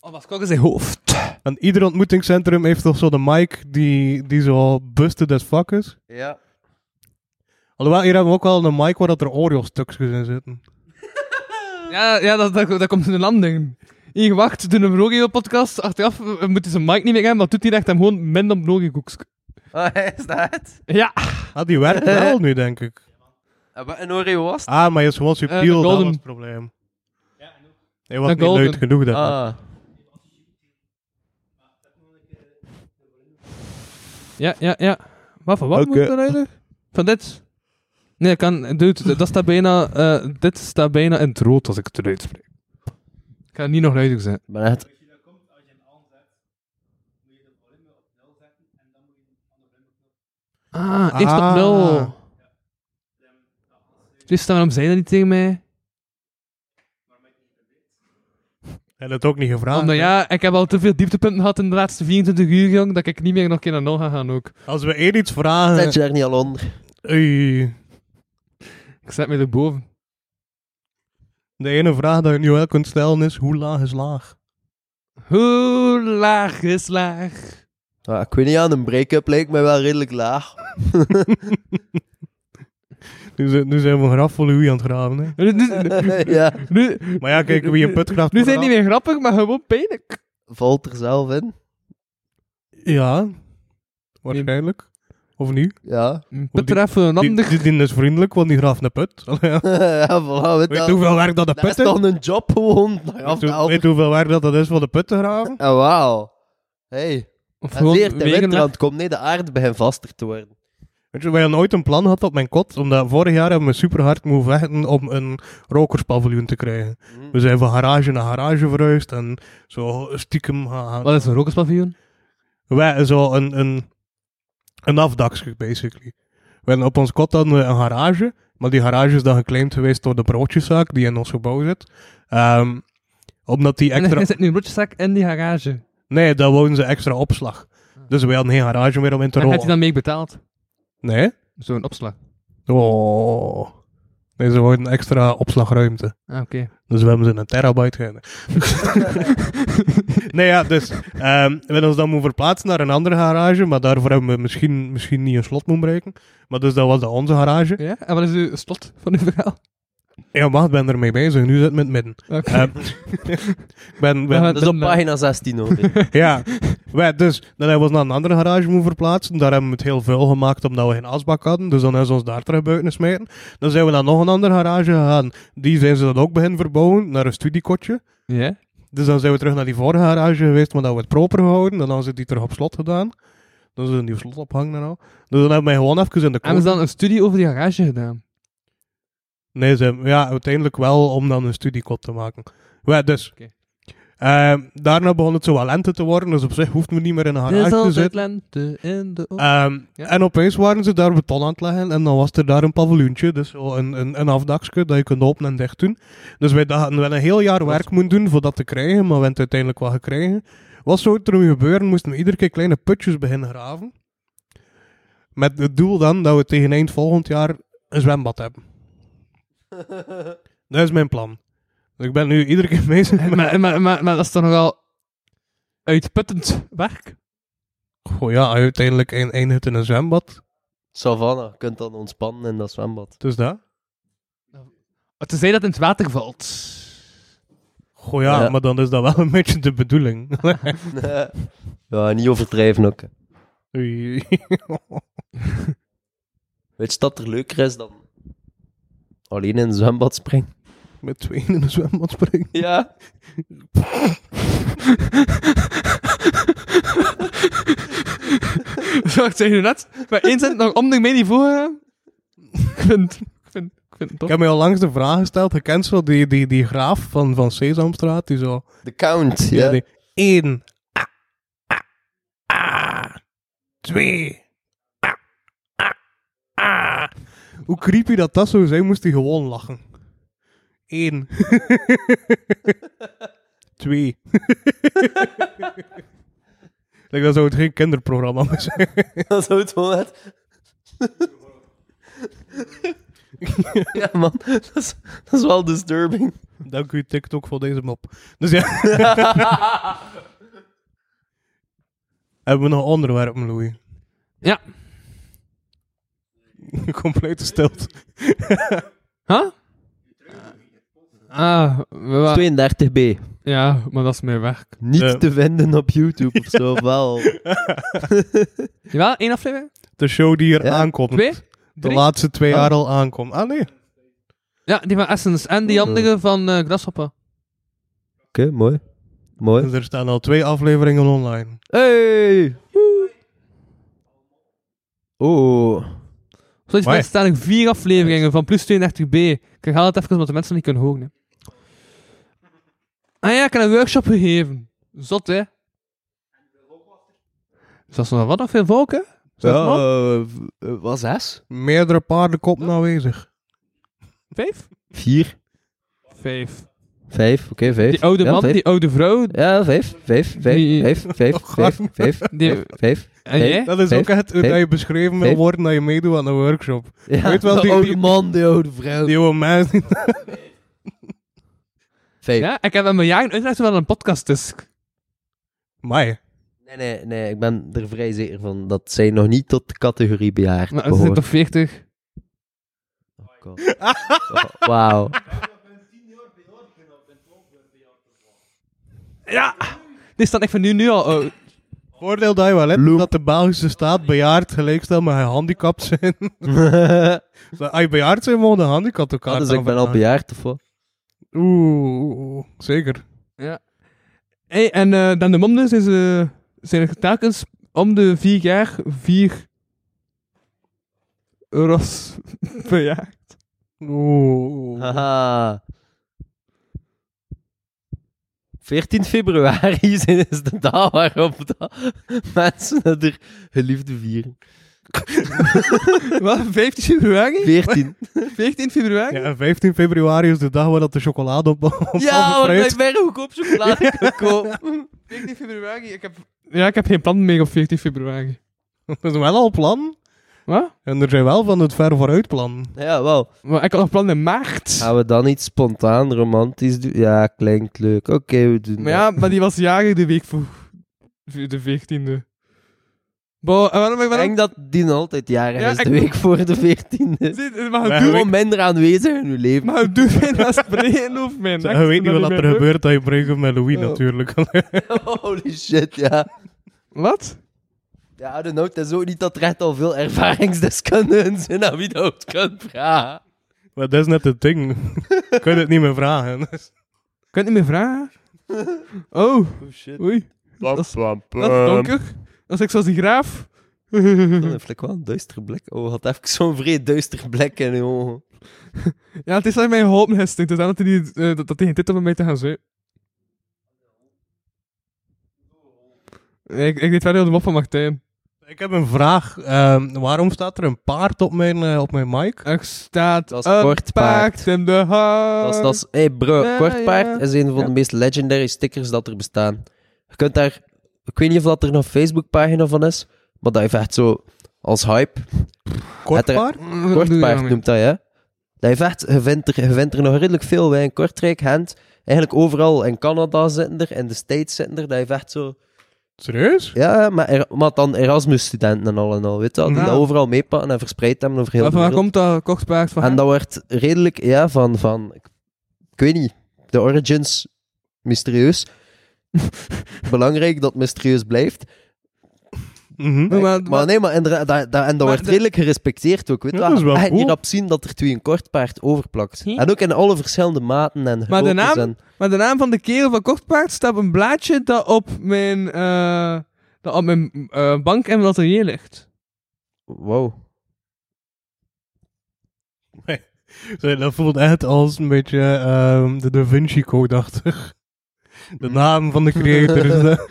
Speaker 5: Oh, was koken zijn hoofd.
Speaker 3: En ieder ontmoetingscentrum heeft toch zo de mic die, die zo busted as fuck is.
Speaker 4: Ja. *laughs*
Speaker 3: Alhoewel, hier hebben we ook wel een mic waar dat er Oreo-stukjes in zitten.
Speaker 5: Ja, ja dat, dat, dat komt in de landing. Hier, wacht, doen een Rogio-podcast. Achteraf eh, moet hij zijn mic niet meer hebben, maar doet hij echt hem gewoon min op Rogio-koeks.
Speaker 4: Ah, is dat het?
Speaker 5: Ja,
Speaker 3: Ah, die werkt wel nu, denk ik.
Speaker 4: Een Oreo was het?
Speaker 3: Ah, maar je is gewoon
Speaker 5: Eh, de
Speaker 3: subtiel, dat
Speaker 5: golden.
Speaker 3: was het probleem. Hij was
Speaker 5: De
Speaker 3: niet luid
Speaker 5: golden.
Speaker 3: genoeg, dat.
Speaker 4: Ah.
Speaker 5: ja, ja, ja. Maar van wat
Speaker 3: Oké.
Speaker 5: moet dat eigenlijk? Van dit? Nee, ik kan... Dude, dat- dat staat bijna... eh, dit staat bijna in het rood als ik het eruit spreek. Ik ga niet nog luider zijn.
Speaker 4: Ik ben echt...
Speaker 5: Ah, eerst op nul. Tristan, waarom zei je dat niet tegen mij?
Speaker 3: En dat ook niet gevraagd.
Speaker 5: Omdat
Speaker 3: hè.
Speaker 5: ja, ik heb al te veel dieptepunten gehad in de laatste 24 uur, jong, dat ik niet meer nog een keer naar nul ga gaan ook.
Speaker 3: Als we één iets vragen...
Speaker 4: Zet je daar niet al onder?
Speaker 3: Oei.
Speaker 5: Ik zet mij erboven.
Speaker 3: De ene vraag dat je nu wel kunt stellen is, hoe laag is laag?
Speaker 5: Hoe laag is laag?
Speaker 4: Ah, ik weet niet, aan een break-up lijkt mij wel redelijk laag. *laughs*
Speaker 3: Nu, zijn- nu zijn we een graf voor Louis aan het graven, hè.
Speaker 5: Nu, nu, nu,
Speaker 4: ja,
Speaker 5: nu,
Speaker 3: Maar ja, kijk, wie een put graaft...
Speaker 5: nu zijn die meer grappig, maar gewoon pijnlijk.
Speaker 4: valt er zelf in.
Speaker 3: Ja. Waarschijnlijk. Of niet?
Speaker 4: Ja. *laughs*
Speaker 5: Betreffende een
Speaker 3: Die,
Speaker 5: ander.
Speaker 3: die, die is vriendelijk, want die graaft een put. *laughs* Allee, ja.
Speaker 4: ja, voilà, weet
Speaker 3: Weet je
Speaker 4: dat.
Speaker 3: hoeveel werk dat de
Speaker 4: Dat is
Speaker 3: put is?
Speaker 4: toch een job gewoon? Nou ja,
Speaker 3: Weet je-
Speaker 4: wel.
Speaker 3: Weet je hoeveel werk dat dat is voor de put te graven?
Speaker 4: Ah, wauw. Hey,
Speaker 5: Of
Speaker 4: en
Speaker 5: gewoon
Speaker 4: zeer te
Speaker 5: wegen-
Speaker 4: winter aan het komen. Nee, de aarde begint vaster te worden.
Speaker 3: Weet je, wij hadden ooit een plan gehad op mijn kot, omdat vorig jaar hebben we super hard moeten vechten om een rokerspaviljoen te krijgen.
Speaker 4: Mm.
Speaker 3: We zijn van garage naar garage verhuisd en zo stiekem gaan...
Speaker 5: Wat is een rokerspaviljoen?
Speaker 3: Wij zo een, een, een afdakje, basically. We hadden op ons kot hadden we een garage, maar die garage is dan geclaimd geweest door de broodjeszaak die in ons gebouw zit. Ehm, omdat die
Speaker 5: En
Speaker 3: extra...
Speaker 5: er zit nu een broodjeszak in die garage.
Speaker 3: Nee, daar wonen ze extra opslag. Dus wij hadden geen garage meer om in te
Speaker 5: Daar gaat hij
Speaker 3: rollen.
Speaker 5: dan mee betaald.
Speaker 3: Nee?
Speaker 5: Zo'n opslag.
Speaker 3: Oh. Nee, ze worden extra opslagruimte.
Speaker 5: Ah, oké.
Speaker 3: Dus we hebben ze een terabyte gehouden. nee, ja, dus ehm we hebben ons dan moeten verplaatsen naar een andere garage, maar daarvoor hebben we misschien, misschien niet een slot moeten bereiken. Maar dus dat was dan onze garage.
Speaker 5: Ja? En wat is uw slot van uw verhaal?
Speaker 3: Ja, maar ik ben ermee bezig, nu zit het met het midden.
Speaker 5: Oké.
Speaker 3: Ehm, *laughs* ik ben, ben,
Speaker 4: Dat is
Speaker 5: eh,
Speaker 4: op pagina 16 hoor.
Speaker 5: *laughs*
Speaker 3: ja, wij, dus dan hebben we ons naar een andere garage moeten verplaatsen. Daar hebben we het heel vuil gemaakt omdat we geen asbak hadden. Dus dan hebben ze ons daar terug buiten gesmeten. Dan zijn we naar nog een andere garage gegaan. Die zijn ze dan ook beginnen verbouwen naar een studiekotje.
Speaker 5: Ja?
Speaker 3: Dus dan zijn we terug naar die vorige garage geweest, maar dat we het proper gehouden. Dan hadden ze die terug op slot gedaan. Dan is een nieuw slot ophangen en al. Dus dan hebben wij gewoon even in de
Speaker 5: Hebben
Speaker 3: koers-
Speaker 5: ze dan een studie over die garage gedaan?
Speaker 3: Nee, ze, hebben- ja, uiteindelijk wel om dan een studiekot te maken. Ja, dus.
Speaker 5: Oké.
Speaker 3: Ehm, daarna begon het zo wel lente te worden, dus op zich hoefden we niet meer in een
Speaker 5: Dit is
Speaker 3: garage te
Speaker 5: altijd
Speaker 3: zitten.
Speaker 5: lente in de ochtend.
Speaker 3: Ehm,
Speaker 5: Ja.
Speaker 3: En opeens waren ze daar beton aan het leggen en dan was er daar een paviljoentje, dus zo een, een, een afdakje dat je kunt openen en dicht doen. Dus wij dachten wel een heel jaar werk moeten doen voor dat te krijgen, maar we hebben het uiteindelijk wel gekregen. Wat zou er nu gebeuren, moesten we iedere keer kleine putjes beginnen graven. Met het doel dan dat we tegen eind volgend jaar een zwembad *laughs* hebben. dat is mijn plan. Dus ik ben nu iedere keer *laughs* bezig met...
Speaker 5: Maar, maar, maar, maar dat is toch nogal uitputtend werk?
Speaker 3: Goh ja, uiteindelijk eind- eindigt het in een zwembad.
Speaker 4: Savannah, je kunt dan ontspannen in dat zwembad. *laughs*
Speaker 3: Dus dat.
Speaker 5: Tenzij dat het in het water valt.
Speaker 3: Goh ja,
Speaker 4: Ja.
Speaker 3: maar dan is dat wel een beetje de bedoeling.
Speaker 4: ja, niet overdrijven ook. hè.
Speaker 3: Oei. *laughs*
Speaker 4: Weet je dat er leuker is dan alleen in een zwembad springen?
Speaker 5: *laughs*
Speaker 3: Met tweeën in een zwembad springen.
Speaker 4: Ja.
Speaker 5: *laughs* Zo, ik zei nu net. Maar één zin nog om de mee niet voor. hè? Ik vind, ik vind, ik vind het
Speaker 3: Ik
Speaker 5: tof.
Speaker 3: heb mij al langs de vraag gesteld. Je kent zo die, die, die graaf van, van Sesamstraat. Die zo...
Speaker 4: De count.
Speaker 3: die-
Speaker 4: Ja.
Speaker 3: die- één. Ah, ah, ah. twee. Ah, ah, ah. Hoe creepy dat dat zou zijn, moest hij gewoon lachen. Eén. *laughs* twee. *laughs* Like, dat zou het geen kinderprogramma meer zijn.
Speaker 4: *laughs* Dat is het gewoon net.
Speaker 3: *laughs*
Speaker 4: ja, man. Dat is, dat is wel disturbing.
Speaker 3: Dank u TikTok voor deze mop. Dus ja. Hebben we nog onderwerpen, Louis? *laughs*
Speaker 5: Ja.
Speaker 3: Complete stilte.
Speaker 5: Huh? Ah, we wa-
Speaker 4: 32b.
Speaker 5: ja, maar dat is mijn werk.
Speaker 4: Niet
Speaker 3: Eh.
Speaker 4: te vinden op YouTube of
Speaker 5: *laughs*
Speaker 4: zo, wel.
Speaker 5: Jawel, één aflevering?
Speaker 3: De show die hier
Speaker 4: Ja.
Speaker 3: aankomt.
Speaker 5: Twee?
Speaker 3: De
Speaker 5: Drie?
Speaker 3: laatste twee
Speaker 4: Ah.
Speaker 3: jaar al aankomt. Ah nee.
Speaker 5: Ja, die van Essence en die andere van eh Grasshopper.
Speaker 4: Oké, mooi. Mooi.
Speaker 3: Dus er staan al twee afleveringen online.
Speaker 4: Hey! Oh.
Speaker 5: Zoals je
Speaker 3: Amai.
Speaker 5: er staan nog vier afleveringen van plus 32b. Ik herhaal het even, want de mensen niet kunnen horen. Hè. Ah ja, ik heb een workshop gegeven. Zot, hè? Dus dat is nog wat nog veel volk, hè? Zes man?
Speaker 4: was Eh, zes?
Speaker 3: Meerdere paardenkoppen aanwezig.
Speaker 5: Vijf?
Speaker 4: Vier.
Speaker 5: Vijf.
Speaker 4: Vijf, oké, vijf.
Speaker 5: Die oude
Speaker 4: Ja,
Speaker 5: man,
Speaker 4: vijf.
Speaker 5: die oude vrouw.
Speaker 4: Ja, vijf, vijf, vijf,
Speaker 5: Die-
Speaker 4: vijf,
Speaker 3: *laughs*
Speaker 4: vijf,
Speaker 3: Oh,
Speaker 4: vijf,
Speaker 3: God.
Speaker 4: *laughs* vijf,
Speaker 5: Die-
Speaker 4: vijf, vijf.
Speaker 5: En
Speaker 4: Hey.
Speaker 5: jij?
Speaker 3: Dat is
Speaker 4: Vijf.
Speaker 3: ook het hoe
Speaker 4: Vijf.
Speaker 3: dat je beschreven wil
Speaker 4: Vijf.
Speaker 3: worden dat je meedoet aan een workshop.
Speaker 4: Ja,
Speaker 3: Weet wel,
Speaker 4: de
Speaker 3: die-
Speaker 4: oude
Speaker 3: die-
Speaker 4: man, de oude vrouw.
Speaker 3: Die jonge mensen.
Speaker 4: Vijf.
Speaker 5: Ja, ik heb hem een jaar uitgelegd wat een podcast is.
Speaker 3: Mai.
Speaker 4: Nee, nee, nee, ik ben er vrij zeker van dat zij nog niet tot de categorie bejaard
Speaker 5: Maar ze zijn
Speaker 4: behoort.
Speaker 5: toch 40?
Speaker 4: Oh, God. Oh,
Speaker 3: *laughs*
Speaker 4: Wauw. *laughs*
Speaker 5: Ja! Die staat echt van nu, nu al oud.
Speaker 3: Voordeel dat je wel hebt, dat de Belgische staat bejaard gelijkstelt met gehandicapt zijn. *laughs* Zo, Als je bejaard zijn, mogen de handicap elkaar
Speaker 4: Ah, dus ik ben al
Speaker 3: aanvragen.
Speaker 4: bejaard of wat?
Speaker 3: Oeh, oeh, oeh, zeker.
Speaker 5: Hey, en eh, dan de mom dus, is, eh, zijn er telkens om de vier jaar vier euro's *laughs* per jaar.
Speaker 3: Oeh.
Speaker 4: Haha. 14 februari *laughs* is is de dag waarop dat mensen het er
Speaker 3: *laughs*
Speaker 4: geliefde vieren.
Speaker 5: Wat, 15 februari?
Speaker 4: 14.
Speaker 5: 14 februari?
Speaker 3: Ja, en 15 februari is de dag waar dat de chocolade op, *laughs* op
Speaker 4: ja, want
Speaker 3: overprijs-
Speaker 4: ik ben goedkoop chocolade kan
Speaker 3: *laughs*
Speaker 4: kopen.
Speaker 5: 14 februari, ik heb... Ja, ik heb geen plan meer op 14 februari.
Speaker 3: Dat is wel al plan.
Speaker 5: Wat?
Speaker 3: En er zijn wel van het ver vooruit plannen.
Speaker 4: Ja, wel.
Speaker 5: Maar ik had nog plannen in maart.
Speaker 3: Ah.
Speaker 4: Gaan we dan iets spontaan, romantisch doen? Ja, klinkt leuk. Oké, we doen
Speaker 5: Maar ja, maar die was jarig de week voor de 14e. Bo, en waarom
Speaker 4: dat. Ik
Speaker 5: ben ik waarom-
Speaker 4: denk dat die altijd jaren
Speaker 5: Ja,
Speaker 4: is,
Speaker 5: ik-
Speaker 4: de week voor de
Speaker 5: *laughs*
Speaker 4: 14e.
Speaker 5: Zie- Maar het
Speaker 3: Ja,
Speaker 5: doet
Speaker 4: Gewoon minder aanwezig in uw leven.
Speaker 5: maar het doet mij dat spreken of mijn
Speaker 3: Je weet niet wat er gebeurt dat je breekt met Louis
Speaker 5: Oh.
Speaker 3: natuurlijk. *laughs*
Speaker 4: *laughs* Holy shit, ja.
Speaker 5: Wat?
Speaker 4: Ja, de nood is ook niet dat er echt al veel ervaringsdeskundigen zijn aan wie dat kunt vragen.
Speaker 3: maar dat is net het ding. Je kunt het niet meer vragen. *laughs*
Speaker 5: Kan je het niet meer vragen? Oh,
Speaker 4: Oh shit.
Speaker 5: oei. Dat is, dat is donker. Dat is ik zoals die
Speaker 3: *laughs*
Speaker 5: graaf.
Speaker 4: Dan heeft ik wel een duistere blik. Oh, had even zo'n vreed duister blik in je ogen.
Speaker 5: Ja, het is dat mijn hoop hesting. Dus dat hij niet, eh, dat- dat hij geen tijd heeft om mee te gaan zeuren. Ik, ik deed verder op de mop van Martijn.
Speaker 3: Ik heb een vraag. Ehm, waarom staat er een paard op mijn, eh, op mijn mic?
Speaker 5: Er staat
Speaker 4: Dat is
Speaker 5: een
Speaker 4: kort paard.
Speaker 5: in de hand.
Speaker 4: Dat is, dat is, hey bro,
Speaker 5: Eh, Ja,
Speaker 4: Kortpaard
Speaker 5: ja.
Speaker 4: is een van de meest legendary stickers dat er bestaan. Je kunt daar, ik weet niet of dat er een Facebookpagina van is, maar dat heeft echt zo als hype.
Speaker 3: Kort
Speaker 4: Het er-
Speaker 3: paard?
Speaker 5: Wat doe je
Speaker 4: Kortpaard
Speaker 5: daarmee?
Speaker 4: noemt dat, ja. Dat heeft echt, je vindt, er, je vindt er nog redelijk veel bij in Kortrijk, Gent. Eigenlijk overal in Canada zitten er, in de States zitten er. Dat heeft echt zo...
Speaker 3: Serieus?
Speaker 4: Ja, maar, er- maar dan Erasmus-studenten en al en al, weet je wel. Die
Speaker 5: Ja.
Speaker 4: dat overal meepakken en verspreid hebben over heel
Speaker 5: Maar
Speaker 4: de
Speaker 5: van waar
Speaker 4: wereld.
Speaker 5: komt dat kortpaard van?
Speaker 4: En dat wordt redelijk, ja, van, van ik, ik weet niet, de origins
Speaker 3: *laughs*
Speaker 4: mysterieus. Belangrijk dat het mysterieus blijft.
Speaker 3: Mhm.
Speaker 5: Nee, maar,
Speaker 4: Maar nee, maar inderdaad, dat, dat- en dat
Speaker 5: Maar
Speaker 4: wordt
Speaker 5: de-
Speaker 4: redelijk gerespecteerd ook. Weet je
Speaker 3: Ja, dat is wel
Speaker 4: En
Speaker 3: cool.
Speaker 4: hierop zien dat er twee een kort paard overplakt.
Speaker 5: Hm?
Speaker 4: En ook in alle verschillende maten en
Speaker 5: Maar de
Speaker 4: groottes
Speaker 5: naam?
Speaker 4: en-
Speaker 5: maar de naam van de kerel van kortpaard staat op een blaadje dat op mijn, eh, dat op mijn eh, bank en mijn atelier ligt.
Speaker 4: Wow.
Speaker 3: Zo, Dat voelt echt als een beetje ehm, de Da Vinci Code-achtig. De naam van de creator *laughs* is dat.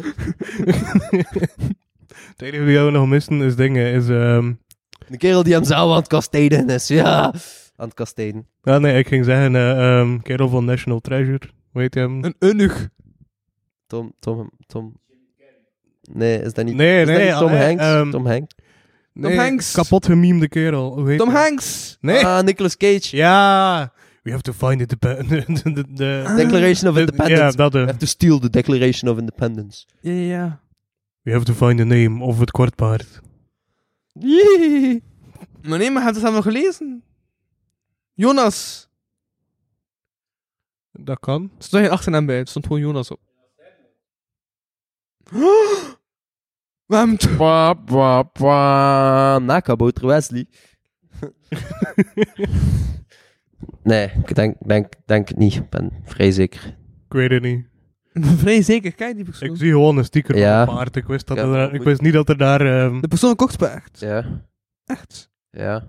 Speaker 3: Het enige die we nog missen is dingen, is... ehm,
Speaker 4: De kerel die hem zelf aan het kastijden is, ja. Aan het kastijden.
Speaker 3: Ah nee, ik ging zeggen, eh ehm, kerel van National Treasure, weet je hem?
Speaker 5: Een unnig.
Speaker 4: Tom, Tom, Tom. Nee, is dat niet,
Speaker 3: Nee,
Speaker 4: is dat
Speaker 3: nee,
Speaker 4: niet Tom
Speaker 3: ah, eh,
Speaker 4: Hanks?
Speaker 3: ehm,
Speaker 4: Tom Hanks.
Speaker 3: Nee,
Speaker 5: Hanks.
Speaker 3: Kapot gemiemde kerel. Hoe heet
Speaker 5: Tom
Speaker 3: hij?
Speaker 5: Hanks.
Speaker 3: Nee.
Speaker 4: Ah, Nicolas Cage.
Speaker 3: Ja. We have to find it. *laughs* De, de, de,
Speaker 5: Ah,
Speaker 3: de,
Speaker 4: Declaration of
Speaker 3: de-
Speaker 4: Independence.
Speaker 3: Ja, dat eh.
Speaker 4: We have to steal the Declaration of Independence.
Speaker 5: Ja, ja,
Speaker 3: We have to find the name of het kwartpaard.
Speaker 5: ja. Maar nee, maar heb je dat nog gelezen? Jonas.
Speaker 3: Dat kan.
Speaker 5: Er stond geen achternaam bij, er stond gewoon Jonas op. Waarom t-
Speaker 4: Wap, wap, wap. Nakabouter Wesley. *laughs* nee, ik denk, denk, denk het niet. Ik ben vrij zeker.
Speaker 3: Ik weet het niet.
Speaker 5: *laughs* Vrij zeker, kijk die persoon.
Speaker 3: Ik zie gewoon een sticker
Speaker 4: Ja.
Speaker 3: van een paard. Ik wist, dat
Speaker 4: Ja,
Speaker 3: er, ik
Speaker 4: goed.
Speaker 3: wist niet dat er daar... ehm,
Speaker 5: De persoon kortpaard.
Speaker 4: Ja,
Speaker 5: Echt.
Speaker 4: ja.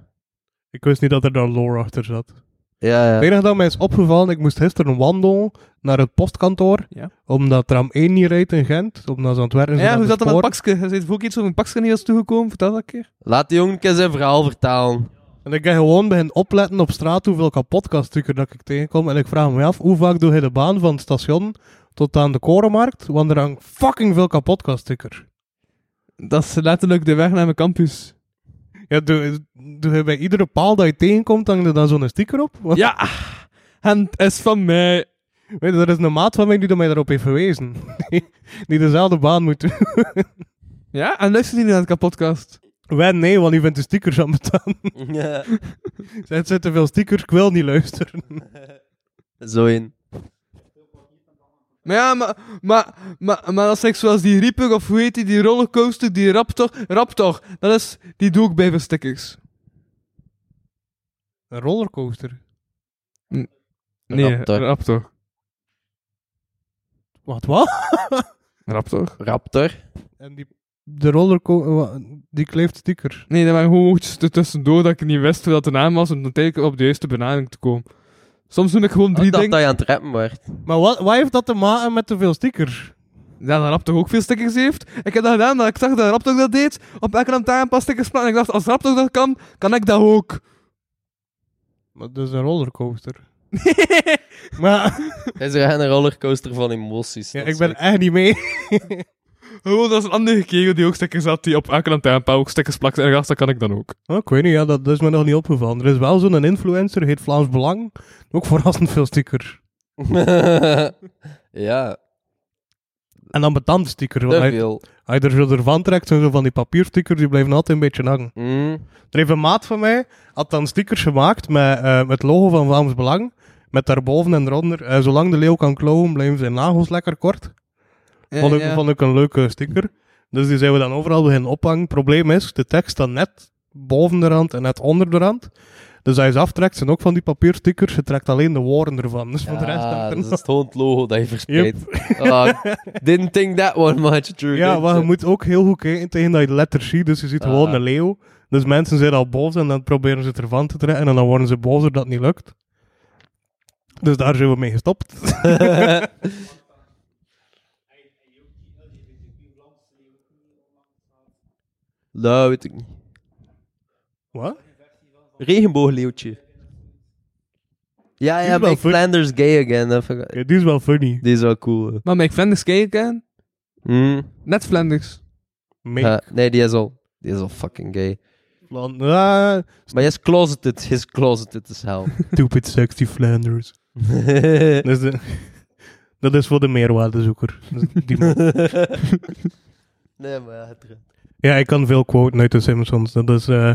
Speaker 3: ik wist niet dat er daar lore achter zat.
Speaker 4: Ja,
Speaker 3: Het
Speaker 4: ja.
Speaker 3: enige dat mij is opgevallen, ik moest gisteren wandelen naar het postkantoor.
Speaker 5: Ja.
Speaker 3: Omdat tram 1 niet rijdt in Gent. Omdat ze aan het werken zijn
Speaker 5: Ja,
Speaker 3: aan
Speaker 5: hoe
Speaker 3: de
Speaker 5: zat dat met
Speaker 3: sporen.
Speaker 5: Pakske? Hij zei ook iets over een Pakske niet was toegekomen. Vertel dat een keer.
Speaker 4: Laat die jongen een keer zijn verhaal vertalen.
Speaker 3: En ik heb gewoon begin opletten op straat hoeveel kapotkaststukken dat ik tegenkom. En ik vraag me af, hoe vaak doe je de baan van het station tot aan de korenmarkt? Want er hangt fucking veel kapotkaststukken.
Speaker 5: Dat is letterlijk de weg naar mijn campus.
Speaker 3: Ja, doe, doe je bij iedere paal dat je tegenkomt, hangt er dan zo'n sticker op? Want,
Speaker 5: Ja! En het is van mij.
Speaker 3: Weet je, er is een maat van mij die mij daarop heeft verwezen. *laughs* Die- die dezelfde baan moet *laughs* doen.
Speaker 5: Ja, en luistert hij nu naar de podcast?
Speaker 3: Wij nee, want die vindt de stickers aan *laughs* betalen.
Speaker 4: *laughs* Ja.
Speaker 3: Het zijn te veel stickers, ik wil niet luisteren.
Speaker 4: Zo in.
Speaker 5: Maar ja, maar, maar, maar, maar dat is echt zoals die Reaper of hoe heet die, die rollercoaster, die Raptor. Raptor, dat is, die doe ik bij verstikkers.
Speaker 3: Een rollercoaster.
Speaker 5: Nee,
Speaker 4: Raptor.
Speaker 5: Raptor.
Speaker 3: Wat, wat?
Speaker 5: Raptor?
Speaker 4: Raptor.
Speaker 3: En die, de rollercoaster, die kleeft stickers.
Speaker 5: Nee, dat waren gewoon woordjes tussendoor dat ik niet wist hoe dat de naam was om uiteindelijk op de juiste benadering te komen. Soms noem ik gewoon
Speaker 4: Oh, Ik
Speaker 5: drie
Speaker 4: dacht dat
Speaker 5: dingen.
Speaker 4: je aan het rappen werd. *laughs*
Speaker 3: Maar wat, wat heeft dat te maken met te veel stickers?
Speaker 5: Ja, dat Raptor ook veel stickers heeft. Ik heb dat gedaan omdat ik zag dat Raptor dat deed. Op elke naam daar een paar stickers plakken. En ik dacht, als Raptor dat kan, kan ik dat *laughs* ook.
Speaker 3: Maar dat is een rollercoaster. maar
Speaker 4: Hij is er echt *laughs* een rollercoaster van emoties.
Speaker 3: ja,
Speaker 4: Dat
Speaker 3: ik
Speaker 4: is
Speaker 3: ben
Speaker 4: leuk.
Speaker 3: echt niet mee.
Speaker 5: Gewoon als een andere kerel die ook stickers had, die op elke lantaarnpaal ook stickers plakte. En gast, dat kan ik dan ook.
Speaker 3: Oh, ik weet niet, ja, dat, dat is me nog niet opgevallen. Er is wel zo'n influencer, heet Vlaams Belang. Ook verrassend veel stickers.
Speaker 4: ja,
Speaker 3: En dan betante stickers. want
Speaker 4: te
Speaker 3: Als je-
Speaker 4: veel.
Speaker 3: als je er zo ervan trekt, zijn zo van die papierstickers, die blijven altijd een beetje hangen.
Speaker 4: Mm.
Speaker 3: Er heeft een maat van mij, had dan stickers gemaakt met eh, met het logo van Vlaams Belang. Met daarboven en eronder. eh, zolang de leeuw kan klauwen, blijven zijn nagels lekker kort. Vond ik, vond ik een leuke sticker. Dus die zijn we dan overal beginnen ophangen. Probleem is, de tekst dan net boven de rand en net onder de rand. Dus als je ze aftrekt, zijn ook van die papierstickers. Je trekt alleen de woorden ervan. Dus voor de rest
Speaker 4: Ja,
Speaker 3: hangt er
Speaker 4: dat is
Speaker 3: nog-
Speaker 4: het gewoon het
Speaker 3: *laughs*
Speaker 4: logo dat je verspreidt. Ah, didn't think that one much, true.
Speaker 3: Ja, maar je moet ook heel goed kijken tegen dat je de letters ziet. Dus je ziet
Speaker 4: eh. Ah.
Speaker 3: gewoon een leeuw. Dus mensen zijn al boos en dan proberen ze het ervan te trekken. En dan worden ze bozer dat het niet lukt. Dus daar zijn we mee gestopt.
Speaker 4: dat Nou, weet ik niet.
Speaker 3: Wat?
Speaker 4: Regenboogleeuwtje. Ja,
Speaker 3: is
Speaker 4: ja,
Speaker 3: wel
Speaker 4: Make
Speaker 3: fun.
Speaker 4: Flanders gay again. dat vind ik-
Speaker 3: Ja, die is wel funny.
Speaker 4: Die is wel cool. hè.
Speaker 5: Maar mijn Flanders kijken,
Speaker 4: Mm.
Speaker 5: net Flanders.
Speaker 3: Mee.
Speaker 4: Ja, nee, die is al... Die is al fucking gay.
Speaker 3: Plan- Ah,
Speaker 4: Maar hij is closeted. Hij is closeted
Speaker 3: *laughs*
Speaker 4: as hell.
Speaker 3: stupid sexy Flanders. Dus de- *laughs* dat is voor de meerwaardezoeker. Dus die moet-
Speaker 4: *laughs* nee, maar ja, het redt.
Speaker 3: ja, ik kan veel quoten uit de Simpsons. Dat is, eh,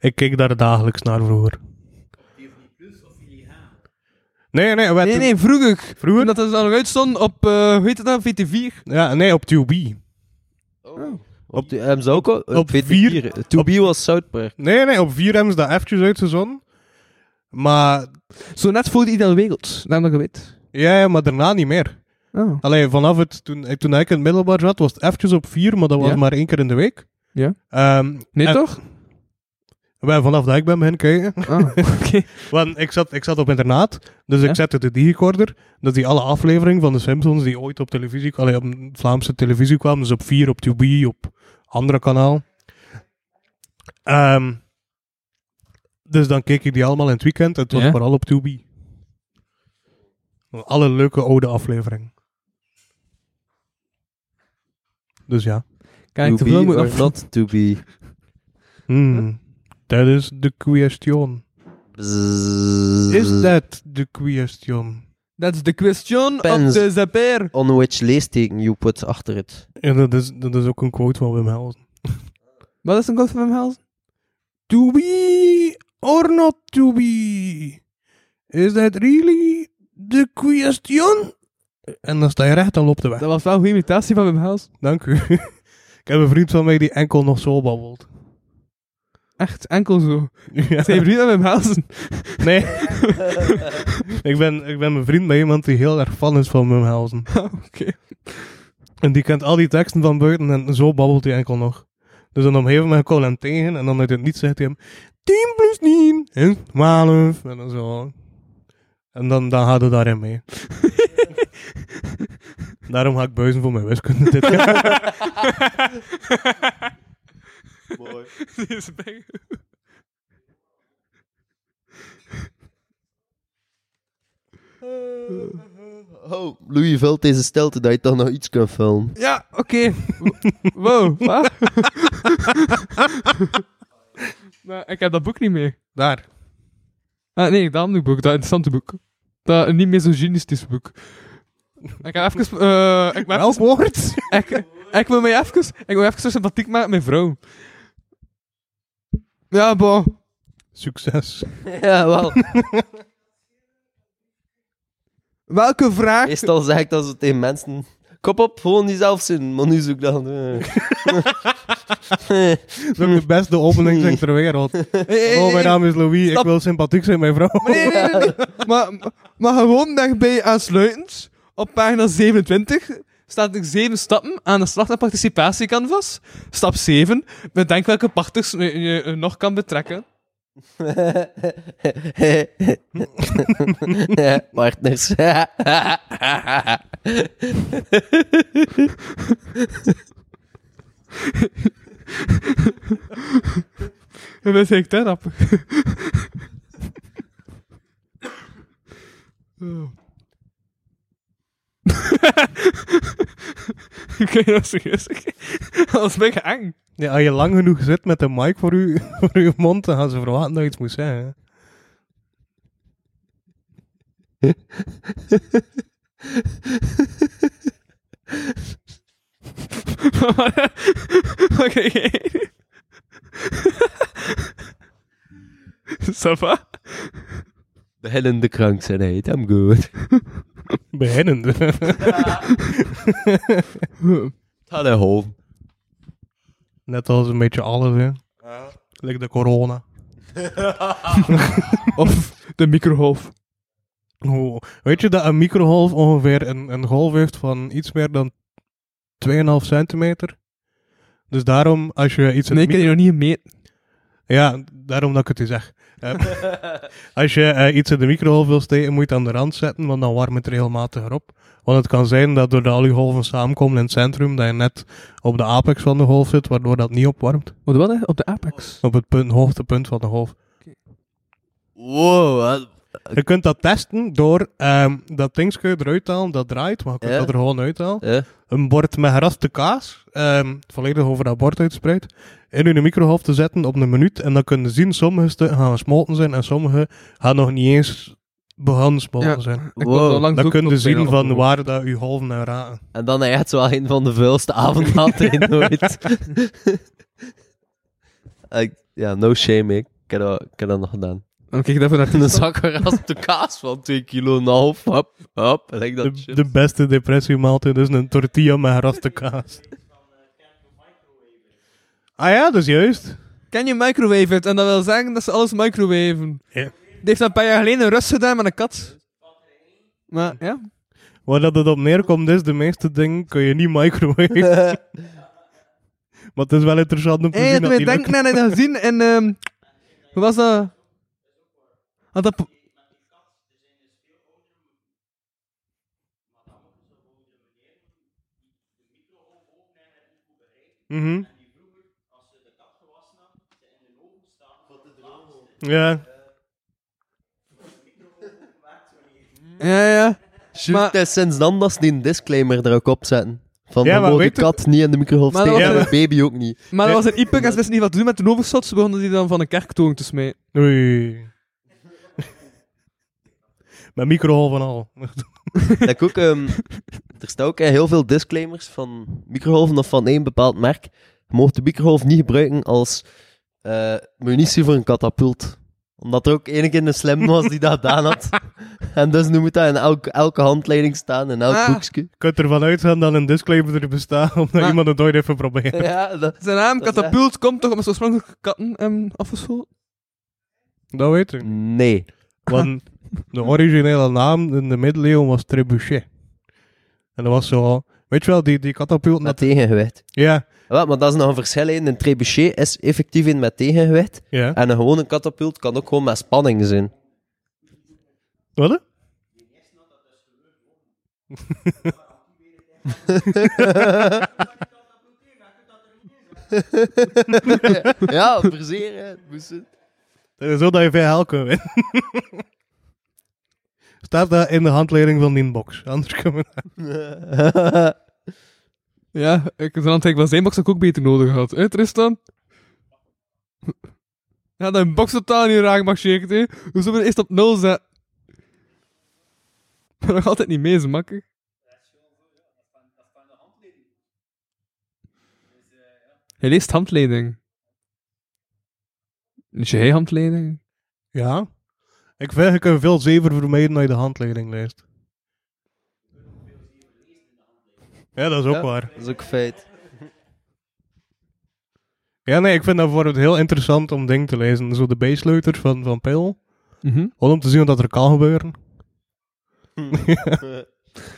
Speaker 3: ik keek daar dagelijks naar vroeger. Nee, nee, we
Speaker 5: Nee,
Speaker 3: hadden-
Speaker 5: nee, vroeger.
Speaker 3: vroeger?
Speaker 5: Toen dat ze dan nog uitstonden op, eh, hoe heet het nou, VT4.
Speaker 3: Ja, nee, op 2B.
Speaker 4: Op die hebben ze ook al-
Speaker 3: op
Speaker 4: weet ik
Speaker 3: vier-
Speaker 4: hier, To be was South Park.
Speaker 3: Nee, nee, op 4 hebben ze dat eventjes uitgezonden. Maar,
Speaker 5: Zo net voor de ideale wereld, namelijk dat je weet.
Speaker 3: ja, ja, maar daarna niet meer.
Speaker 5: Oh.
Speaker 3: Allee, vanaf het, toen, eh, toen ik in het middelbaar zat, was het eventjes op 4, maar dat was
Speaker 5: Ja?
Speaker 3: maar één keer in de week.
Speaker 5: Ja.
Speaker 3: Ehm,
Speaker 5: Nee,
Speaker 3: en-
Speaker 5: toch?
Speaker 3: Wij vanaf dat ik ben beginnen kijken. *laughs*
Speaker 5: Ah, oké.
Speaker 3: Want ik zat, ik zat op internaat, dus
Speaker 5: Ja?
Speaker 3: ik zette de digicorder. Dat die alle afleveringen van de Simpsons die ooit op televisie, allee, op Vlaamse televisie kwamen, dus op 4, op 2B, op andere kanaal. Ehm, dus dan keek ik die allemaal in het weekend. Het was
Speaker 5: Ja?
Speaker 3: vooral op 2B. Alle leuke oude afleveringen. Dus ja.
Speaker 5: Kijk,
Speaker 4: to
Speaker 5: de
Speaker 4: be
Speaker 5: vrouw moet
Speaker 4: or
Speaker 5: af.
Speaker 4: not to be.
Speaker 3: Hmm. Dat is de question.
Speaker 4: Bzzz.
Speaker 3: Is dat de question?
Speaker 5: Dat is de question op
Speaker 4: Pens.
Speaker 5: de zapier.
Speaker 4: On which leesteken you put achter het.
Speaker 3: Ja, dat is, dat is ook een quote van Wim Helsen.
Speaker 5: Wat is een god van Wim Helsen?
Speaker 3: To be or not to be? Is that really the question? En dan sta je recht al op de weg.
Speaker 5: Dat was wel een goede imitatie van Wim Helsen.
Speaker 3: Dank u. *laughs* Ik heb een vriend van mij die enkel nog zo babbelt. *laughs*
Speaker 5: Echt, enkel zo.
Speaker 3: Ja.
Speaker 5: Zijn vrienden met Wim Helsen?
Speaker 3: Nee. ik, ben, ik ben mijn vriend bij iemand die heel erg fan is van Wim Helsen.
Speaker 5: Ah, Oké.
Speaker 3: En die kent al die teksten van buiten en zo babbelt hij enkel nog. Dus dan op een gegeven moment kwam hem tegen en dan uit het niet zegt hij hem 10 plus 10 is 12 en dan zo. En dan, dan gaat het daarin mee. Daarom ga ik buizen voor mijn wiskunde dit jaar.
Speaker 4: *laughs*
Speaker 5: *laughs* Deze bang.
Speaker 4: Oh, Louis vult deze stilte dat je dan nog iets kan filmen.
Speaker 5: Ja, oké. wow, wat?
Speaker 4: *laughs*
Speaker 5: nou, ik heb dat boek niet meer.
Speaker 3: Daar.
Speaker 5: Ah, nee, dat andere boek, dat interessante boek. Dat niet misogynistisch boek. Ik ga even... eh, ik, ben
Speaker 3: Welk woord?
Speaker 5: ik, ik wil mij even... Ik wil even zo sympathiek maken met mijn vrouw. Ja, bo.
Speaker 3: Succes.
Speaker 4: ja, wel.
Speaker 5: Welke vraag...
Speaker 4: Meestal zeg ik dat zo tegen mensen. Kop op, gewoon die zelfzin. Maar nu zoek dan. *laughs*
Speaker 3: Dat is ook de beste opening zeg, ter wereld.
Speaker 5: Hey, hey,
Speaker 3: Oh,
Speaker 5: hey,
Speaker 3: mijn naam is Louis. Ik
Speaker 5: Stop.
Speaker 3: wil sympathiek zijn, mijn vrouw.
Speaker 5: Nee, nee, nee. nee. maar, maar gewoon daarbij aansluitend, op pagina 27 staat er zeven stappen aan de slag- en participatiecanvas. Stap 7, bedenk welke partners je, je- je nog kan betrekken.
Speaker 4: Partners. *laughs*
Speaker 5: En *laughs* dat ik dat grappig. Oh. *laughs* Kun je dat serieus zeggen? Dat is mega *laughs* eng.
Speaker 3: Ja, als je lang genoeg zit met een mic voor, u, *laughs* voor uw mond, dan gaan ze verwachten dat je iets moet zeggen.
Speaker 5: Oké. *laughs* Safa?
Speaker 4: Beginnende krankzinnigheid, I'm good.
Speaker 3: Beginnend.
Speaker 4: Ga naar home.
Speaker 3: *laughs* Net als een beetje alles, hè. Like de corona.
Speaker 5: Of de microgolf.
Speaker 3: Oh, weet je dat een microgolf ongeveer een, een golf heeft van iets meer dan 2,5 centimeter? Dus daarom, als je iets... in
Speaker 5: Nee,
Speaker 3: het
Speaker 5: ik kan je nog niet meten.
Speaker 3: Ja, daarom dat ik het u zeg. Eh, *laughs* als je eh, iets in de microgolf wil steken, moet je het aan de rand zetten, want dan warmt het regelmatiger op. Want het kan zijn dat doordat al die golven samenkomen in het centrum, dat je net op de apex van de golf zit, waardoor dat niet opwarmt.
Speaker 5: Op de wat, hè? Op de Apex.
Speaker 3: Op het punt, hoogtepunt van de golf.
Speaker 4: Wow, wat-
Speaker 3: Je kunt dat testen door ehm, dat dingetje eruit te halen, dat draait, maar je kunt
Speaker 4: Ja.
Speaker 3: dat er gewoon uithalen.
Speaker 4: eh?
Speaker 3: Een bord met geraste kaas, ehm, volledig over dat bord uitspreid, in uw microgolf te zetten op een minuut. En dan kunnen zien, sommige stukken gaan gesmolten zijn en sommige gaan nog niet eens begonnen gesmolten
Speaker 5: Ja.
Speaker 3: zijn.
Speaker 5: Ik
Speaker 4: Wow.
Speaker 5: was al langs
Speaker 3: Dan
Speaker 5: ook
Speaker 3: kun je
Speaker 5: nog
Speaker 3: zien
Speaker 5: bijna
Speaker 3: van
Speaker 5: opgeroepen.
Speaker 3: waar dat uw golven naar raken.
Speaker 4: En dan echt zo een van de vuilste avondmaaltijden nooit. *laughs* Ik- ja, no shame, ik. Ik heb dat, ik heb dat nog gedaan.
Speaker 5: Dan kijk ik even naar
Speaker 4: En
Speaker 5: die
Speaker 4: dan zak ik er als de kaas van 2 kilo en een half. Hop, hop. En ik dat
Speaker 3: De,
Speaker 4: shit.
Speaker 3: de beste depressiemaaltijd is een tortilla met geraste kaas. Ah ja, dat is juist.
Speaker 5: Ken je microwave het? En dat wil zeggen dat ze alles microwaven.
Speaker 3: Ja.
Speaker 5: Die heeft dat een paar jaar geleden een Rus gedaan met een kat. Maar ja.
Speaker 3: Waar dat het op neerkomt is, de meeste dingen kun je niet microwaven.
Speaker 5: *laughs*
Speaker 3: maar het is wel interessant om te
Speaker 5: Hé, hey,
Speaker 3: zien
Speaker 5: dat
Speaker 3: dat
Speaker 5: we
Speaker 3: die lukt.
Speaker 5: denken aan het gezien en... ehm hoe was dat? Had dat... po-
Speaker 3: Mhm. Ja,
Speaker 5: Ja, ja.
Speaker 4: Shoot,
Speaker 5: maar-
Speaker 4: het is sinds dan dat ze die disclaimer er ook op zetten. Van,
Speaker 3: Ja,
Speaker 4: ja,
Speaker 3: maar
Speaker 4: de
Speaker 3: weet
Speaker 4: kat niet in de microgolf
Speaker 5: Maar dat
Speaker 4: steken en
Speaker 3: was
Speaker 4: de baby ook niet.
Speaker 5: Maar dat
Speaker 3: Ja.
Speaker 5: was een ipuk en ze wisten niet wat te doen met de overshot. Ze begonnen die dan van een kerktoon te smijten.
Speaker 3: oei. *laughs* Met microgolven al.
Speaker 4: Dat ik ook, ehm, *laughs* er staan ook eh, heel veel disclaimers van microgolven of van één bepaald merk. Je mag de microgolf niet gebruiken als eh, munitie voor een katapult. Omdat er ook één keer een slim was die dat gedaan
Speaker 3: *laughs*
Speaker 4: had. En dus nu moet dat in elke, elke handleiding staan, in elk
Speaker 5: Ah.
Speaker 4: boekje.
Speaker 3: Je kunt ervan uitgaan dat een disclaimer er bestaat, omdat
Speaker 5: Maar-
Speaker 3: iemand het ooit heeft geprobeerd.
Speaker 4: Ja, dat...
Speaker 5: Zijn naam,
Speaker 4: Dat is
Speaker 5: Katapult, komt toch met zo'n oorspronkelijke katten ehm afgeschoten?
Speaker 3: Dat weet ik.
Speaker 4: Nee.
Speaker 3: Want de originele naam in de middeleeuwen was Trebuchet. En dat was zo... Weet je wel, die, die katapulten...
Speaker 4: Met
Speaker 3: Dat,
Speaker 4: tegengewicht.
Speaker 3: ja,
Speaker 4: Wel, maar dat is nog een verschil. hè. Een trebuchet is effectief in met tegengewicht.
Speaker 3: ja.
Speaker 4: En een gewone katapult kan ook gewoon met spanning zijn.
Speaker 3: Wat? hè?
Speaker 4: *laughs* ja, verzeer, hè. Moest het.
Speaker 3: Dat is Eh, zo dat je VHL kunt winnen. *laughs* Staat dat in de handleiding van die box. Anders kunnen we...
Speaker 5: Ja, ik was aan het denken van zijn box had ik ook beter nodig gehad. Hé, Tristan? Ja, dat een box totaal niet raak mag shaken, hè. Hoe zullen we eerst op nul zetten? Maar nog altijd niet mee, is makkelijk. Hij leest handleiding. Is jij handleiding?
Speaker 3: Ja. Ik vind, je kunt veel zever vermijden als je de handleiding leest. Ja, dat is ook
Speaker 4: Ja.
Speaker 3: waar.
Speaker 4: Dat is ook feit.
Speaker 3: Ja, nee, ik vind dat voor het heel interessant om dingen te lezen. Zo de bijsleuters van, van Pil.
Speaker 5: Mhm.
Speaker 3: Gewoon om te zien wat er kan gebeuren.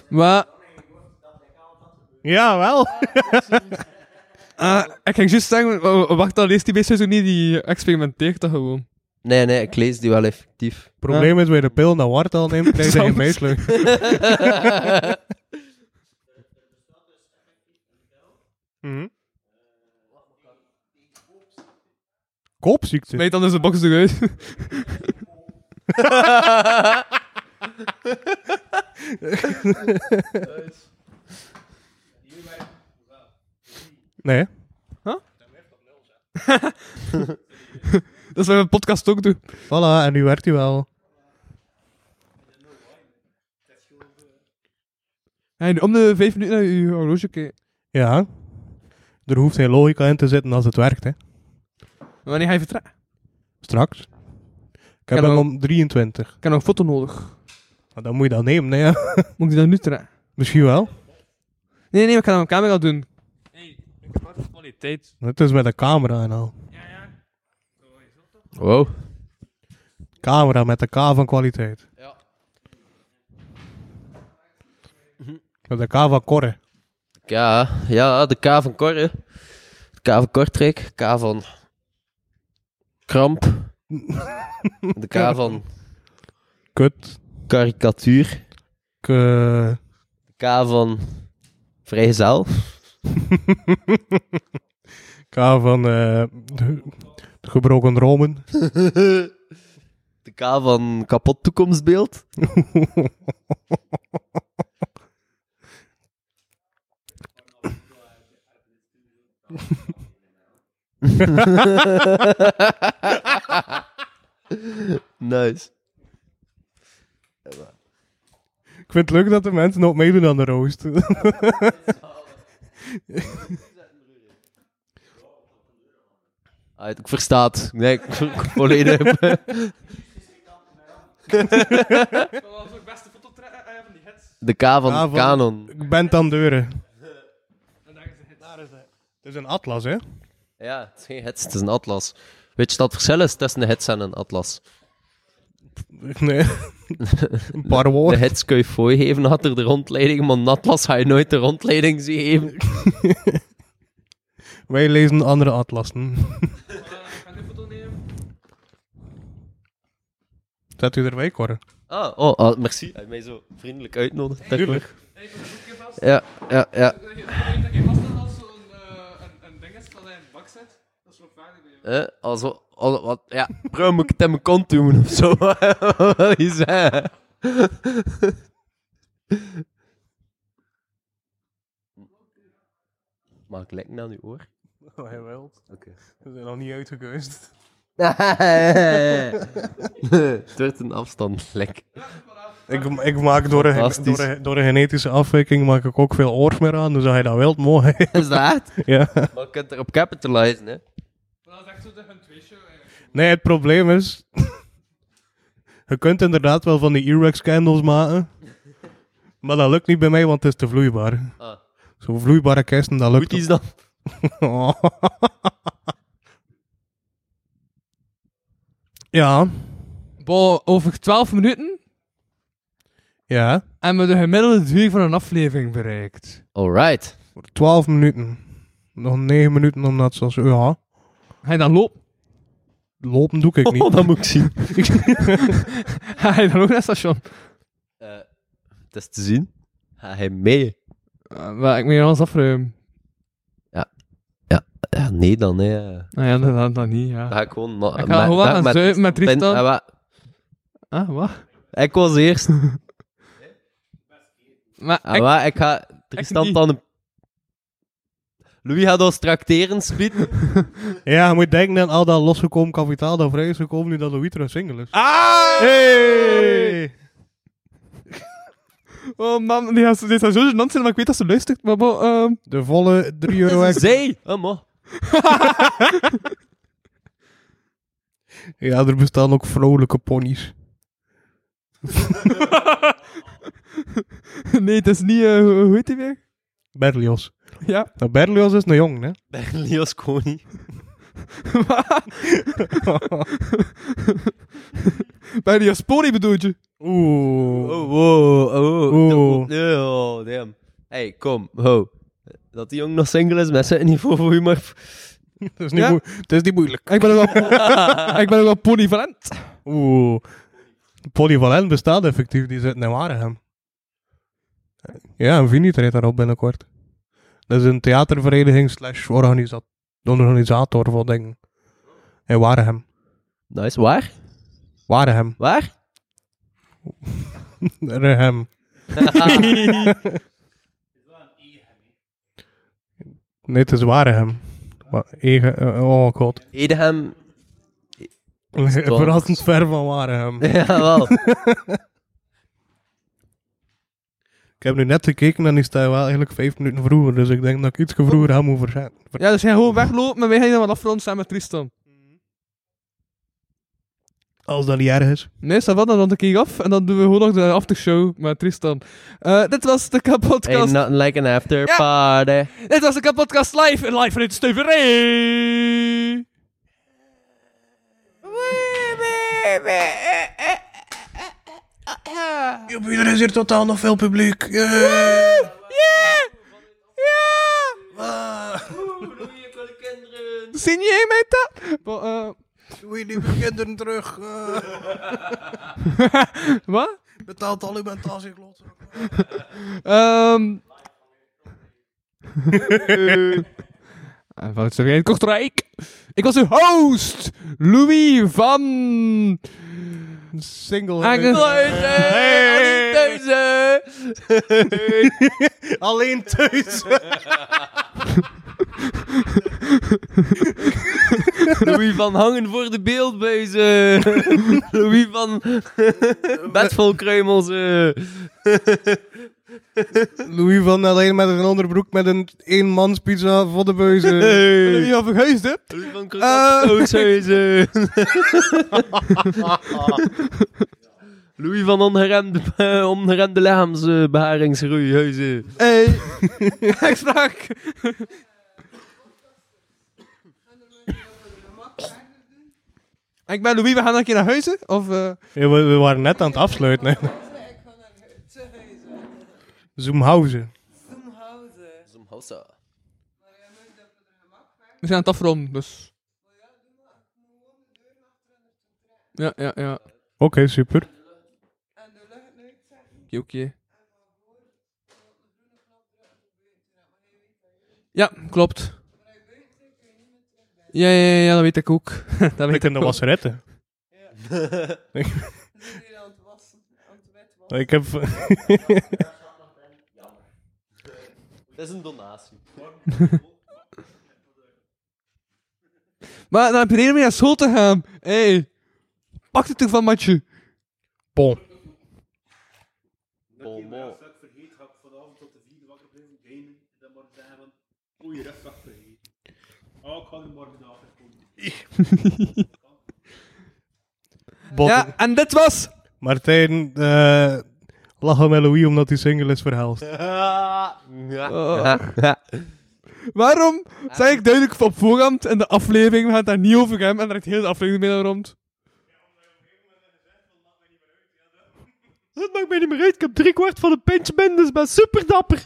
Speaker 5: Maar,
Speaker 3: Jawel!
Speaker 5: ah, ik ging juist zeggen, w- w- wacht, dan leest die beestjes ook niet, die experimenteert dat gewoon.
Speaker 4: Nee, nee, ik lees die wel effectief.
Speaker 3: Het *laughs* probleem is, bij de pil naar wart al neemt, krijg je geen
Speaker 5: Soms.
Speaker 3: bijsleuter. Mhm. Koopziekte?
Speaker 5: Smijt dan dus de box eruit. *laughs*
Speaker 3: Nee.
Speaker 5: Dat is wat we podcast ook doen.
Speaker 3: Voilà, en nu werkt hij wel.
Speaker 5: En om de vijf minuten naar je horloge kijken.
Speaker 3: Ja. Er hoeft geen logica in te zitten als het werkt, hè.
Speaker 5: Wanneer ga je vertrekken?
Speaker 3: Straks. Ik heb
Speaker 5: Kan
Speaker 3: hem
Speaker 5: wel.
Speaker 3: om 23.
Speaker 5: Ik heb nog een foto nodig.
Speaker 3: Maar dan moet je dat nemen, hè. ja. *laughs*
Speaker 5: Moet ik dat nu trekken?
Speaker 3: Misschien wel.
Speaker 5: Nee, nee, maar ik ga dat met mijn camera doen.
Speaker 3: Maar Het is met de camera en al.
Speaker 4: Wow.
Speaker 3: Camera met de K van kwaliteit. Ja. Met de K van Korre.
Speaker 4: Ja, ja, de K van Kor, hè. De K van Kortrijk, K van Kramp. *laughs* De K van
Speaker 3: Kut.
Speaker 4: Karikatuur.
Speaker 3: K, eh,
Speaker 4: De K van Vrijgezel.
Speaker 3: K van eh, de, de gebroken romen.
Speaker 4: De K van Kapot Toekomstbeeld. nice.
Speaker 3: Ik vind het leuk dat de mensen ook meedoen aan de roost.
Speaker 4: Ah, ik versta het. Nee, ik volledig. De K
Speaker 3: K
Speaker 4: van
Speaker 3: van-
Speaker 4: Canon.
Speaker 3: Ik ben aan deuren. Het is een atlas, hè?
Speaker 4: Ja, het is geen hits, het is een atlas. Weet je dat het verschil is tussen een hits en een atlas?
Speaker 3: Nee. een paar
Speaker 4: De
Speaker 3: woorden.
Speaker 4: hits kun je voorgeven achter de rondleiding, maar een atlas ga je nooit de rondleiding zien geven.
Speaker 3: Wij lezen andere atlassen. Zet u erbij, Korre.
Speaker 4: Ah, oh, ah, merci. Hij mij zo vriendelijk uitnodigt. Dank u. Ja, ja, ja. Eh, also, al- wat, ja, bro, moet ik het in mijn kont doen of zo? *laughs* Wat wil je zeggen? Mag ik lekker naar uw *laughs* oor?
Speaker 3: Oh, hij wil. We zijn nog niet uitgekeust.
Speaker 4: het wordt een afstandslek.
Speaker 3: Ik, ik maak door een,
Speaker 4: Fantastisch.
Speaker 3: door, een, door een genetische afwijking maak ik ook veel oors meer aan, dus als je dat wilt, mooi. *laughs*
Speaker 4: Is dat echt?
Speaker 3: ja.
Speaker 4: Maar je kunt erop capitalizen, hè?
Speaker 3: Nee, het probleem is... *laughs* je kunt inderdaad wel van die earwax candles maken, maar dat lukt niet bij mij, want het is te vloeibaar.
Speaker 4: Ah.
Speaker 3: Zo'n vloeibare kisten, dat lukt
Speaker 4: Goed is dan.
Speaker 3: *laughs* Ja,
Speaker 5: Bo, over 12 minuten
Speaker 3: ja.
Speaker 5: hebben we de gemiddelde duur van een aflevering bereikt.
Speaker 4: Alright.
Speaker 3: 12 minuten. Nog 9 minuten om dat zoals... Ja,
Speaker 5: Ga je dan lopen? *laughs*
Speaker 3: lopen doe ik niet.
Speaker 4: Oh, dat moet ik zien.
Speaker 5: Ga je dan ook naar het station?
Speaker 4: Eh, het is te zien. Ga hij mee?
Speaker 5: Eh, maar ik moet hier alles afruimen.
Speaker 4: Ja, nee dan, hè.
Speaker 5: Nou ja, dat, dat, dat niet, ja.
Speaker 4: Dan ga ik gewoon... na-
Speaker 5: Ik ga gewoon
Speaker 4: met-
Speaker 5: gaan
Speaker 4: met-
Speaker 5: zuipen met
Speaker 4: Ben-
Speaker 5: Tristan.
Speaker 4: eh, wa-
Speaker 5: Ah, wat?
Speaker 4: ik was eerst.
Speaker 5: Maar
Speaker 4: Ah,
Speaker 5: ik-
Speaker 4: wa, ik ga Tristan
Speaker 5: niet.
Speaker 4: dan een... Louis gaat ons tracteren,
Speaker 5: *laughs*
Speaker 4: Spiet.
Speaker 3: Ja, je moet denken aan al dat losgekomen kapitaal dat vrij is gekomen nu dat Louis terug single is.
Speaker 5: Ah!
Speaker 3: Hey!
Speaker 5: Oh man, die gaat, die gaat zo gênant zijn, maar ik weet dat ze luistert. Maar bo, ehm, *laughs*
Speaker 3: De volle 3 euro extra.
Speaker 4: Zij! Oh, mo.
Speaker 3: Ja, er bestaan ook vrolijke ponies.
Speaker 5: nee, het is niet... eh, hoe hoe heet die weer?
Speaker 3: Berlioz.
Speaker 5: Ja.
Speaker 3: Nou, Berlioz is een jong, hè?
Speaker 4: Berlioz Koning.
Speaker 5: Bij die Asponi bedoel je?
Speaker 3: Oeh.
Speaker 4: Oh, wow. Oh,
Speaker 3: Oeh.
Speaker 4: oh, oh, damn. Hey, kom. Ho. Dat die jong nog single is, met zijn niveau voor humor.
Speaker 3: Het, is niet
Speaker 5: Ja?
Speaker 3: moe- het is niet moeilijk.
Speaker 5: Ik ben ook wel,
Speaker 3: *laughs*
Speaker 5: ik ben ook wel polyvalent.
Speaker 3: Oeh. Polyvalent bestaat effectief, die zit in Waregem. Ja, en Vini treedt daarop binnenkort. Dat is een theatervereniging slash organisa- organisator van dingen. In Waregem.
Speaker 4: Nice. Waar?
Speaker 3: Waregem.
Speaker 4: Waar?
Speaker 3: Rehem. *laughs* Nee, het is Waregem. Maar Ege- eh, oh god.
Speaker 4: Edegem. *laughs*
Speaker 3: *laughs*
Speaker 4: wel-
Speaker 3: Verrassend ver van Waregem.
Speaker 5: *laughs*
Speaker 4: Jawel.
Speaker 3: Ik heb nu net gekeken en die staat wel eigenlijk vijf minuten vroeger. Dus ik denk dat ik iets vroeger aan moet verzetten.
Speaker 5: Ja, dus jij gewoon weglopen en wij gaan je dan wat afronden samen met Tristan.
Speaker 3: Mhm. Als dat niet erg is.
Speaker 5: Nee, ça va, dan rond ik hier af en dan doen we gewoon nog de aftershow met Tristan. Eh, dit was de
Speaker 4: Ain't
Speaker 5: kapotcast.
Speaker 4: nothing like an after party.
Speaker 5: dit was de kapotcast live en live vanuit de Stuiverij.
Speaker 3: Er is hier totaal nog veel publiek. Eh.
Speaker 5: Zie jij mij dat? Bo- eh,
Speaker 3: Doei die kinderen terug.
Speaker 5: Wat?
Speaker 3: betaalt al uw mentaal klopt.
Speaker 5: *laughs* Ehm. Eh, Vanuit Stuiverij in Kortrijk. Ik was uw host, Louis van...
Speaker 3: Single.
Speaker 5: Aangesluiten.
Speaker 3: Alleen thuis.
Speaker 4: Louis van Hangen voor de *laughs* beeldbuizen. Louis van bed vol kruimels. eh.
Speaker 3: Louis van alleen met een onderbroek met een eenmanspizza voor de *laughs* buizen.
Speaker 5: Louis van Verhuisden.
Speaker 4: Louis van Eh. *laughs* krokodilshuizen. Louis van ongeremde, eh, ongeremde eh, lichaamsbeharingsroeihuizen.
Speaker 5: Hey. ik sprak. ik ben Louis, we gaan een keer naar huizen. Of, eh,
Speaker 3: Ja, we, we waren net aan het *laughs* afsluiten. hè. Zoomhausen.
Speaker 5: we zijn aan het afronden, dus. Ja, ja, ja. Oké,
Speaker 3: Oké, super.
Speaker 5: oké. Ja, klopt. Ja, ja, ja, ja, dat weet ik ook. *laughs* dat weet
Speaker 3: Ik
Speaker 5: ik
Speaker 3: in de
Speaker 5: ook.
Speaker 3: wasseretten. Ik heb...
Speaker 4: Dat is een donatie.
Speaker 5: Maar dan heb je reden om naar school te gaan. Hé, hey. pak het ervan, matje.
Speaker 3: Bon. Bon.
Speaker 5: Ja, en dit was
Speaker 3: Martijn, eh lachen met Louis omdat hij single is verhelst.
Speaker 5: Waarom zei ik duidelijk op voorhand in de aflevering, we gaan het daar niet over hebben, en daar heeft heel de aflevering mee rond.
Speaker 4: Dat maakt mij niet meer uit. Ik heb driekwart van een pintje binnen, dus ik ben super dapper.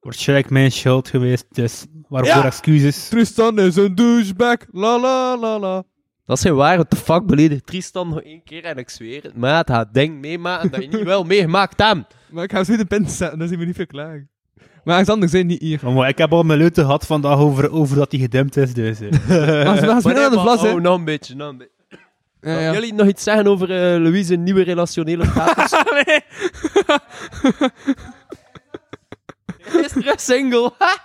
Speaker 7: Waarschijnlijk mijn schuld geweest, dus waarvoor
Speaker 5: Ja.
Speaker 7: excuses.
Speaker 5: Tristan is een douchebag, la la la la.
Speaker 4: Dat zijn waar, what the fuck beledig Tristan nog één keer en ik zweer het. Maat, dat ding meemaken dat je niet wel *laughs* meegemaakt hebt.
Speaker 5: Maar ik ga zo de pint zetten, dan zien we niet veel klaar. Maar Alexander, zijn niet hier.
Speaker 7: Maar, ik heb al mijn leuten gehad vandaag over, over dat hij gedempt is,
Speaker 5: *laughs*
Speaker 7: dus... eh.
Speaker 5: Maar ze gaan spelen aan de vlas, hè.
Speaker 4: Oh, nog een beetje, nog een beetje.
Speaker 5: Ja, ja.
Speaker 4: Jullie nog iets zeggen over eh Louise nieuwe relationele *laughs* status? Is terug single. ha?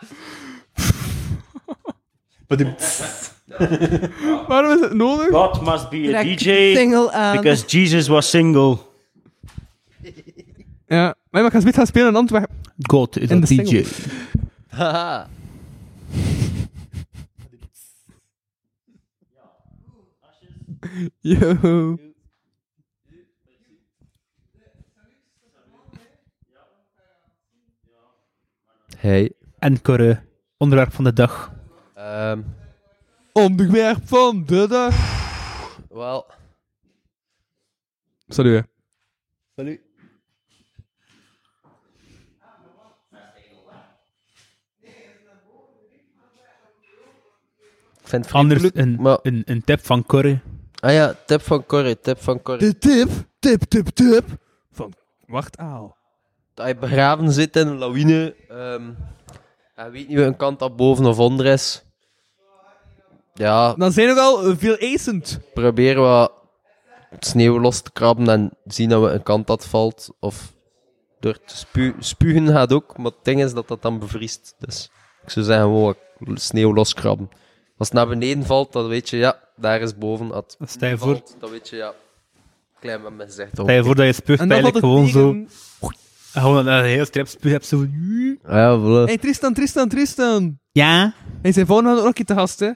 Speaker 5: Waarom is het nodig?
Speaker 8: God must be a DJ
Speaker 6: Single aan.
Speaker 8: because Jesus was single.
Speaker 5: Ja. Maar we gaan zometeen gaan spelen in Antwerpen.
Speaker 7: God is
Speaker 5: En
Speaker 7: een
Speaker 5: de
Speaker 7: DJ.
Speaker 4: Haha.
Speaker 5: Yo.
Speaker 4: hey.
Speaker 7: En Corre, onderwerp van de dag.
Speaker 4: ehm,
Speaker 5: Onderwerp van de dag.
Speaker 4: wel.
Speaker 5: Salut, hè.
Speaker 4: Salut. Ik vind het
Speaker 7: Anders
Speaker 4: vriendelijk,
Speaker 7: een,
Speaker 4: maar...
Speaker 7: een, een tip van Corre.
Speaker 4: Ah ja, tip van Corrie, tip van Corrie.
Speaker 5: De tip, tip, tip, tip. Van, wacht, aal.
Speaker 4: Dat je begraven zit in een lawine. ehm en weet niet welke kant dat boven of onder is. Ja,
Speaker 5: Dan zijn we wel eh, veel eisend.
Speaker 4: probeer wat sneeuw los te krabben en zien dat we een kant dat valt. Of Door te spu- spugen gaat ook, maar het ding is dat dat dan bevriest. Dus ik zou zeggen, gewoon sneeuw loskrabben. Als het naar beneden valt, dan weet je, ja, daar is boven. Als het
Speaker 7: Stel je voor,
Speaker 4: valt, dan weet je, ja, klein met mijn gezicht.
Speaker 7: stel je voor dat je spuugt,
Speaker 5: En dan valt
Speaker 7: eigenlijk
Speaker 5: het
Speaker 7: gewoon zo...
Speaker 5: tegen-
Speaker 7: Gewoon een heel strip spuug hebt, zo...
Speaker 4: Ja, voilà.
Speaker 5: Hey, Tristan, Tristan, Tristan.
Speaker 7: Ja?
Speaker 5: Hij zijn volgende maand ook een keer te gast, hè?
Speaker 7: Wat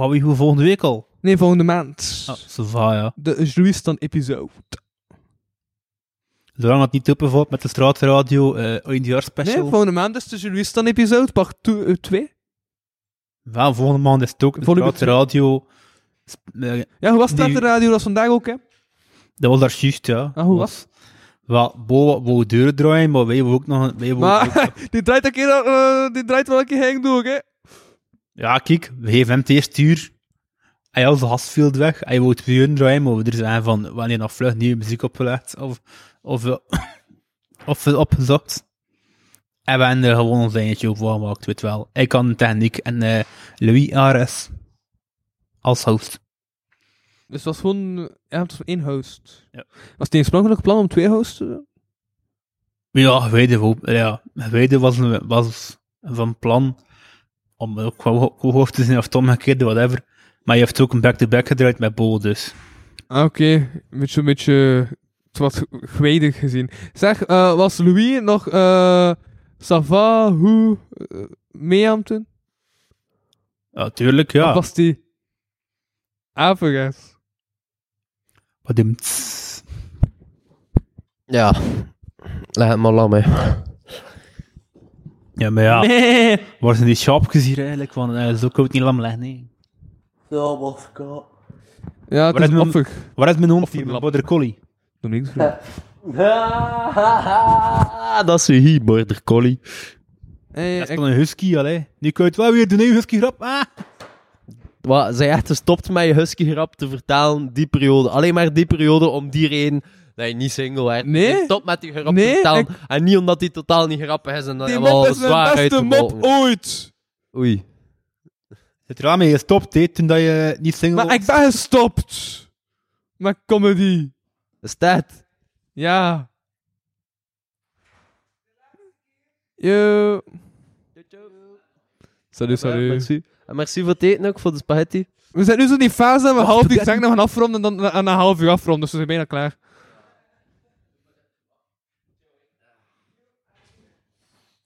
Speaker 7: hebben we hier volgende week al?
Speaker 5: Nee, volgende maand.
Speaker 7: Ah, ça va, ja.
Speaker 5: De Juistan episode.
Speaker 7: Zolang het niet openvalt met de straatradio, eh
Speaker 5: Nee,
Speaker 7: eindejaarsspecial.
Speaker 5: volgende maand is de Juistan episode, part eh, 2.
Speaker 7: Wel, volgende maand is het ook de
Speaker 5: Volgende-
Speaker 7: straatradio... sp- eh,
Speaker 5: Ja, hoe was het
Speaker 7: Die- Oh,
Speaker 5: aan de radio? Dat is vandaag ook, hè?
Speaker 7: Dat was daar juist, ja.
Speaker 5: Ah, hoe was?
Speaker 7: Wel, Bo wou deuren draaien, maar wij hebben ook nog... een- Wij wou ook-
Speaker 5: Maar *laughs* die draait, een keer, eh, die draait wel een keer heen door, hè?
Speaker 7: Ja, kijk, we geven hem het eerste uur. Hij had de gastfield weg. Hij wou twee uur draaien, maar we er zijn van wanneer nog vlug nieuwe muziek opgelegd of, of, eh, *coughs* of opgezocht. En we hebben er gewoon ons eindje op gemaakt, weet wel. Ik kan techniek en eh, Louis Ares als host.
Speaker 5: Dus het was gewoon... eh, Ja, het was één host.
Speaker 7: Ja.
Speaker 5: Was het een oorspronkelijk plan om twee hosts eh, te doen?
Speaker 7: Ja, Weide, wou- ja, Weide was, een- was van plan om ook wel ho- hoog te zijn of het omgekeerde, whatever. Maar je heeft ook een back-to-back gedraaid met Bo, dus.
Speaker 5: Ah, oké. Een beetje, een beetje... Het wat geweidig gezien. Zeg, eh, was Louis nog... eh Sava, hoe... eh, mee aan het doen?
Speaker 7: Ja, tuurlijk, ja.
Speaker 5: Of was die... Averechts?
Speaker 7: Wat een tss.
Speaker 4: Ja, leg het maar lam, hè.
Speaker 7: Ja, maar ja.
Speaker 5: Nee!
Speaker 7: Waar zijn die schaapjes hier eigenlijk? Want eh, zo kan het niet lam leggen, nee.
Speaker 5: Ja, het
Speaker 7: Waar
Speaker 5: is
Speaker 7: is mijn-
Speaker 5: opvig.
Speaker 7: Waar is mijn hond
Speaker 5: Of een
Speaker 7: hier? Mijn
Speaker 5: lap.
Speaker 7: border collie.
Speaker 5: Doe niks groen.
Speaker 4: Ah, dat is een hier, border collie.
Speaker 5: Hey,
Speaker 7: Dat is
Speaker 5: ik-
Speaker 7: van een husky, allee. Die kan het wel weer doen, hè, husky grap. Ah.
Speaker 4: Wat, zij echt gestopt met je husky grap te vertalen, die periode. Alleen maar die periode om die reden dat je niet single werd.
Speaker 5: Nee.
Speaker 4: Stop met die grap te
Speaker 5: Nee,
Speaker 4: vertalen. En niet omdat die totaal niet grappig is en dat
Speaker 5: die
Speaker 4: je hem
Speaker 5: mop
Speaker 4: al
Speaker 5: is mijn
Speaker 4: zwaar
Speaker 5: beste mop
Speaker 4: uitgemolken hebt.
Speaker 5: ooit!
Speaker 4: Oei.
Speaker 7: Het raam is gestopt, hè, toen dat je niet single
Speaker 5: Maar ik
Speaker 7: was.
Speaker 5: ben gestopt! Met comedy.
Speaker 4: Is dat?
Speaker 5: Ja. Yo. Salut, salut.
Speaker 4: Merci. En merci voor het eten ook, voor de spaghetti.
Speaker 5: We zijn nu zo in die fase dat we half uur zeggen dat we gaan afronden en dan aan een half uur afronden, dus we zijn bijna klaar.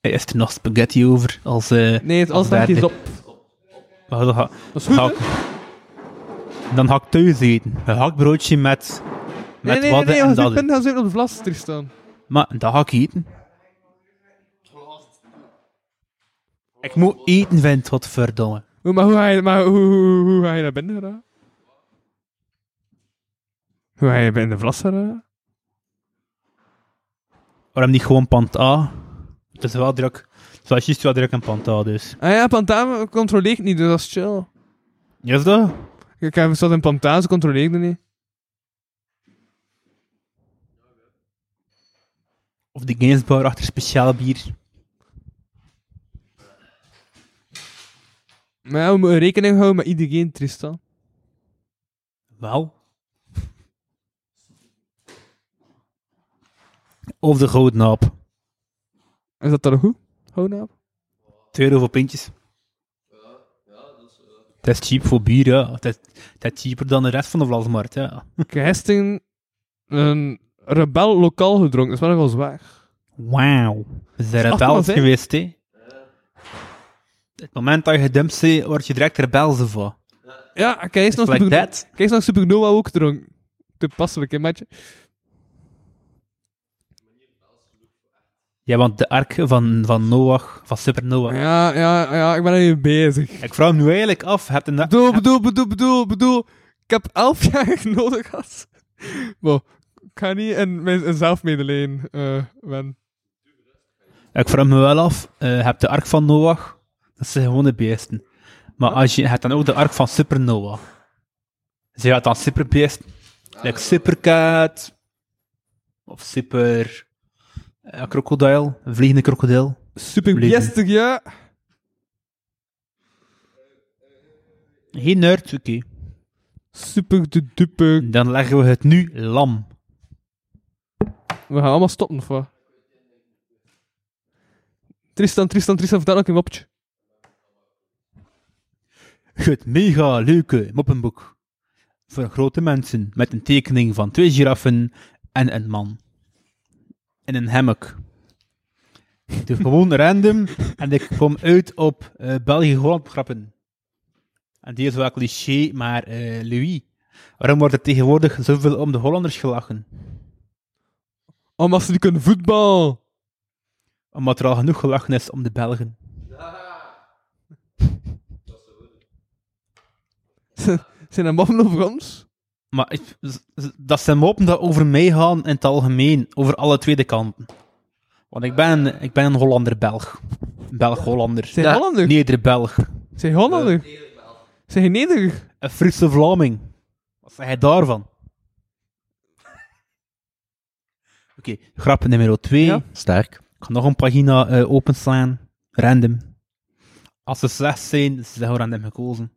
Speaker 7: Hey, Is er nog spaghetti over? Als, eh
Speaker 5: Nee, het alles
Speaker 7: Derde.
Speaker 5: is op.
Speaker 7: wacht, dan ga-
Speaker 5: Dat is goed,
Speaker 7: ga
Speaker 5: hè?
Speaker 7: ik- Dan ga ik thuis eten. Een hakbroodje met...
Speaker 5: Nee,
Speaker 7: Met
Speaker 5: nee, nee,
Speaker 7: wadden
Speaker 5: nee,
Speaker 7: en
Speaker 5: als ik
Speaker 7: dadden.
Speaker 5: ben, gaan ze even op de vlas, Tristan.
Speaker 7: Maar dat ga ik eten. Ik moet eten vinden, wat verdomme.
Speaker 5: Hoe- Maar hoe ga je, maar hoe, hoe, hoe ga je naar binnen geraakt? Hoe ga je binnen de vlas geraakt?
Speaker 7: Waarom niet gewoon pand A? Het is wel druk. Het was juist wel druk in pand A, dus.
Speaker 5: Ah ja, Pantaan controleert niet, dus dat is chill.
Speaker 7: Is dat?
Speaker 5: Ik heb zat in Pantaan, ze controleerde niet.
Speaker 7: Of de Gainsbourg achter speciaal bier.
Speaker 5: Maar ja, we moeten rekening houden met iedereen, Tristan.
Speaker 7: Wel. Of de gouden naap.
Speaker 5: Is dat dan goed? Hou nou. *laughs*
Speaker 7: Twee euro voor pintjes. Het is cheap voor bier, ja. Het is, het is cheaper dan de rest van de Vlasmarkt, ja.
Speaker 5: Gisteren een rebel lokaal gedronken, dat is wel nogal zwaar.
Speaker 7: Wauw. We zijn
Speaker 5: Acht
Speaker 7: rebels
Speaker 5: man, hè?
Speaker 7: geweest, hè. Het moment dat je gedumpt bent, word je direct rebelse van.
Speaker 5: Ja, kijk eens naar
Speaker 7: It's like
Speaker 5: Superno-
Speaker 7: that.
Speaker 5: kijk eens naar Supernova ook dronken. Te passelijk, hè, maatje?
Speaker 7: Ja, want de ark van, van Noach, van Supernoach.
Speaker 5: Ja, ja, ja, ik ben ermee bezig.
Speaker 7: Ik vraag me nu eigenlijk af, heb je na-
Speaker 5: Bedoel, bedoel, bedoel, bedoel, bedoel. Ik heb elf *laughs* jaar nodig gehad. Wow, ik ga niet in mijn in zelfmedelijden eh ben.
Speaker 7: ik vraag me wel af, eh, heb de ark van Noach, dat zijn gewoon de beesten. Maar als je, je hebt dan ook de ark van Supernoach. Ze had dan superbeesten, like Supercat, of Super... eh, krokodil, een vliegende krokodil.
Speaker 5: Super
Speaker 7: Leven.
Speaker 5: biestig, ja.
Speaker 7: Geen nerd, oké.
Speaker 5: Super de duper.
Speaker 7: Dan leggen we het nu lam.
Speaker 5: We gaan allemaal stoppen, of wat? Tristan, Tristan, Tristan, vertel ook een mopje.
Speaker 7: Het mega leuke moppenboek. Voor grote mensen met een tekening van twee giraffen en een man. In een hammock. Ik doe gewoon *laughs* random en ik kom uit op eh België-Holland grappen. En die is wel cliché, maar eh, Louis. Waarom wordt er tegenwoordig zoveel om de Hollanders gelachen?
Speaker 5: Omdat ze Oh, die kunnen voetbal.
Speaker 7: Omdat er al genoeg gelachen is om de Belgen.
Speaker 5: Zijn er moppen over ons?
Speaker 7: Maar ik- z- z- dat zijn moppen dat over mij gaan in het algemeen, over alle tweede kanten. Want ik ben, een- ik ben een Hollander-Belg. Een Belg-Hollander.
Speaker 5: Zijn
Speaker 4: Ja,
Speaker 5: Hollander?
Speaker 7: Neder-Belg.
Speaker 5: Zijn Hollander? Zijn je nederig?
Speaker 7: Een Friese Vlaming. Wat zeg jij daarvan? *laughs* Oké, grap nummer 2.
Speaker 5: Ja.
Speaker 4: Sterk.
Speaker 7: Ik ga nog een pagina eh, openslaan. Random. Als ze slecht zijn, is ze gewoon random gekozen.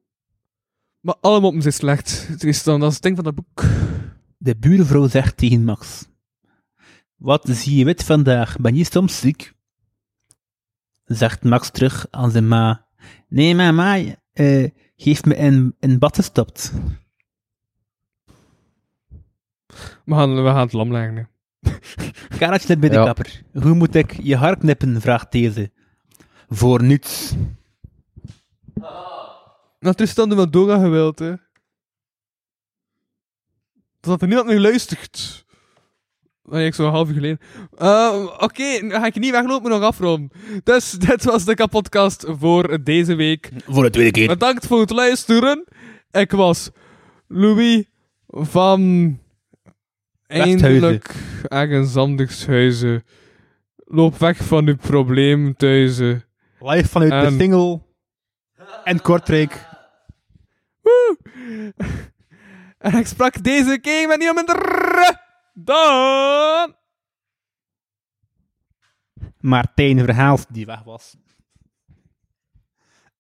Speaker 5: Maar alle moppen zijn slecht, Tristan. Dat is het ding van dat boek.
Speaker 7: De buurvrouw zegt tegen Max: Wat zie je wit vandaag? Ben je soms ziek? Zegt Max terug aan zijn ma: Nee, mama, eh heeft me in, in bad gestapt.
Speaker 5: We gaan, we gaan het lam leggen. hè.
Speaker 7: Kareltje net bij de
Speaker 4: Ja.
Speaker 7: kapper. Hoe moet ik je haar knippen? vraagt deze. Voor niets.
Speaker 5: Nou, Tristan de Madonna gewild, hè. Dat er niemand meer luistert. Nee, ik zo'n half uur geleden. Eh, Oké, nu ga ik niet weglopen, nog afronden. Dus *laughs* dit was de kapodcast voor deze week.
Speaker 7: Voor de tweede keer.
Speaker 5: Bedankt voor het luisteren. Ik was Louis van...
Speaker 7: Westhuizen.
Speaker 5: Eindelijk ergens anders huizen. Loop weg van uw probleem thuizen.
Speaker 7: Live vanuit de
Speaker 5: Ehm.
Speaker 7: single. En Kortrijk.
Speaker 5: Woe! *laughs* En ik sprak deze keer met niemand minder dan... *laughs*
Speaker 7: Martijn Verhaals, die weg was.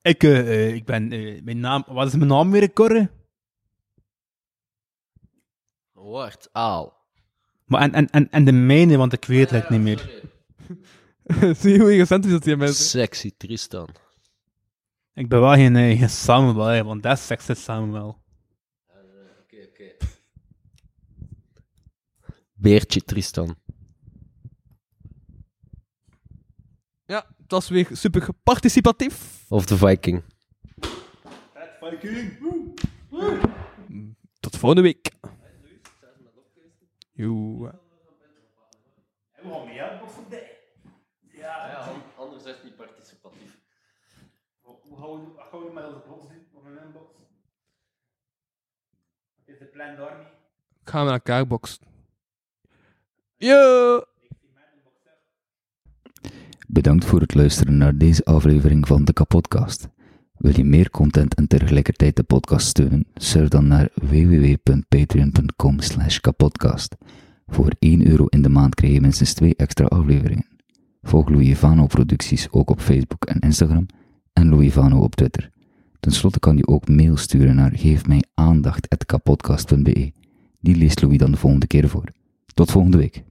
Speaker 7: Ik, eh, eh, ik ben, eh, mijn naam, wat is mijn naam weer, Corre?
Speaker 4: Woord, aal.
Speaker 7: Maar en, en, en, en de mijne, want ik weet het niet meer.
Speaker 5: Zie je hoe egocentrisch dat hier mensen
Speaker 4: Sexy Tristan.
Speaker 7: Ik ben wel geen, eh, geen Samuel, hè, want dat is sexist Samuel.
Speaker 4: Beertje Tristan.
Speaker 5: Ja, het was weer super participatief.
Speaker 4: Of de Viking.
Speaker 5: Tot volgende week. Joe.
Speaker 4: Anders is het niet participatief.
Speaker 7: Hoe gaan we met onze bots doen? Of met mijn bots? Is de plan daar niet?
Speaker 5: Ik ga met elkaar boksen. Yo!
Speaker 9: Bedankt voor het luisteren naar deze aflevering van de Kapodcast. Wil je meer content en tegelijkertijd de podcast steunen? Surf dan naar www.patreon.com slash kapodcast. Voor 1 euro in de maand krijg je minstens 2 extra afleveringen. Volg Louis Vano producties ook op Facebook en Instagram en Louis Vano op Twitter. Ten slotte kan je ook mail sturen naar geefmijaandacht.kapodcast.be. Die leest Louis dan de volgende keer voor. Tot volgende week.